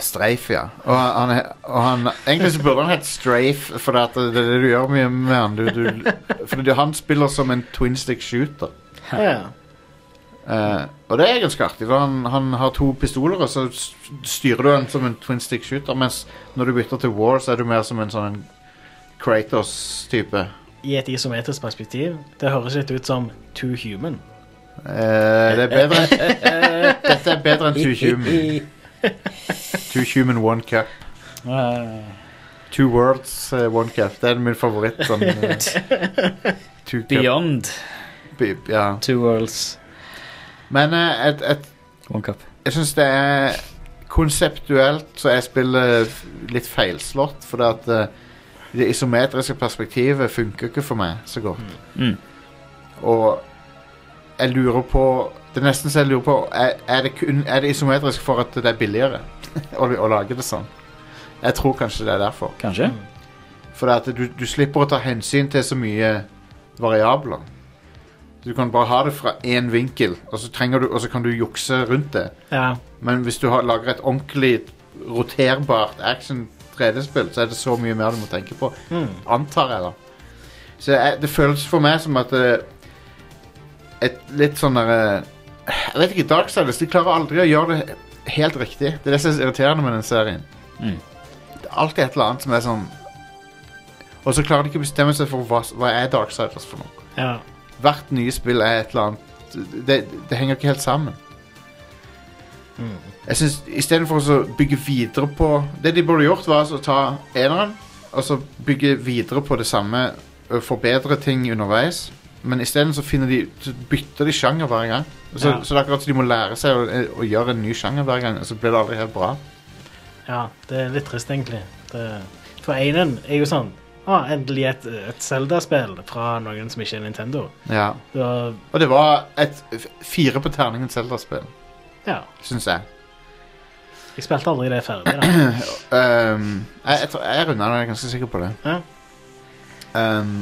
Speaker 1: Streif, ja. Og han, er- og han Egentlig så burde han hett Strafe, for det, at det er det du gjør mye med han. Du, du, for det, han spiller som en twin stick shooter.
Speaker 3: Ja.
Speaker 1: Eh, og det er ganske artig. For han, han har to pistoler, og så s- styrer du han som en twin stick shooter, mens når du bytter til War, så er du mer som en sånn Kratos-type.
Speaker 3: I et isometrisk perspektiv, det høres litt ut som Too Human.
Speaker 1: (laughs)
Speaker 2: eh,
Speaker 1: Eh, det er bedre enn Dette er bedre enn 2020. Two human, one cup.
Speaker 3: Eh,
Speaker 1: Two words, eh, one cup. Det er min favoritt. Sånn, eh,
Speaker 2: (laughs)
Speaker 1: two cup.
Speaker 2: Beyond
Speaker 1: Be- Ja.
Speaker 2: two worlds.
Speaker 1: Men eh, et, et,
Speaker 2: One cup.
Speaker 1: jeg syns det er Konseptuelt så er spillet f- litt feilslått, fordi at eh, det isometriske perspektivet funker ikke for meg så godt.
Speaker 2: Mm.
Speaker 1: Og jeg lurer på Det er nesten så jeg lurer på Er, er, det, kun, er det isometrisk for at det er billigere (laughs) å, å lage det sånn? Jeg tror kanskje det er derfor.
Speaker 2: Kanskje?
Speaker 1: For det at du, du slipper å ta hensyn til så mye variabler. Du kan bare ha det fra én vinkel, og så, trenger du, og så kan du jukse rundt det.
Speaker 3: ja.
Speaker 1: Men hvis du har, lager et ordentlig roterbart action 3D-spill, så er det så mye mer du må tenke på.
Speaker 3: Mm.
Speaker 1: Antar jeg, da. Så jeg, det føles for meg som at eh, Et litt sånn derre Jeg vet ikke, Darksiders de klarer aldri å gjøre det helt riktig. Det er det som er så irriterende med den serien.
Speaker 2: Mm.
Speaker 1: Det er alltid et eller annet som er sånn Og så klarer de ikke å bestemme seg for hva, hva er Darksiders for noe
Speaker 3: ja.
Speaker 1: hvert nye spill er et eller annet Det, det henger ikke helt sammen. Jeg synes, Istedenfor å så bygge videre på Det de burde gjort, var altså å ta eneren og så bygge videre på det samme. ø, Forbedre ting underveis. Men isteden så, finner de, så bytter de sjanger hver gang. Så,
Speaker 3: Ja.
Speaker 1: så det er akkurat som de må lære seg å, å gjøre en ny sjanger hver gang. Og så blir det aldri helt bra.
Speaker 3: Ja, det er litt trist, egentlig. Det, for Einen er jo sånn ah, Endelig et, et Zelda-spill fra noen som ikke er Nintendo.
Speaker 1: Ja.
Speaker 3: Det var,
Speaker 1: Og det var et f- fire på terningen Zelda-spill,
Speaker 3: ja,
Speaker 1: syns jeg.
Speaker 3: jeg spilte aldri det ferdig. (clears throat) da.
Speaker 1: Ehm, jeg, jeg, tror- jeg runder den, jeg er ganske sikker på det.
Speaker 3: Ja.
Speaker 1: Ehm,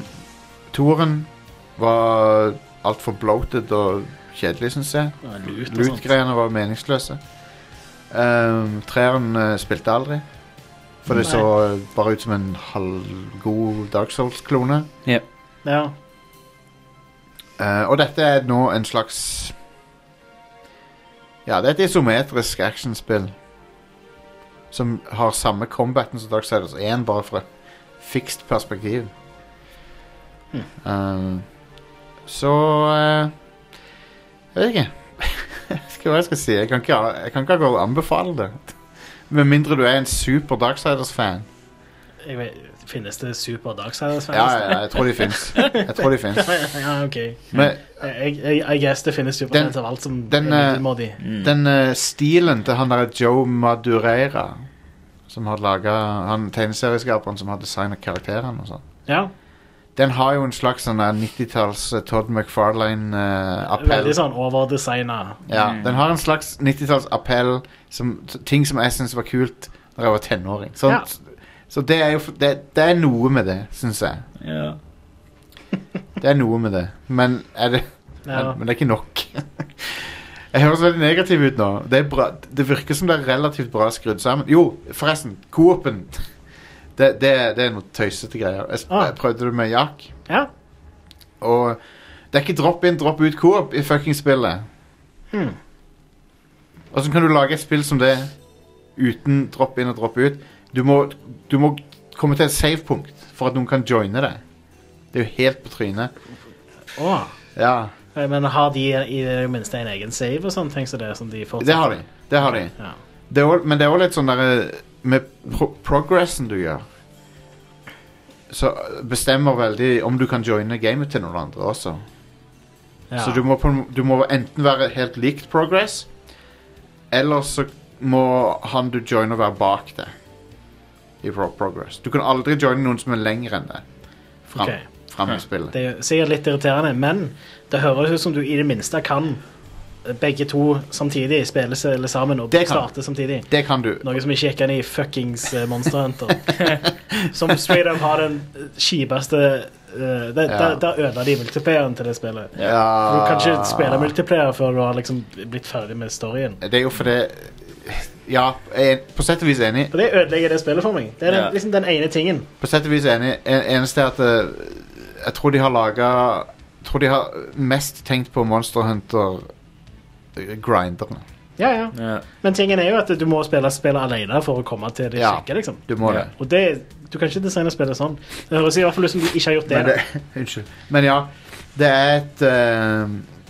Speaker 1: Toren var altfor bloated og kjedelig, syns jeg.
Speaker 3: Det var Lut og sånt.
Speaker 1: Loot-greiene var meningsløse. Um, treeren eh, spilte aldri. For det
Speaker 3: Nei.
Speaker 1: så eh, bare ut som en halvgod Dark Souls-klone.
Speaker 3: Ja.
Speaker 1: Eh, og dette er nå en slags Ja, det er et isometrisk actionspill. Som har samme combaten som Darksiders 1, bare fra et fikst perspektiv. Eh, så eh, Jeg vet ikke. (laughs) jeg vet ikke hva jeg skal si. Jeg kan ikke, jeg kan ikke akkurat anbefale det. Med mindre du er en super Darksiders-fan.
Speaker 3: Jeg vet, finnes det Super Darksiders?
Speaker 1: Ja, ja, ja, jeg tror de fins. Jeg tror de fins.
Speaker 3: (laughs) ja, OK.
Speaker 1: Men
Speaker 3: Jeg, jeg, I guess det finnes Super
Speaker 1: Den-
Speaker 3: Darksiders av alt som
Speaker 1: den,
Speaker 3: er
Speaker 1: eh,
Speaker 3: middelmådig.
Speaker 2: Mm.
Speaker 1: Den eh, stilen til han der Joe Madureira Som har laget Han tegneserieskaperen som har designet karakterene og sånn
Speaker 3: Ja.
Speaker 1: Den har jo en slags sånn der 90-talls eh, Todd McFarlane eh, appell
Speaker 3: Veldig sånn overdesigna.
Speaker 1: ja, Den har en slags 90-talls appell som, t- Ting som jeg synes var kult Da jeg var tenåring Så,
Speaker 3: Ja.
Speaker 1: så det er jo f- det, det er noe med det, synes jeg
Speaker 2: Ja.
Speaker 1: Det er noe med det Men, er det,
Speaker 3: Ja.
Speaker 1: men det er ikke nok (laughs) Jeg høres veldig negativ ut nå det, er bra, det virker som det er relativt bra skrudd sammen Jo, forresten, Coop-en det, det, det er noe tøysete greier jeg, sp-
Speaker 3: Ah.
Speaker 1: jeg prøvde det med Jack
Speaker 3: ja.
Speaker 1: Og det er ikke drop-in, drop-ut Coop I fucking spillet
Speaker 3: Hmm.
Speaker 1: Hvordan kan du lage et spill som det Uten drop-in og drop-ut du, må- du må komme til et save-punkt For at noen kan joine deg Det er jo helt på trynet
Speaker 3: Å.
Speaker 1: Ja
Speaker 3: Eh, Men har de i det minste en egen save og sånne ting som det? Som de fortsetter?
Speaker 1: Det har de. Det har de.
Speaker 3: Ja.
Speaker 1: Det er også, men det er òg litt sånn derre Med pro progressen du gjør, så bestemmer veldig om du kan joine gamet til noen andre også.
Speaker 3: Ja.
Speaker 1: Så du må, på, en- du må enten være helt likt progress, eller så må han du joiner, være bak deg i pro progress. Du kan aldri joine noen som er lenger enn deg fram,
Speaker 3: Ok.
Speaker 1: fram i spillet.
Speaker 3: Det er jo sikkert litt irriterende, men det høres ut som du i det minste kan eh, begge to samtidig spille seg eller sammen og
Speaker 1: Det kan.
Speaker 3: starte samtidig.
Speaker 1: Det kan du.
Speaker 3: Noe som ikke gikk an i fuckings eh, Monster
Speaker 1: (laughs)
Speaker 3: Hunter. som straight up har den eh, kjipeste eh, det-
Speaker 1: Ja.
Speaker 3: Der der ødela de multiplayeren til det spillet. Du
Speaker 1: Ja.
Speaker 3: kan ikke spille multiplayer før du har liksom blitt ferdig med storyen.
Speaker 1: Det er jo fordi Ja, jeg er på sett og vis enig.
Speaker 3: Og det ødelegger det spillet for meg. Det er den,
Speaker 2: Ja.
Speaker 3: liksom den ene tingen.
Speaker 1: På sett og vis enig. En, eneste er at eh, jeg tror de har laga Tror de har mest tenkt på Monster Hunter eh, grinderne.
Speaker 3: Ja, ja.
Speaker 2: Ja.
Speaker 3: Men tingen er jo at du må spille spillet alene for å komme til det
Speaker 1: Ja.
Speaker 3: kjekke, liksom.
Speaker 1: Du må
Speaker 2: Ja.
Speaker 1: det.
Speaker 3: Og det, du kan ikke designe spillet sånn. Det høres i hvert fall ut som de ikke har gjort det.
Speaker 1: Men det (laughs) unnskyld. Men ja, det er et eh,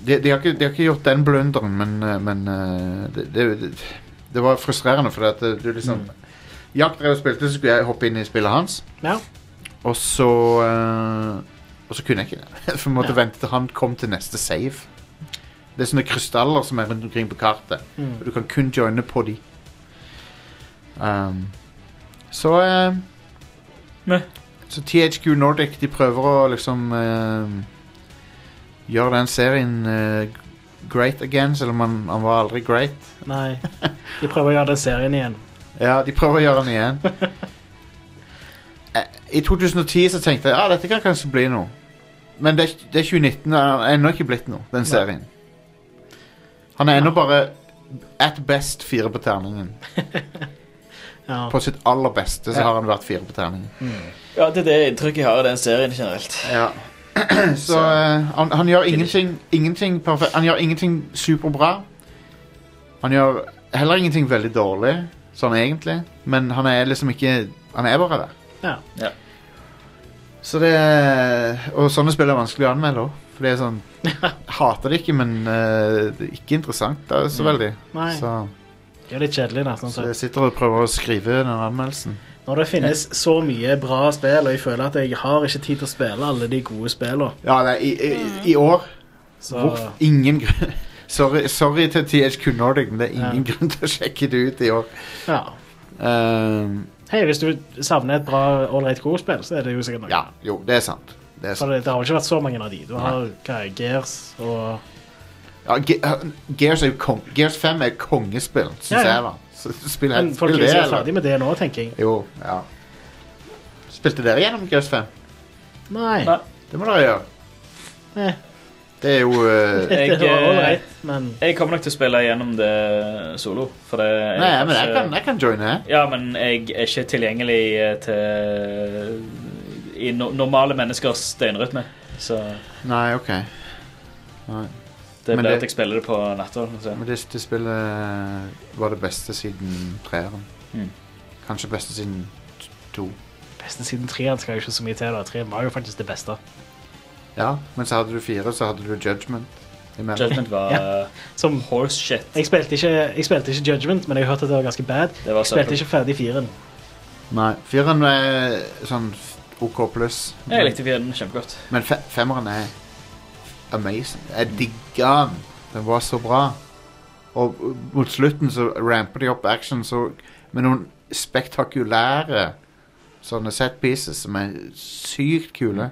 Speaker 1: de, de, har ikke, de har ikke gjort den blunderen, men, eh, men eh, det, det, det det var frustrerende, for at eh, du liksom
Speaker 3: Mm.
Speaker 1: Jack drev og spilte, så skulle jeg hoppe inn i spillet hans,
Speaker 3: Ja.
Speaker 1: og så eh, Og så kunne jeg ikke det. (laughs) For jeg måtte vente til han kom til neste save. Det er sånne krystaller som er rundt omkring på kartet,
Speaker 3: Mm.
Speaker 1: og du kan kun joine på de. Um, så eh,
Speaker 2: Meh.
Speaker 1: Så THQ Nordic de prøver å liksom eh, gjøre den serien eh, great again, selv om han, han var aldri great.
Speaker 3: Nei. De prøver å gjøre den serien igjen.
Speaker 1: Ja, de prøver å gjøre den igjen. Eh, I 2010 så tenkte jeg ja, dette kan kanskje bli noe. Men det, er- det er 2019 og han er ennå ikke blitt noe, den serien. Han er ennå bare at best fire på terningen.
Speaker 3: Ja.
Speaker 1: På sitt aller beste så
Speaker 2: Ja.
Speaker 1: har han vært fire på terningen.
Speaker 2: Ja, det er det inntrykket jeg har av den serien generelt.
Speaker 1: Ja. (clears throat) så eh, han, han gjør ingenting, ingenting perfekt. Han gjør ingenting superbra. Han gjør heller ingenting veldig dårlig, sånn egentlig. Men han er liksom ikke Han er bare der.
Speaker 3: Ja.
Speaker 2: Ja.
Speaker 1: Så det Og sånne spill er vanskelig å anmelde òg. For det er (laughs) sånn Hater det ikke, men eh, det er ikke interessant det er så veldig.
Speaker 3: Nei.
Speaker 1: Så,
Speaker 3: Det er litt kjedelig, da. Sånn
Speaker 1: så
Speaker 3: sett.
Speaker 1: jeg sitter og prøver å skrive den anmeldelsen.
Speaker 3: Når det finnes så mye bra spill, og jeg føler at jeg har ikke tid til å spille alle de gode spillene,
Speaker 1: Ja, nei, i, i, i år
Speaker 3: så
Speaker 1: Uff, ingen grunn (laughs) sorry, sorry til THQ Nordic, men det er ingen grunn til å sjekke det ut i år.
Speaker 3: ja.
Speaker 1: Ehm,
Speaker 3: Hei, hvis du savner et bra ålreit god-spill, så er det jo sikkert noe.
Speaker 1: ja, jo, det er sant. Det er
Speaker 3: For
Speaker 1: sant.
Speaker 3: det, det har jo ikke vært så mange av de. Du har hva, er Gears og
Speaker 1: Ja, Ge uh, Gears, er jo kong Gears 5 er kongespill, syns
Speaker 3: Ja, ja.
Speaker 1: jeg, da. Så Spill,
Speaker 3: Men
Speaker 1: helt-
Speaker 3: folk
Speaker 1: spill
Speaker 3: er
Speaker 1: det,
Speaker 3: ikke
Speaker 1: eller?
Speaker 3: ferdig med det nå, tenker jeg.
Speaker 1: Jo, ja. Spilte dere gjennom Gears 5?
Speaker 3: Nei.
Speaker 2: Nei.
Speaker 1: Det må dere gjøre.
Speaker 3: Eh.
Speaker 1: Det er jo
Speaker 3: (laughs)
Speaker 1: eh,
Speaker 3: Det
Speaker 2: Jeg,
Speaker 3: var
Speaker 2: eh,
Speaker 3: ålreit, men
Speaker 2: Jeg kommer nok til å spille gjennom det solo. For det jeg
Speaker 1: Nei, men jeg
Speaker 2: ikke-
Speaker 3: Altså-
Speaker 1: kan, jeg kan joine. jeg.
Speaker 2: Ja, men jeg er ikke tilgjengelig eh, til i no normale menneskers døgnrytme. Så
Speaker 1: Nei, OK.
Speaker 2: det
Speaker 1: Men
Speaker 2: blir
Speaker 1: det-
Speaker 2: at jeg spiller det på altså. natta. Så.
Speaker 1: Men det, det spillet var det beste siden treeren.
Speaker 2: Mm.
Speaker 1: Kanskje beste siden t- to.
Speaker 3: beste siden treeren skal jo ikke så mye til. da. Treeren var jo faktisk det beste.
Speaker 1: Ja, men så hadde du fire, så hadde du Judgment. imellom.
Speaker 2: Judgment var eh,
Speaker 3: Ja. Som
Speaker 2: horse shit.
Speaker 3: jeg spilte, ikke, jeg spilte ikke Judgment, men jeg hørte at det var ganske bad.
Speaker 2: Det var
Speaker 1: Altså,
Speaker 3: Jeg spilte
Speaker 2: søppel.
Speaker 3: ikke ferdig firen.
Speaker 1: Nei, fireren er sånn f- OK pluss.
Speaker 2: Jeg likte fjeden kjempegodt.
Speaker 1: Men fe femmeren er amazing. Jeg digga den. Den var så bra. Og uh, mot slutten så ramper de opp action så, med noen spektakulære sånne set pieces som er sykt kule.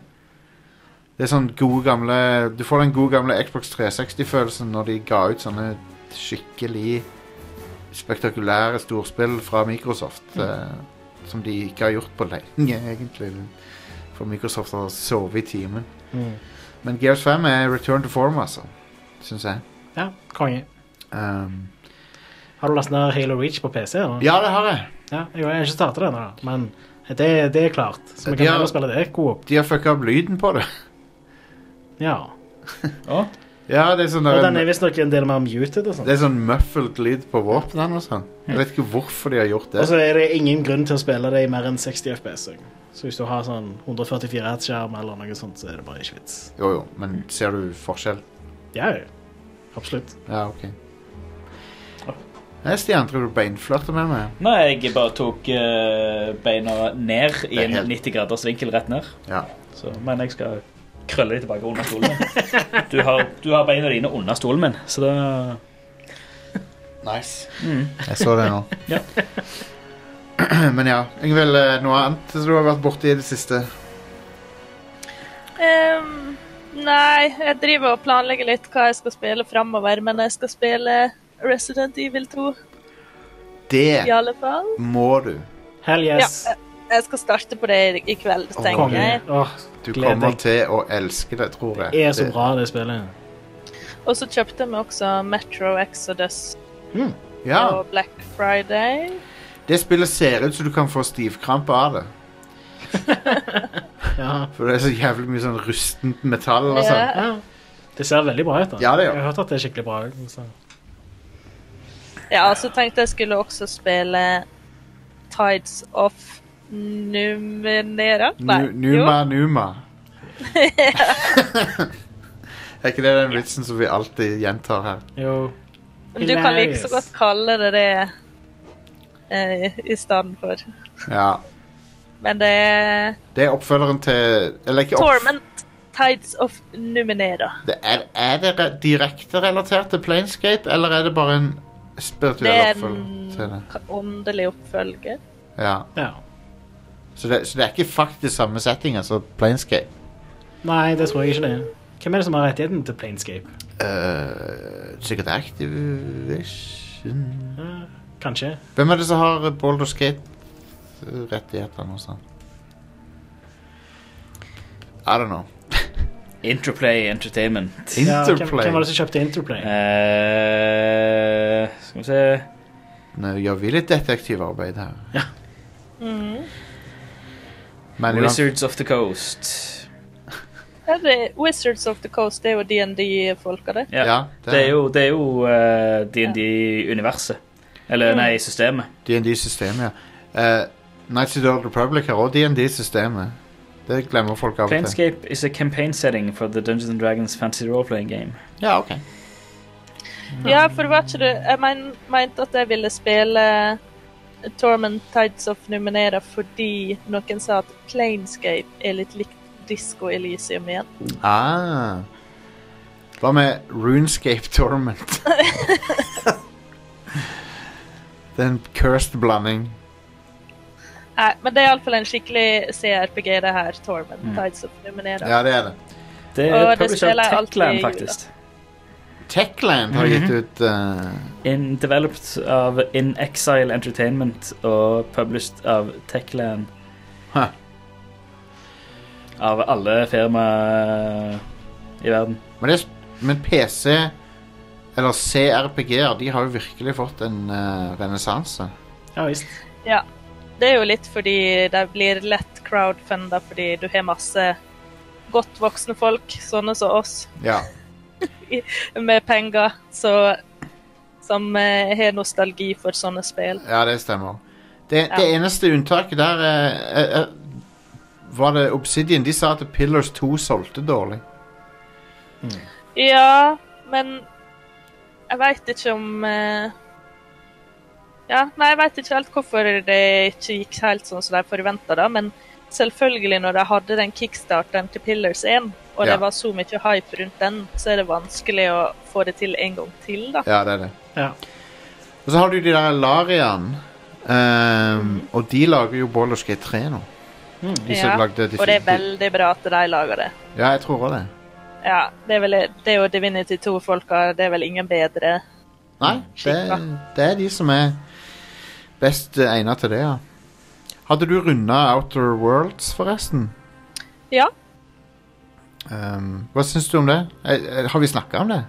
Speaker 1: Det er sånn gode gamle Du får den gode gamle Xbox 360-følelsen når de ga ut sånne skikkelig spektakulære storspill fra Microsoft. eh, som de ikke har gjort på lenge, egentlig. For Microsoft har sovet i timen. Men Gears 5 er return to form, altså. Syns jeg.
Speaker 3: Ja, konge.
Speaker 1: Um,
Speaker 3: Har du lastet ned Halo Reach på PC? Eller?
Speaker 1: ja, det har jeg.
Speaker 3: ja. Jeg har ikke startet det ennå, da, men det, det er klart. Så vi kan
Speaker 1: Ja.
Speaker 3: heller spille det. God opp.
Speaker 1: De har fucka opp lyden på det. (laughs)
Speaker 3: Ja.
Speaker 2: Å,
Speaker 1: Ja, det er sånn,
Speaker 3: Og
Speaker 1: der,
Speaker 3: den er visstnok en del mer muted og sånn.
Speaker 1: det er sånn muffled lyd på våpnene og sånn. Jeg vet ikke hvorfor de har gjort
Speaker 3: Og
Speaker 1: det.
Speaker 3: så er det ingen grunn til å spille det i mer enn 60 FPS. også. Så hvis du har sånn 144 Hz-skjerm eller noe sånt, så er det bare ikke vits.
Speaker 1: Jo, jo, men ser du forskjell?
Speaker 3: Ja, ja. absolutt.
Speaker 1: Ja, OK. Nei, Stian, tror du beinflørter med meg?
Speaker 2: Nei, jeg bare tok eh, beina ned i
Speaker 1: er
Speaker 2: en
Speaker 1: helt-
Speaker 2: 90 graders vinkel rett ned.
Speaker 1: Ja.
Speaker 2: Så, men jeg skal krølle de tilbake under stolen min. Du har, du har beina dine under stolen min, så da
Speaker 1: Nice. Jeg så det nå.
Speaker 2: Ja.
Speaker 1: (clears throat) Men ja. Ingvild, eh, noe annet som du har vært borti i det siste?
Speaker 8: Ehm, nei, jeg driver og planlegger litt hva jeg skal spille framover, men jeg skal spille Resident Evil 2 i
Speaker 1: Det
Speaker 8: alle fall.
Speaker 1: må du.
Speaker 3: Hell yes.
Speaker 8: Ja, Jeg skal starte på det i kveld, tenker
Speaker 1: Konge.
Speaker 8: jeg.
Speaker 3: Åh,
Speaker 1: Du
Speaker 3: Gleder
Speaker 1: kommer
Speaker 3: deg.
Speaker 1: til å elske det, tror jeg.
Speaker 3: det er så
Speaker 1: Det-
Speaker 3: bra, det spillet.
Speaker 8: Og så kjøpte vi også Metro Exodus
Speaker 1: Ja,
Speaker 8: på Black Friday.
Speaker 1: Det spillet ser ut som du kan få stivkrampe av det.
Speaker 3: (laughs) Ja.
Speaker 1: For det er så jævlig mye sånn rustent metall og sånn.
Speaker 8: Ja,
Speaker 3: ja. Det ser veldig bra ut. da.
Speaker 1: Ja, det gjør.
Speaker 3: Jeg har hørt at det er skikkelig bra. altså. ut, Så.
Speaker 8: ja, og så tenkte jeg skulle også spille Tides of Numenera. Nei,
Speaker 1: Nu- Numa
Speaker 8: (laughs)
Speaker 1: Numa. er ikke det den vitsen som vi alltid gjentar her?
Speaker 3: Jo.
Speaker 8: Men Du kan like så
Speaker 3: Hilarious.
Speaker 8: godt kalle det det eh, i stedet for.
Speaker 1: Ja.
Speaker 8: Men det er
Speaker 1: Det er oppfølgeren til Eller ikke opp,
Speaker 8: Torment Tides of Numenera.
Speaker 1: det er, er det re- direkte relatert til Planescape, eller er det bare en
Speaker 8: Det
Speaker 1: spirituell
Speaker 8: er
Speaker 1: oppfølger til det?
Speaker 8: en åndelig oppfølger.
Speaker 1: Ja.
Speaker 3: Ja.
Speaker 1: Så, det? så det er ikke faktisk samme setting, altså Planescape.
Speaker 3: Nei, det tror jeg ikke det. er. Hvem er det som har rettigheten til Planescape?
Speaker 1: Eh, sikkert Activision
Speaker 3: Kanskje.
Speaker 1: Hvem er det som har Boulder Skate-rettighetene og sånn? I don't know.
Speaker 2: Interplay Entertainment.
Speaker 3: Ja, hvem, hvem
Speaker 1: Interplay.
Speaker 3: var det som kjøpte Interplay?
Speaker 2: Eh, skal vi se
Speaker 1: Nå gjør vi litt detektivarbeid her. Mm-hmm.
Speaker 3: Ja.
Speaker 1: Men uansett,
Speaker 2: Wizards of the Coast.
Speaker 8: Her er Wizards of the Coast det er jo DND-folka, det.
Speaker 2: Ja.
Speaker 1: Ja, det er-
Speaker 2: det, er jo, det er jo eh, DND-universet. Eller nei, systemet.
Speaker 1: DND-systemet, ja. Eh, Knights of the Old Republic har også DND-systemet. Det glemmer folk av og til.
Speaker 2: Planescape is a campaign setting for the Dungeons and Dragons fantasy role-playing game.
Speaker 1: Ja, ok. Mm.
Speaker 8: Ja, for det var ikke det Jeg men, mente at jeg ville spille Torment Tides of Numenera fordi noen sa at Planescape er litt likt Disco Elysium igjen.
Speaker 1: Ah. Hva med Runescape Torment? det er en cursed blanding.
Speaker 8: Nei, men det er iallfall en skikkelig CRPG, det her. Torment Tides of Numenera.
Speaker 1: Ja, det er det.
Speaker 2: Det
Speaker 8: Og
Speaker 2: er
Speaker 8: det
Speaker 2: publisert
Speaker 8: spiller jeg alltid i
Speaker 2: Techland,
Speaker 8: jula.
Speaker 2: faktisk.
Speaker 1: Techland har gitt ut eh,
Speaker 2: In, developed av In Exile Entertainment og published av Techland.
Speaker 1: Huh.
Speaker 2: Av alle firmaer i verden.
Speaker 1: men, det, er s- men PC, eller CRPG-er, de har jo virkelig fått en uh, renessanse.
Speaker 3: Ja visst.
Speaker 8: Ja. Det er jo litt fordi de blir lett crowdfunda fordi du har masse godt voksne folk, sånne som oss,
Speaker 1: Ja.
Speaker 8: med penger, så som eh, har nostalgi for sånne spill.
Speaker 1: Ja, det stemmer. Det, det eneste unntaket der eh, eh, eh, var det Obsidian. De sa at Pillars 2 solgte dårlig.
Speaker 8: Ja, men jeg veit ikke om eh, Ja, nei, jeg veit ikke helt hvorfor det ikke gikk helt sånn som de forventa, da, men selvfølgelig, når de hadde den kickstarteren til Pillars 1, og
Speaker 1: Ja.
Speaker 8: det var så mye hype rundt den, så er det vanskelig å få det til en gang til, da.
Speaker 1: Ja, det er det.
Speaker 3: Ja.
Speaker 1: Og så har du de der Larian. ehm, og de lager jo Baldur's Gate 3 nå. De som
Speaker 8: Ja,
Speaker 1: lagde de
Speaker 8: Og det er
Speaker 1: fire-
Speaker 8: veldig bra at de lager det.
Speaker 1: Ja, jeg tror også det.
Speaker 8: Ja, det er, vel, det er jo Divinity 2-folka, det er vel ingen bedre.
Speaker 1: Nei,
Speaker 3: Mm,
Speaker 1: det, det er de som er best eh, egnet til det, ja. Hadde du runda Outer Worlds, forresten?
Speaker 8: Ja,
Speaker 1: Ehm, hva syns du om det? Eh, eh, har vi snakka om det?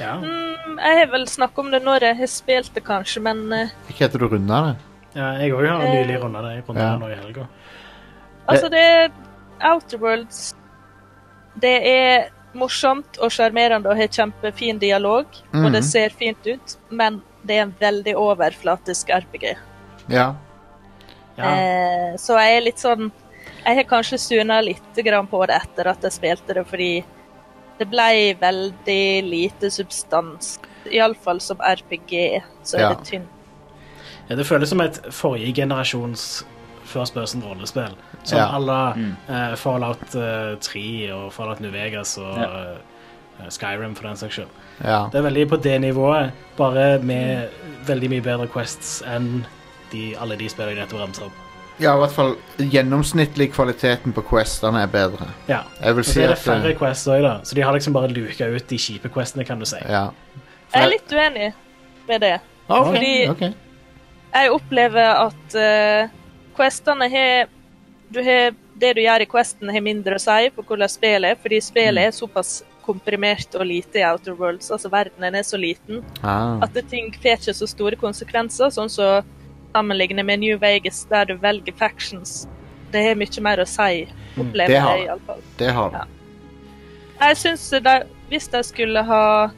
Speaker 3: Ja.
Speaker 8: mm, jeg har vel snakket om det når jeg har spilt det, kanskje, men eh,
Speaker 1: Ikke etter du runda det?
Speaker 3: ja jeg òg har nylig runda det. Jeg rundet
Speaker 1: Ja.
Speaker 3: det nå i helga.
Speaker 8: Altså,
Speaker 1: Eh.
Speaker 8: det er Outerworlds Det er morsomt og sjarmerende og har kjempefin dialog, og
Speaker 1: Mhm.
Speaker 8: det ser fint ut, men det er en veldig overflatisk RPG.
Speaker 1: Ja.
Speaker 3: Ja.
Speaker 8: Eh, så jeg er litt sånn Jeg har kanskje suna litt grann på det etter at jeg spilte det, fordi det ble veldig lite substans. Iallfall som RPG, så er
Speaker 1: Ja.
Speaker 8: det tynt.
Speaker 3: Ja, det føles som et forrige generasjons First Person rollespill. Som
Speaker 1: Ja. Mm.
Speaker 3: alle eh, Fallout eh, 3 og Fallout New Vegas og eh, Skyrim, for den saks skyld.
Speaker 1: ja.
Speaker 3: Det er veldig på det nivået, bare med veldig mye bedre quests enn de, alle de spillene jeg nettopp ramset opp.
Speaker 1: Ja, i hvert fall gjennomsnittlig kvaliteten på questene er bedre.
Speaker 3: Ja.
Speaker 1: Jeg vil
Speaker 3: Og
Speaker 1: si
Speaker 3: så er det
Speaker 1: at
Speaker 3: færre
Speaker 1: eh,
Speaker 3: quests òg, da, så de har liksom bare luka ut de kjipe questene, kan du si.
Speaker 1: eh, Ja.
Speaker 8: Jeg er litt uenig med det.
Speaker 1: OK.
Speaker 8: Fordi-
Speaker 1: ok.
Speaker 8: Jeg opplever at eh, questene har du har Det du gjør i questen, har mindre å si på hvordan spillet er, fordi spillet
Speaker 1: Mm.
Speaker 8: er såpass komprimert og lite i Outer Worlds. Altså, verdenen er så liten
Speaker 1: Ah.
Speaker 8: at det ting får ikke så store konsekvenser, sånn som sammenlignet med New Vegas, der du velger factions. Det har mye mer å si,
Speaker 1: Mm.
Speaker 8: opplever
Speaker 1: det har
Speaker 8: jeg
Speaker 1: det.
Speaker 8: iallfall.
Speaker 1: Det har du.
Speaker 8: Ja. Jeg syns de Hvis de skulle ha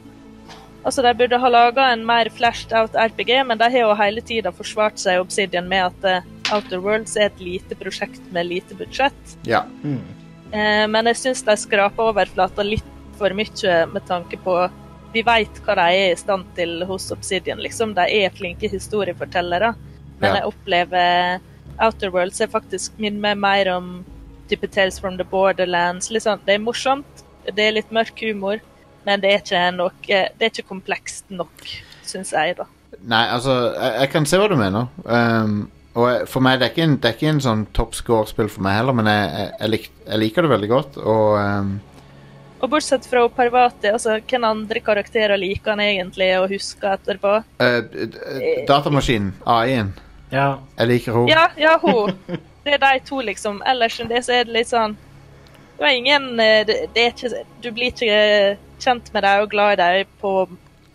Speaker 8: Altså, de burde ha laga en mer flashed out RPG, men de har jo hele tida forsvart seg Obsidian med at eh, Outer Worlds er et lite prosjekt med lite budsjett.
Speaker 1: Ja.
Speaker 8: Eh, men jeg syns de skraper overflata litt for mye med tanke på Vi veit hva de er i stand til hos Obsidian, liksom. De er flinke historiefortellere. men
Speaker 1: Ja.
Speaker 8: jeg opplever Outer Worlds er faktisk minner meg mer om type Tales from the Borderlands. Litt sånn, det er morsomt, det er litt mørk humor, men det er ikke, nok, eh, det er ikke komplekst nok, syns jeg, da.
Speaker 1: Nei, altså, jeg, jeg kan se hva du mener. Ehm, og jeg, for meg, det er ikke en, det er ikke en sånn toppscore-spill for meg heller, men jeg, jeg, jeg, lik, jeg liker det veldig godt, og ehm,
Speaker 8: Og bortsett fra Parvati, altså, hvem andre karakterer liker han egentlig og husker etterpå?
Speaker 1: eh, d- d- Datamaskinen, AI-en,
Speaker 3: Ja.
Speaker 1: jeg liker henne.
Speaker 8: Ja, ja, hun. Det er de to, liksom. Ellers enn det så er det litt sånn Det er ingen eh, det, det er ikke, Du blir ikke eh, kjent med dem og glad i dem på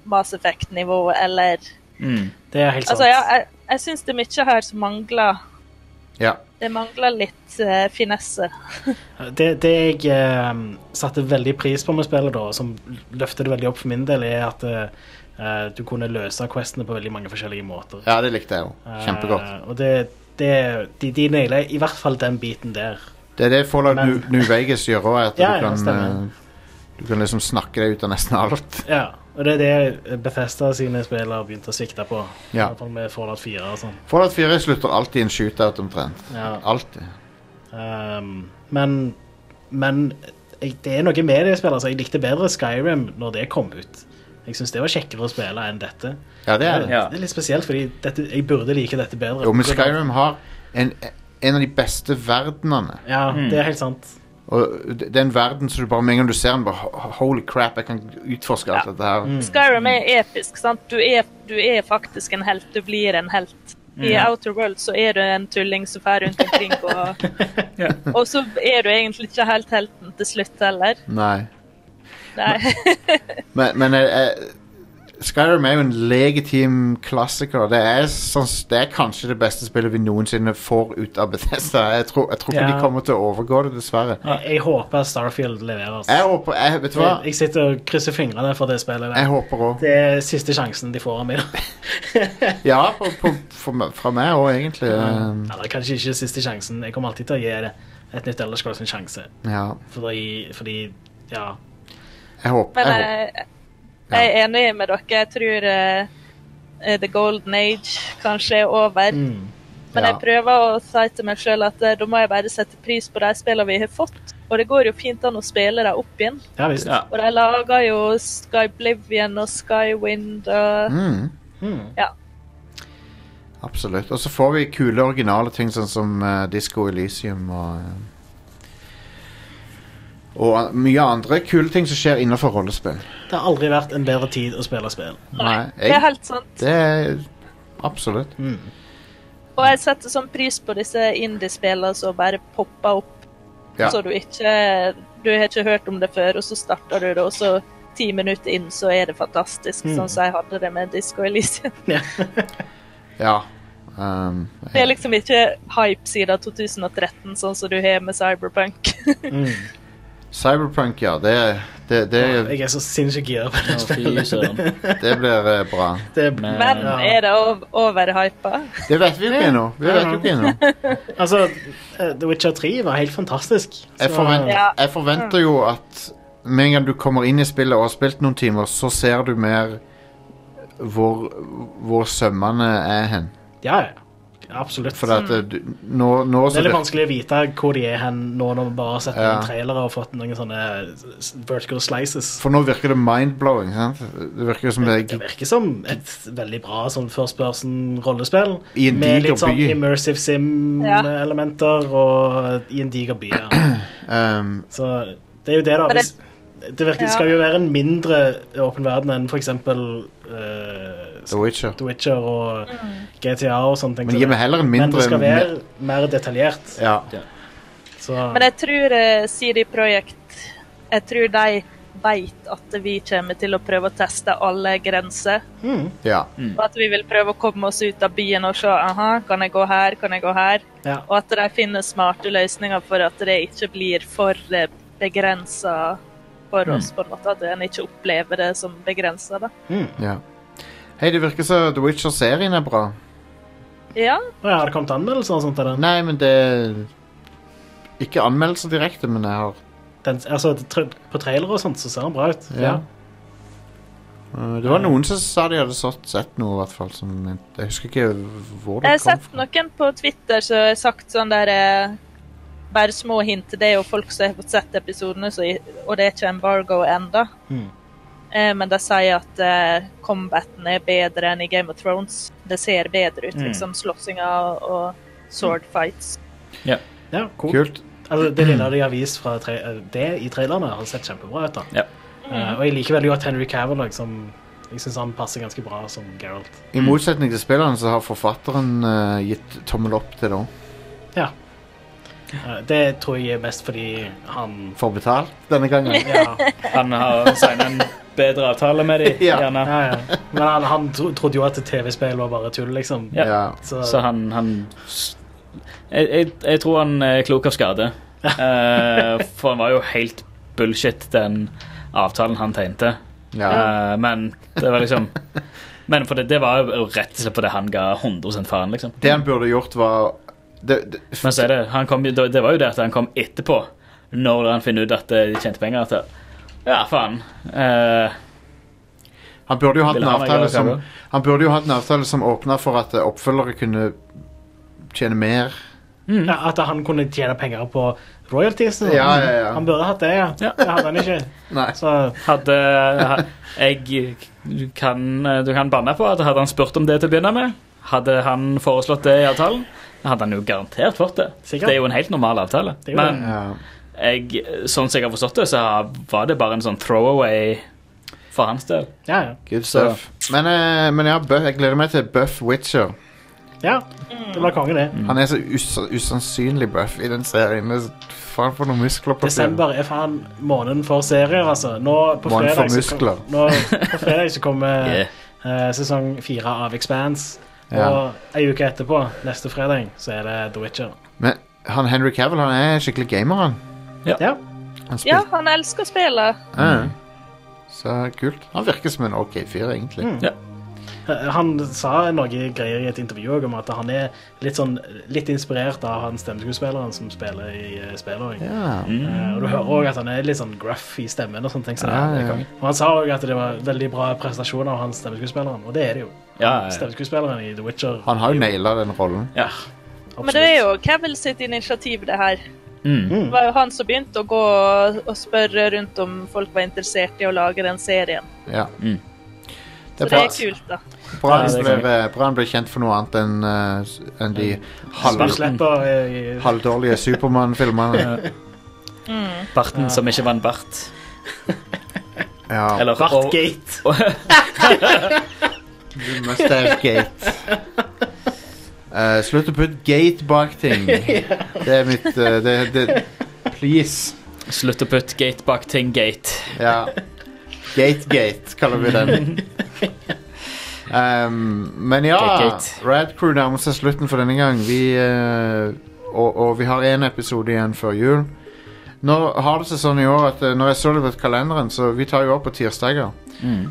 Speaker 8: Mass Effect-nivå eller
Speaker 2: Mm.
Speaker 3: Det er helt sant.
Speaker 8: Altså, ja, jeg, jeg syns det er mye her som mangler.
Speaker 1: Ja.
Speaker 8: Det mangler litt eh, finesse.
Speaker 3: Det, det jeg eh, satte veldig pris på med spillet, da, som løfter det veldig opp for min del, er at eh, du kunne løse questene på veldig mange forskjellige måter.
Speaker 1: ja, det likte jeg òg. Kjempegodt.
Speaker 3: Eh, og det, det, de, de nailer i hvert fall den biten der.
Speaker 1: Det er det Fallout
Speaker 3: men-
Speaker 1: New- New Vegas gjør òg, at
Speaker 3: (laughs) Ja, ja,
Speaker 1: du kan
Speaker 3: stemmer.
Speaker 1: eh, Du kan liksom snakke deg ut av nesten alt. (laughs)
Speaker 3: Ja, og det er det Bethesda sine spill har begynt å svikte på. I
Speaker 1: Ja.
Speaker 3: hvert fall med Fallout 4 og sånn.
Speaker 1: Fallout 4 slutter alltid i en shootout, omtrent.
Speaker 3: Ja.
Speaker 1: Alltid.
Speaker 3: Ehm, men men jeg, det er noe med det spillet. Altså, jeg likte bedre Skyrim når det kom ut. Jeg syns det var kjekkere å spille enn dette.
Speaker 1: Ja, det er det.
Speaker 2: Ja.
Speaker 3: Det er litt spesielt, fordi dette, jeg burde like dette bedre.
Speaker 1: Jo, men Skyrim har en, en av de beste verdenene.
Speaker 3: Ja, det er helt sant.
Speaker 1: Og det det er en verden som du bare med en gang du ser den, bare ho- Holy crap, jeg kan utforske alt dette her.
Speaker 8: Skyrim er episk, sant? Du er, du er faktisk en helt. Du blir en helt. I Outer World så er du en tulling som fer rundt omkring, og,
Speaker 2: Ja.
Speaker 8: og så er du egentlig ikke helt helten til slutt heller.
Speaker 1: Nei.
Speaker 8: Nei.
Speaker 1: Men, men jeg, jeg, Skyrim er jo en legitim klassiker. Det er, sånn- det er kanskje det beste spillet vi noensinne får ut av Bethesda. Jeg tror, jeg tror ikke
Speaker 3: Ja.
Speaker 1: de kommer til å overgå det, dessverre.
Speaker 3: Jeg, jeg håper Starfield leverer. altså.
Speaker 1: Jeg håper jeg, Vet du hva?
Speaker 3: Jeg, jeg sitter og krysser fingrene for det spillet.
Speaker 1: Jeg
Speaker 3: Der.
Speaker 1: håper òg.
Speaker 3: Det er siste sjansen de får av meg. da.
Speaker 1: (laughs) Ja, på, på, for, meg- fra meg òg, egentlig. Um,
Speaker 3: Eller kanskje ikke siste sjansen. Jeg kommer alltid til å gi det et nytt Elder Scrolls en sjanse.
Speaker 1: Ja.
Speaker 3: Fordi, fordi ja.
Speaker 1: Jeg håper,
Speaker 8: Men eh,
Speaker 1: jeg håper.
Speaker 8: jeg, jeg er enig med dere. Jeg tror eh, eh, The Golden Age kanskje er over.
Speaker 3: Mm.
Speaker 8: Men
Speaker 1: Mm, Ja.
Speaker 8: jeg prøver å si til meg sjøl at eh, da må jeg bare sette pris på de spillene vi har fått. Og det går jo fint an å spille dem opp igjen.
Speaker 3: Ja visst.
Speaker 2: Ja.
Speaker 8: Og de lager jo Skyblivion og Skywind og
Speaker 1: Mm.
Speaker 8: Ja.
Speaker 1: Absolutt. Og så får vi kule originale ting sånn som uh, Disco Elysium og eh, Og an- mye andre kule ting som skjer innenfor rollespill.
Speaker 3: Det har aldri vært en bedre tid å spille spill. (laughs)
Speaker 1: Nei,
Speaker 8: Det er
Speaker 1: jeg,
Speaker 8: helt sant.
Speaker 1: det er absolutt.
Speaker 8: Og jeg setter sånn pris på disse indiespillene som bare popper opp.
Speaker 1: Ja.
Speaker 8: Så du ikke Du har ikke hørt om det før, og så starter du det, og så ti minutter inn så er det fantastisk, sånn som jeg hadde det med Disco Elysium.
Speaker 1: ja. Um,
Speaker 8: Det er liksom ikke hype siden 2013, sånn som du har med Cyberpunk.
Speaker 1: Cyberpunk, ja. Det, det, det,
Speaker 3: Jeg er så sinnssykt gira på det
Speaker 2: Å, Fy
Speaker 3: spillet. (laughs)
Speaker 2: søren.
Speaker 1: det blir eh, bra.
Speaker 3: Det,
Speaker 8: (laughs) Men
Speaker 3: Ja.
Speaker 8: er det ov overhypa?
Speaker 1: Det vet vi jo ikke ennå. Vi vet jo ikke ennå.
Speaker 3: altså, eh, The Witcher 3 var helt fantastisk.
Speaker 1: Jeg,
Speaker 3: Så-
Speaker 1: forvent,
Speaker 8: Ja.
Speaker 1: jeg forventer jo at med en gang du kommer inn i spillet og har spilt noen timer, så ser du mer hvor, hvor sømmene er hen.
Speaker 3: Ja, ja. Absolutt.
Speaker 1: For at eh, du, nå, nå
Speaker 3: Det
Speaker 1: så
Speaker 3: er litt
Speaker 1: det,
Speaker 3: vanskelig å vite hvor de er hen nå når vi bare har sett
Speaker 1: Ja.
Speaker 3: noen trailere og fått noen sånne s- vertical slices.
Speaker 1: For nå virker det mind-blowing. sant? Det virker som det er
Speaker 3: Det
Speaker 1: gi-
Speaker 3: virker som et veldig bra sånn first person-rollespill.
Speaker 1: I en
Speaker 3: Med
Speaker 1: diger
Speaker 3: litt sånn
Speaker 1: by.
Speaker 3: immersive sim-elementer og i en diger by. Ja.
Speaker 1: ehm,
Speaker 3: Så det er jo det, da.
Speaker 8: Men det-
Speaker 3: Hvis, det virker,
Speaker 8: Ja.
Speaker 3: skal jo være en mindre åpen verden enn for eksempel eh,
Speaker 1: The Witcher.
Speaker 3: The Witcher og
Speaker 8: Mm.
Speaker 3: GTA og sånne ting.
Speaker 1: Men gi
Speaker 3: så det-
Speaker 1: meg heller en
Speaker 3: men det
Speaker 1: mindre
Speaker 3: skal være mer detaljert.
Speaker 1: Ja.
Speaker 3: Så,
Speaker 8: Men jeg tror eh, CD Projekt Jeg tror de veit at vi kommer til å prøve å teste alle grenser.
Speaker 1: ja.
Speaker 8: Og at vi vil prøve å komme oss ut av byen og se aha, kan jeg gå her, kan jeg gå her.
Speaker 3: ja.
Speaker 8: Og at de finner smarte løsninger for at det ikke blir for begrensa for oss, på en måte. At en ikke opplever det som begrensa. da.
Speaker 1: ja. Hei, det virker som The Witcher-serien er bra.
Speaker 8: Ja,
Speaker 3: Å ja, har det kommet anmeldelser og sånt? av den?
Speaker 1: Nei, men det Ikke anmeldelser direkte, men jeg har
Speaker 3: Den, altså, tr- på trailer og sånt så ser den bra ut.
Speaker 1: Ja. Eh, Det var noen som sa de hadde sått, sett noe, i hvert fall. Som, jeg husker ikke hvor
Speaker 8: Jeg
Speaker 1: det kom
Speaker 8: har sett
Speaker 1: fra.
Speaker 8: noen på Twitter som har sagt sånn der eh, Bare små hint. Det er jo folk som har fått sett episodene, så, og det er ikke embargo ennå.
Speaker 1: Hmm.
Speaker 3: Mhm.
Speaker 8: Eh, men de sier at eh, combaten er bedre enn i Game of Thrones. Det ser bedre
Speaker 1: Hmm.
Speaker 8: ut,
Speaker 2: Mhm.
Speaker 8: liksom. Slåssinga og sword fights.
Speaker 3: Ja, cool.
Speaker 1: Kult.
Speaker 3: Altså,
Speaker 2: Mm.
Speaker 3: det lille de har vist fra tra eh, det i trailerne, har sett kjempebra ut. da.
Speaker 2: Ja.
Speaker 3: Eh, og jeg liker veldig godt Henry Cavill. Liksom, jeg syns han passer ganske bra som Geralt.
Speaker 1: I motsetning til spillerne så har forfatteren eh, gitt tommel opp til det òg.
Speaker 3: Eh, det tror jeg er best fordi
Speaker 1: (laughs)
Speaker 3: han
Speaker 1: Får betalt denne
Speaker 3: (laughs)
Speaker 1: gangen.
Speaker 3: Ja,
Speaker 2: Han har signet en bedre avtale med (laughs) dem,
Speaker 1: Ja.
Speaker 2: gjerne.
Speaker 3: ja, ja. Men han, han tro trodde jo at TV-spill var bare tull, liksom.
Speaker 2: Ja.
Speaker 1: Ja.
Speaker 3: Så,
Speaker 2: Så han, han jeg, jeg, jeg tror han er klok av skade. Eh, for han var jo helt bullshit, den avtalen han tegnte.
Speaker 1: ja.
Speaker 2: Eh, men det var liksom Men for det, det var jo rett og slett fordi han ga 100 faen, liksom.
Speaker 1: Det han burde gjort, var det, det,
Speaker 2: Men så er det han kom, jo- Det var jo det at han kom etterpå, når han finner ut at de tjente penger. At ja, faen. Eh,
Speaker 1: Han burde jo hatt
Speaker 2: Vil
Speaker 1: en
Speaker 2: han være
Speaker 1: avtale som
Speaker 2: glad i
Speaker 1: Han burde jo hatt en avtale som åpna for at eh, oppfølgere kunne tjene mer.
Speaker 3: ja, at han kunne tjene penger på royalties. og-
Speaker 1: Ja, ja, ja.
Speaker 3: Han burde hatt det, ja.
Speaker 2: Ja.
Speaker 3: Det hadde han ikke.
Speaker 1: (laughs) Nei.
Speaker 3: Så
Speaker 2: hadde ha- Jeg du kan, du kan banne på at hadde han spurt om det til å begynne med, hadde han foreslått det i avtalen, hadde han jo garantert fått det.
Speaker 3: Sikkert.
Speaker 2: Det er jo en helt normal avtale.
Speaker 3: Det er jo
Speaker 2: Men
Speaker 1: Ja.
Speaker 2: jeg, sånn som jeg har forstått det, så har- var det bare en sånn throwaway for hans del.
Speaker 3: ja, ja.
Speaker 1: Good stuff. Men, eh, men ja, Buff, jeg gleder meg til Buff Witcher.
Speaker 3: ja. Det blir konge, det.
Speaker 1: Han er så us usannsynlig buff i den serien. Det er så- Faen for noen muskler på
Speaker 3: Desember er faen måneden for serier, altså. Nå på
Speaker 1: Måneden
Speaker 3: fredag,
Speaker 1: for
Speaker 3: så,
Speaker 1: muskler.
Speaker 3: kom, nå, på fredag så
Speaker 8: (laughs)
Speaker 3: kommer
Speaker 2: Yeah.
Speaker 3: eh, sesong fire av Expanse.
Speaker 1: Ja.
Speaker 3: Og ei uke etterpå, neste fredag, så er det The Witcher.
Speaker 1: Men han Henry Cavill han er skikkelig gamer, han.
Speaker 3: Ja.
Speaker 1: han spil-
Speaker 8: Ja, han elsker å spille.
Speaker 1: Ja. Så kult. Han virker som en OK fyr, egentlig.
Speaker 3: Eh, Han sa noe greier i et intervju også om at han er litt, sånn, litt inspirert av han stemmeskuespilleren som spiller i eh, spillet. også.
Speaker 1: Ja.
Speaker 3: Eh, og du hører òg at han er litt sånn gruff i stemmen. og sånne ting. Så det,
Speaker 1: Ja,
Speaker 3: det
Speaker 1: ja.
Speaker 3: er konge. Og han sa òg at det var veldig bra prestasjoner av han stemmeskuespilleren, og det er det jo.
Speaker 2: Ja, ja.
Speaker 3: Stemmeskuespilleren i The Witcher.
Speaker 1: Han har jo naila den rollen.
Speaker 2: ja.
Speaker 8: Men det er jo Cavill sitt initiativ, det her.
Speaker 1: Hmm.
Speaker 2: Mm.
Speaker 8: Det var jo han som begynte å gå og spørre rundt om folk var interessert i å lage den serien.
Speaker 1: Ja.
Speaker 2: Mm.
Speaker 1: Det
Speaker 8: Så
Speaker 1: er
Speaker 8: det
Speaker 1: bra,
Speaker 8: er kult, da.
Speaker 1: bra, han
Speaker 2: Ja, det er
Speaker 1: ble, bra han ble kjent for noe annet enn eh, s- enn de halv...
Speaker 3: absolutt. Du slipper eh, i-
Speaker 1: halvdårlige Supermann-filmene.
Speaker 2: Barten som ikke var en bart.
Speaker 1: Ja.
Speaker 2: Eller
Speaker 3: Bartgate.
Speaker 1: Mustache Gate. (laughs) Eh, slutt å putte gate bak ting.
Speaker 2: (laughs)
Speaker 1: Det er mitt eh, det, det, Please.
Speaker 2: og Slutt å putte gate bak ting gate.
Speaker 1: Ja. Gate-gate kaller vi (laughs) den. Um, men ja,
Speaker 2: Gate-gate.
Speaker 1: Rad Crew nærmer seg slutten for denne gang. Vi, eh, og, og vi har én episode igjen før jul. Nå har det seg sånn i år at eh, når jeg så det på kalenderen, så vi tar jo opp på tirsdager.
Speaker 2: Mm.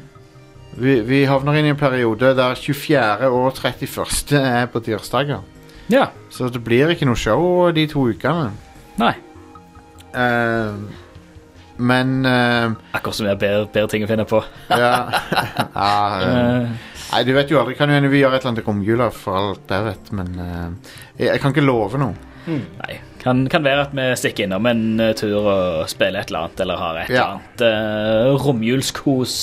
Speaker 1: Vi, vi havner inn i en periode der 24. og 31. er på tirsdager.
Speaker 2: Ja.
Speaker 1: Så det blir ikke noe show de to ukene.
Speaker 2: Nei.
Speaker 1: Eh, men eh,
Speaker 2: Akkurat som det er bedre, bedre ting å finne på.
Speaker 1: Ja. (laughs) ja eh,
Speaker 2: Eh,
Speaker 1: Nei, du vet jo aldri. Kan jo hende vi gjør et eller annet til romjula for alt jeg vet, men eh, jeg, jeg kan ikke love noe.
Speaker 2: Nei, kan, kan være at vi stikker innom en eh, tur og spiller et eller annet, eller har et
Speaker 1: Ja.
Speaker 2: eller annet eh, romjulskos.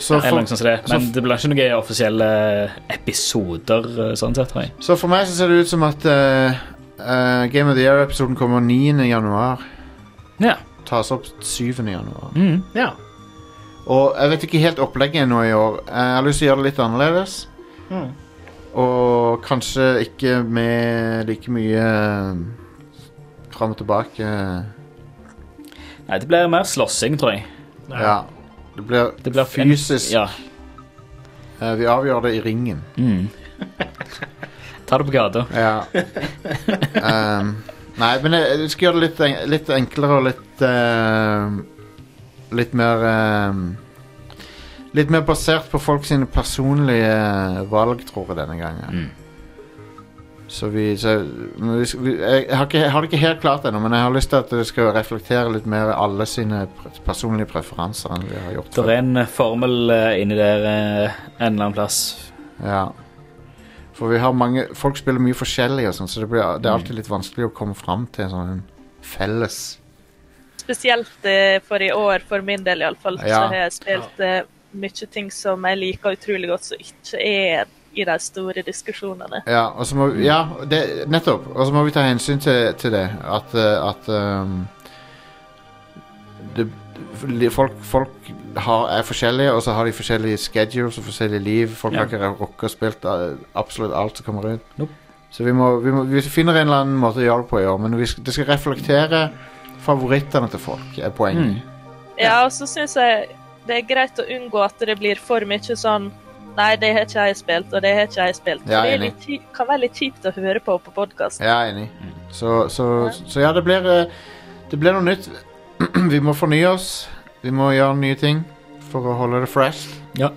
Speaker 1: Så
Speaker 2: eller noe
Speaker 1: for,
Speaker 2: sånt som det. Men
Speaker 1: så-
Speaker 2: det blir ikke noen offisielle eh, episoder, eh, sånn sett, tror jeg.
Speaker 1: så for meg så ser det ut som at eh, eh, Game of the Year-episoden kommer 9. januar.
Speaker 2: Ja.
Speaker 1: Tas opp 7. januar.
Speaker 2: Mm.
Speaker 3: Ja.
Speaker 1: Og jeg vet ikke helt opplegget ennå i år. Eh, Jeg har lyst til å gjøre det litt annerledes.
Speaker 3: Mm.
Speaker 1: Og kanskje ikke med like mye eh, fram og tilbake.
Speaker 2: Nei, det blir mer slåssing, tror jeg.
Speaker 1: Ja. Det blir,
Speaker 2: Det blir en-
Speaker 1: fysisk.
Speaker 2: Ja.
Speaker 1: Eh, vi avgjør det i ringen.
Speaker 2: Mm. Ta det på gata.
Speaker 1: Ja. um, nei, men jeg, jeg skal gjøre det litt, en, litt enklere og litt ehm, Litt mer ehm, Litt mer
Speaker 2: Mm.
Speaker 1: basert på folk sine personlige valg, tror jeg, denne gangen. Så vi, så, men vi, skal- vi jeg, har ikke, jeg har det ikke helt klart ennå, men jeg har lyst til at det skal reflektere litt mer alle sine pr- personlige preferanser enn vi har gjort
Speaker 2: Det er en formel eh, inni der eh, en eller annen plass.
Speaker 1: Ja. For vi har mange Folk spiller mye forskjellig, og sånn, så det, blir, det er alltid litt vanskelig å komme fram til en sånn felles
Speaker 8: Spesielt eh, for i år, for min del iallfall,
Speaker 1: Ja.
Speaker 8: så har jeg spilt eh, mye ting som jeg liker utrolig godt, som ikke er i de store diskusjonene.
Speaker 1: Ja, og så må, vi- ja det, nettopp. Og så må vi ta hensyn til, til det. At, eh, at ehm, det, li- folk, folk har, er forskjellige, og så har de forskjellige schedules og forskjellige liv. Folk har ikke rukket å spilt eh, absolutt alt som kommer ut.
Speaker 2: Nope.
Speaker 1: Så vi, må, vi, må, vi finner en eller annen måte å gjøre det på i år, men vi skal, det skal reflektere favorittene til folk, er poenget.
Speaker 8: Ja, og så syns jeg det er greit å unngå at det blir for mye sånn Nei, det har ikke jeg spilt, og det har ikke jeg spilt.
Speaker 1: Ja,
Speaker 8: det er
Speaker 1: enig.
Speaker 8: litt, kji- kan være litt kjipt å høre på på podkast.
Speaker 1: Jeg er enig. Så, så, så ja, det blir eh, Det blir noe nytt. (clears throat) Vi må fornye oss. Vi må gjøre nye ting for å holde det fresh.
Speaker 2: Ja.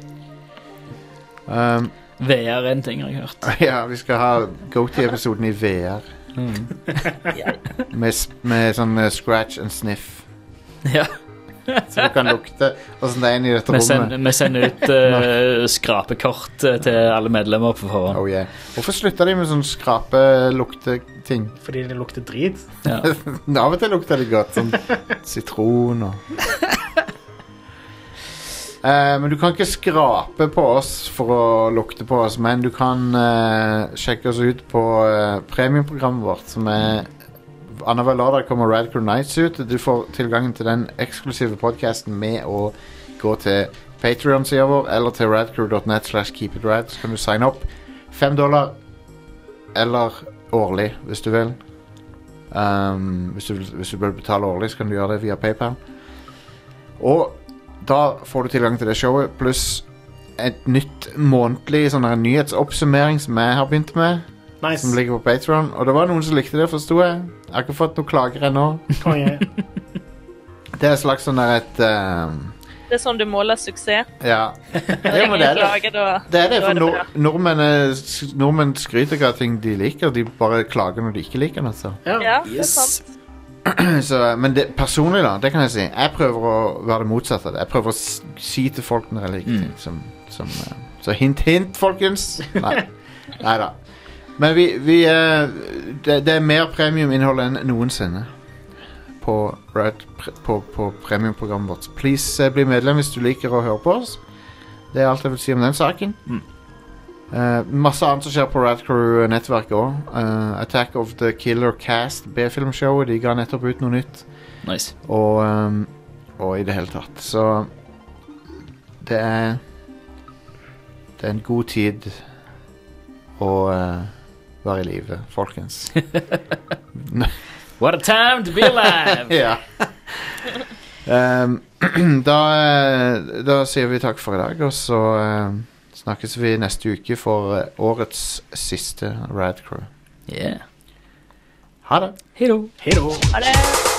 Speaker 1: Um, (laughs)
Speaker 2: VR er en ting jeg har hørt.
Speaker 1: ja, vi skal ha GoTo-episoden i VR. Mm. Med, s- med sånn eh, scratch and sniff.
Speaker 2: (laughs) Ja,
Speaker 1: Så du kan lukte åssen det er inni dette
Speaker 2: Vi
Speaker 1: rommet.
Speaker 2: sender, vi sender
Speaker 1: (laughs)
Speaker 2: ut eh, skrapekort eh, til alle medlemmer på forhånd.
Speaker 1: Oh, yeah. Hvorfor slutta de med sånn skrapelukteting?
Speaker 3: Fordi det lukter drit.
Speaker 2: Ja.
Speaker 1: (laughs) Av og til lukter det godt. Sånn sitron og Eh, Men du kan ikke skrape på oss for å lukte på oss, men du kan eh, sjekke oss ut på eh, premiumprogrammet vårt, som er Annenhver lørdag kommer Radcrow Nights ut. Du får tilgangen til den eksklusive podkasten med å gå til Patrion-sida vår eller til radcrew.net slash keepitrad, så kan du signe opp. Fem dollar eller årlig, hvis du vil. Um, hvis, du, vil- hvis du bør betale årlig, så kan du gjøre det via PayPal. Og da får du tilgang til det showet, pluss et nytt månedlig sånn her nyhetsoppsummering som jeg har begynt med,
Speaker 3: Nice.
Speaker 1: som ligger på Patron. Og det var noen som likte det, forsto jeg. Jeg har ikke fått noen klager ennå.
Speaker 3: Konge.
Speaker 1: Det er et slags sånn der et um,
Speaker 8: Det er sånn du måler suksess.
Speaker 1: Ja. Ja, men det er det.
Speaker 8: (laughs) Klager, da,
Speaker 1: Det er det,
Speaker 8: da
Speaker 1: for nord
Speaker 8: bra.
Speaker 1: nordmenn, er- s- nordmenn skryter ikke av ting de liker, de bare klager når de ikke liker det. Altså.
Speaker 3: Ja.
Speaker 8: Ja, det er sant.
Speaker 1: så, men det, personlig, da, det kan jeg si. Jeg prøver å være det motsatte av det. Jeg prøver å s- si til folk når jeg liker ting. Som, som, eh, så hint, hint, folkens. Nei da. Men vi, vi eh, det, det er mer premiuminnhold enn noensinne på, Red, pre- på, på premiumprogrammet vårt. Så Please eh, bli medlem hvis du liker å høre på oss. Det er alt jeg vil si om den saken. Eh, masse annet som skjer på Rad Crew-nettverket òg. Attack of the Killer Cast, B-filmshowet. De ga nettopp ut noe nytt.
Speaker 2: Nice.
Speaker 1: Og, ehm, og i det hele tatt. Så det er Det er en god tid å eh, være i live, folkens.
Speaker 2: What a time to be
Speaker 1: (laughs)
Speaker 2: alive!
Speaker 1: ja. Ehm, (clears throat) da, eh, da sier vi takk for i dag, og så eh, snakkes vi neste uke for eh, årets siste Rad Crew.
Speaker 2: yeah.
Speaker 1: Ha det!
Speaker 3: Hei da.
Speaker 8: Ha det.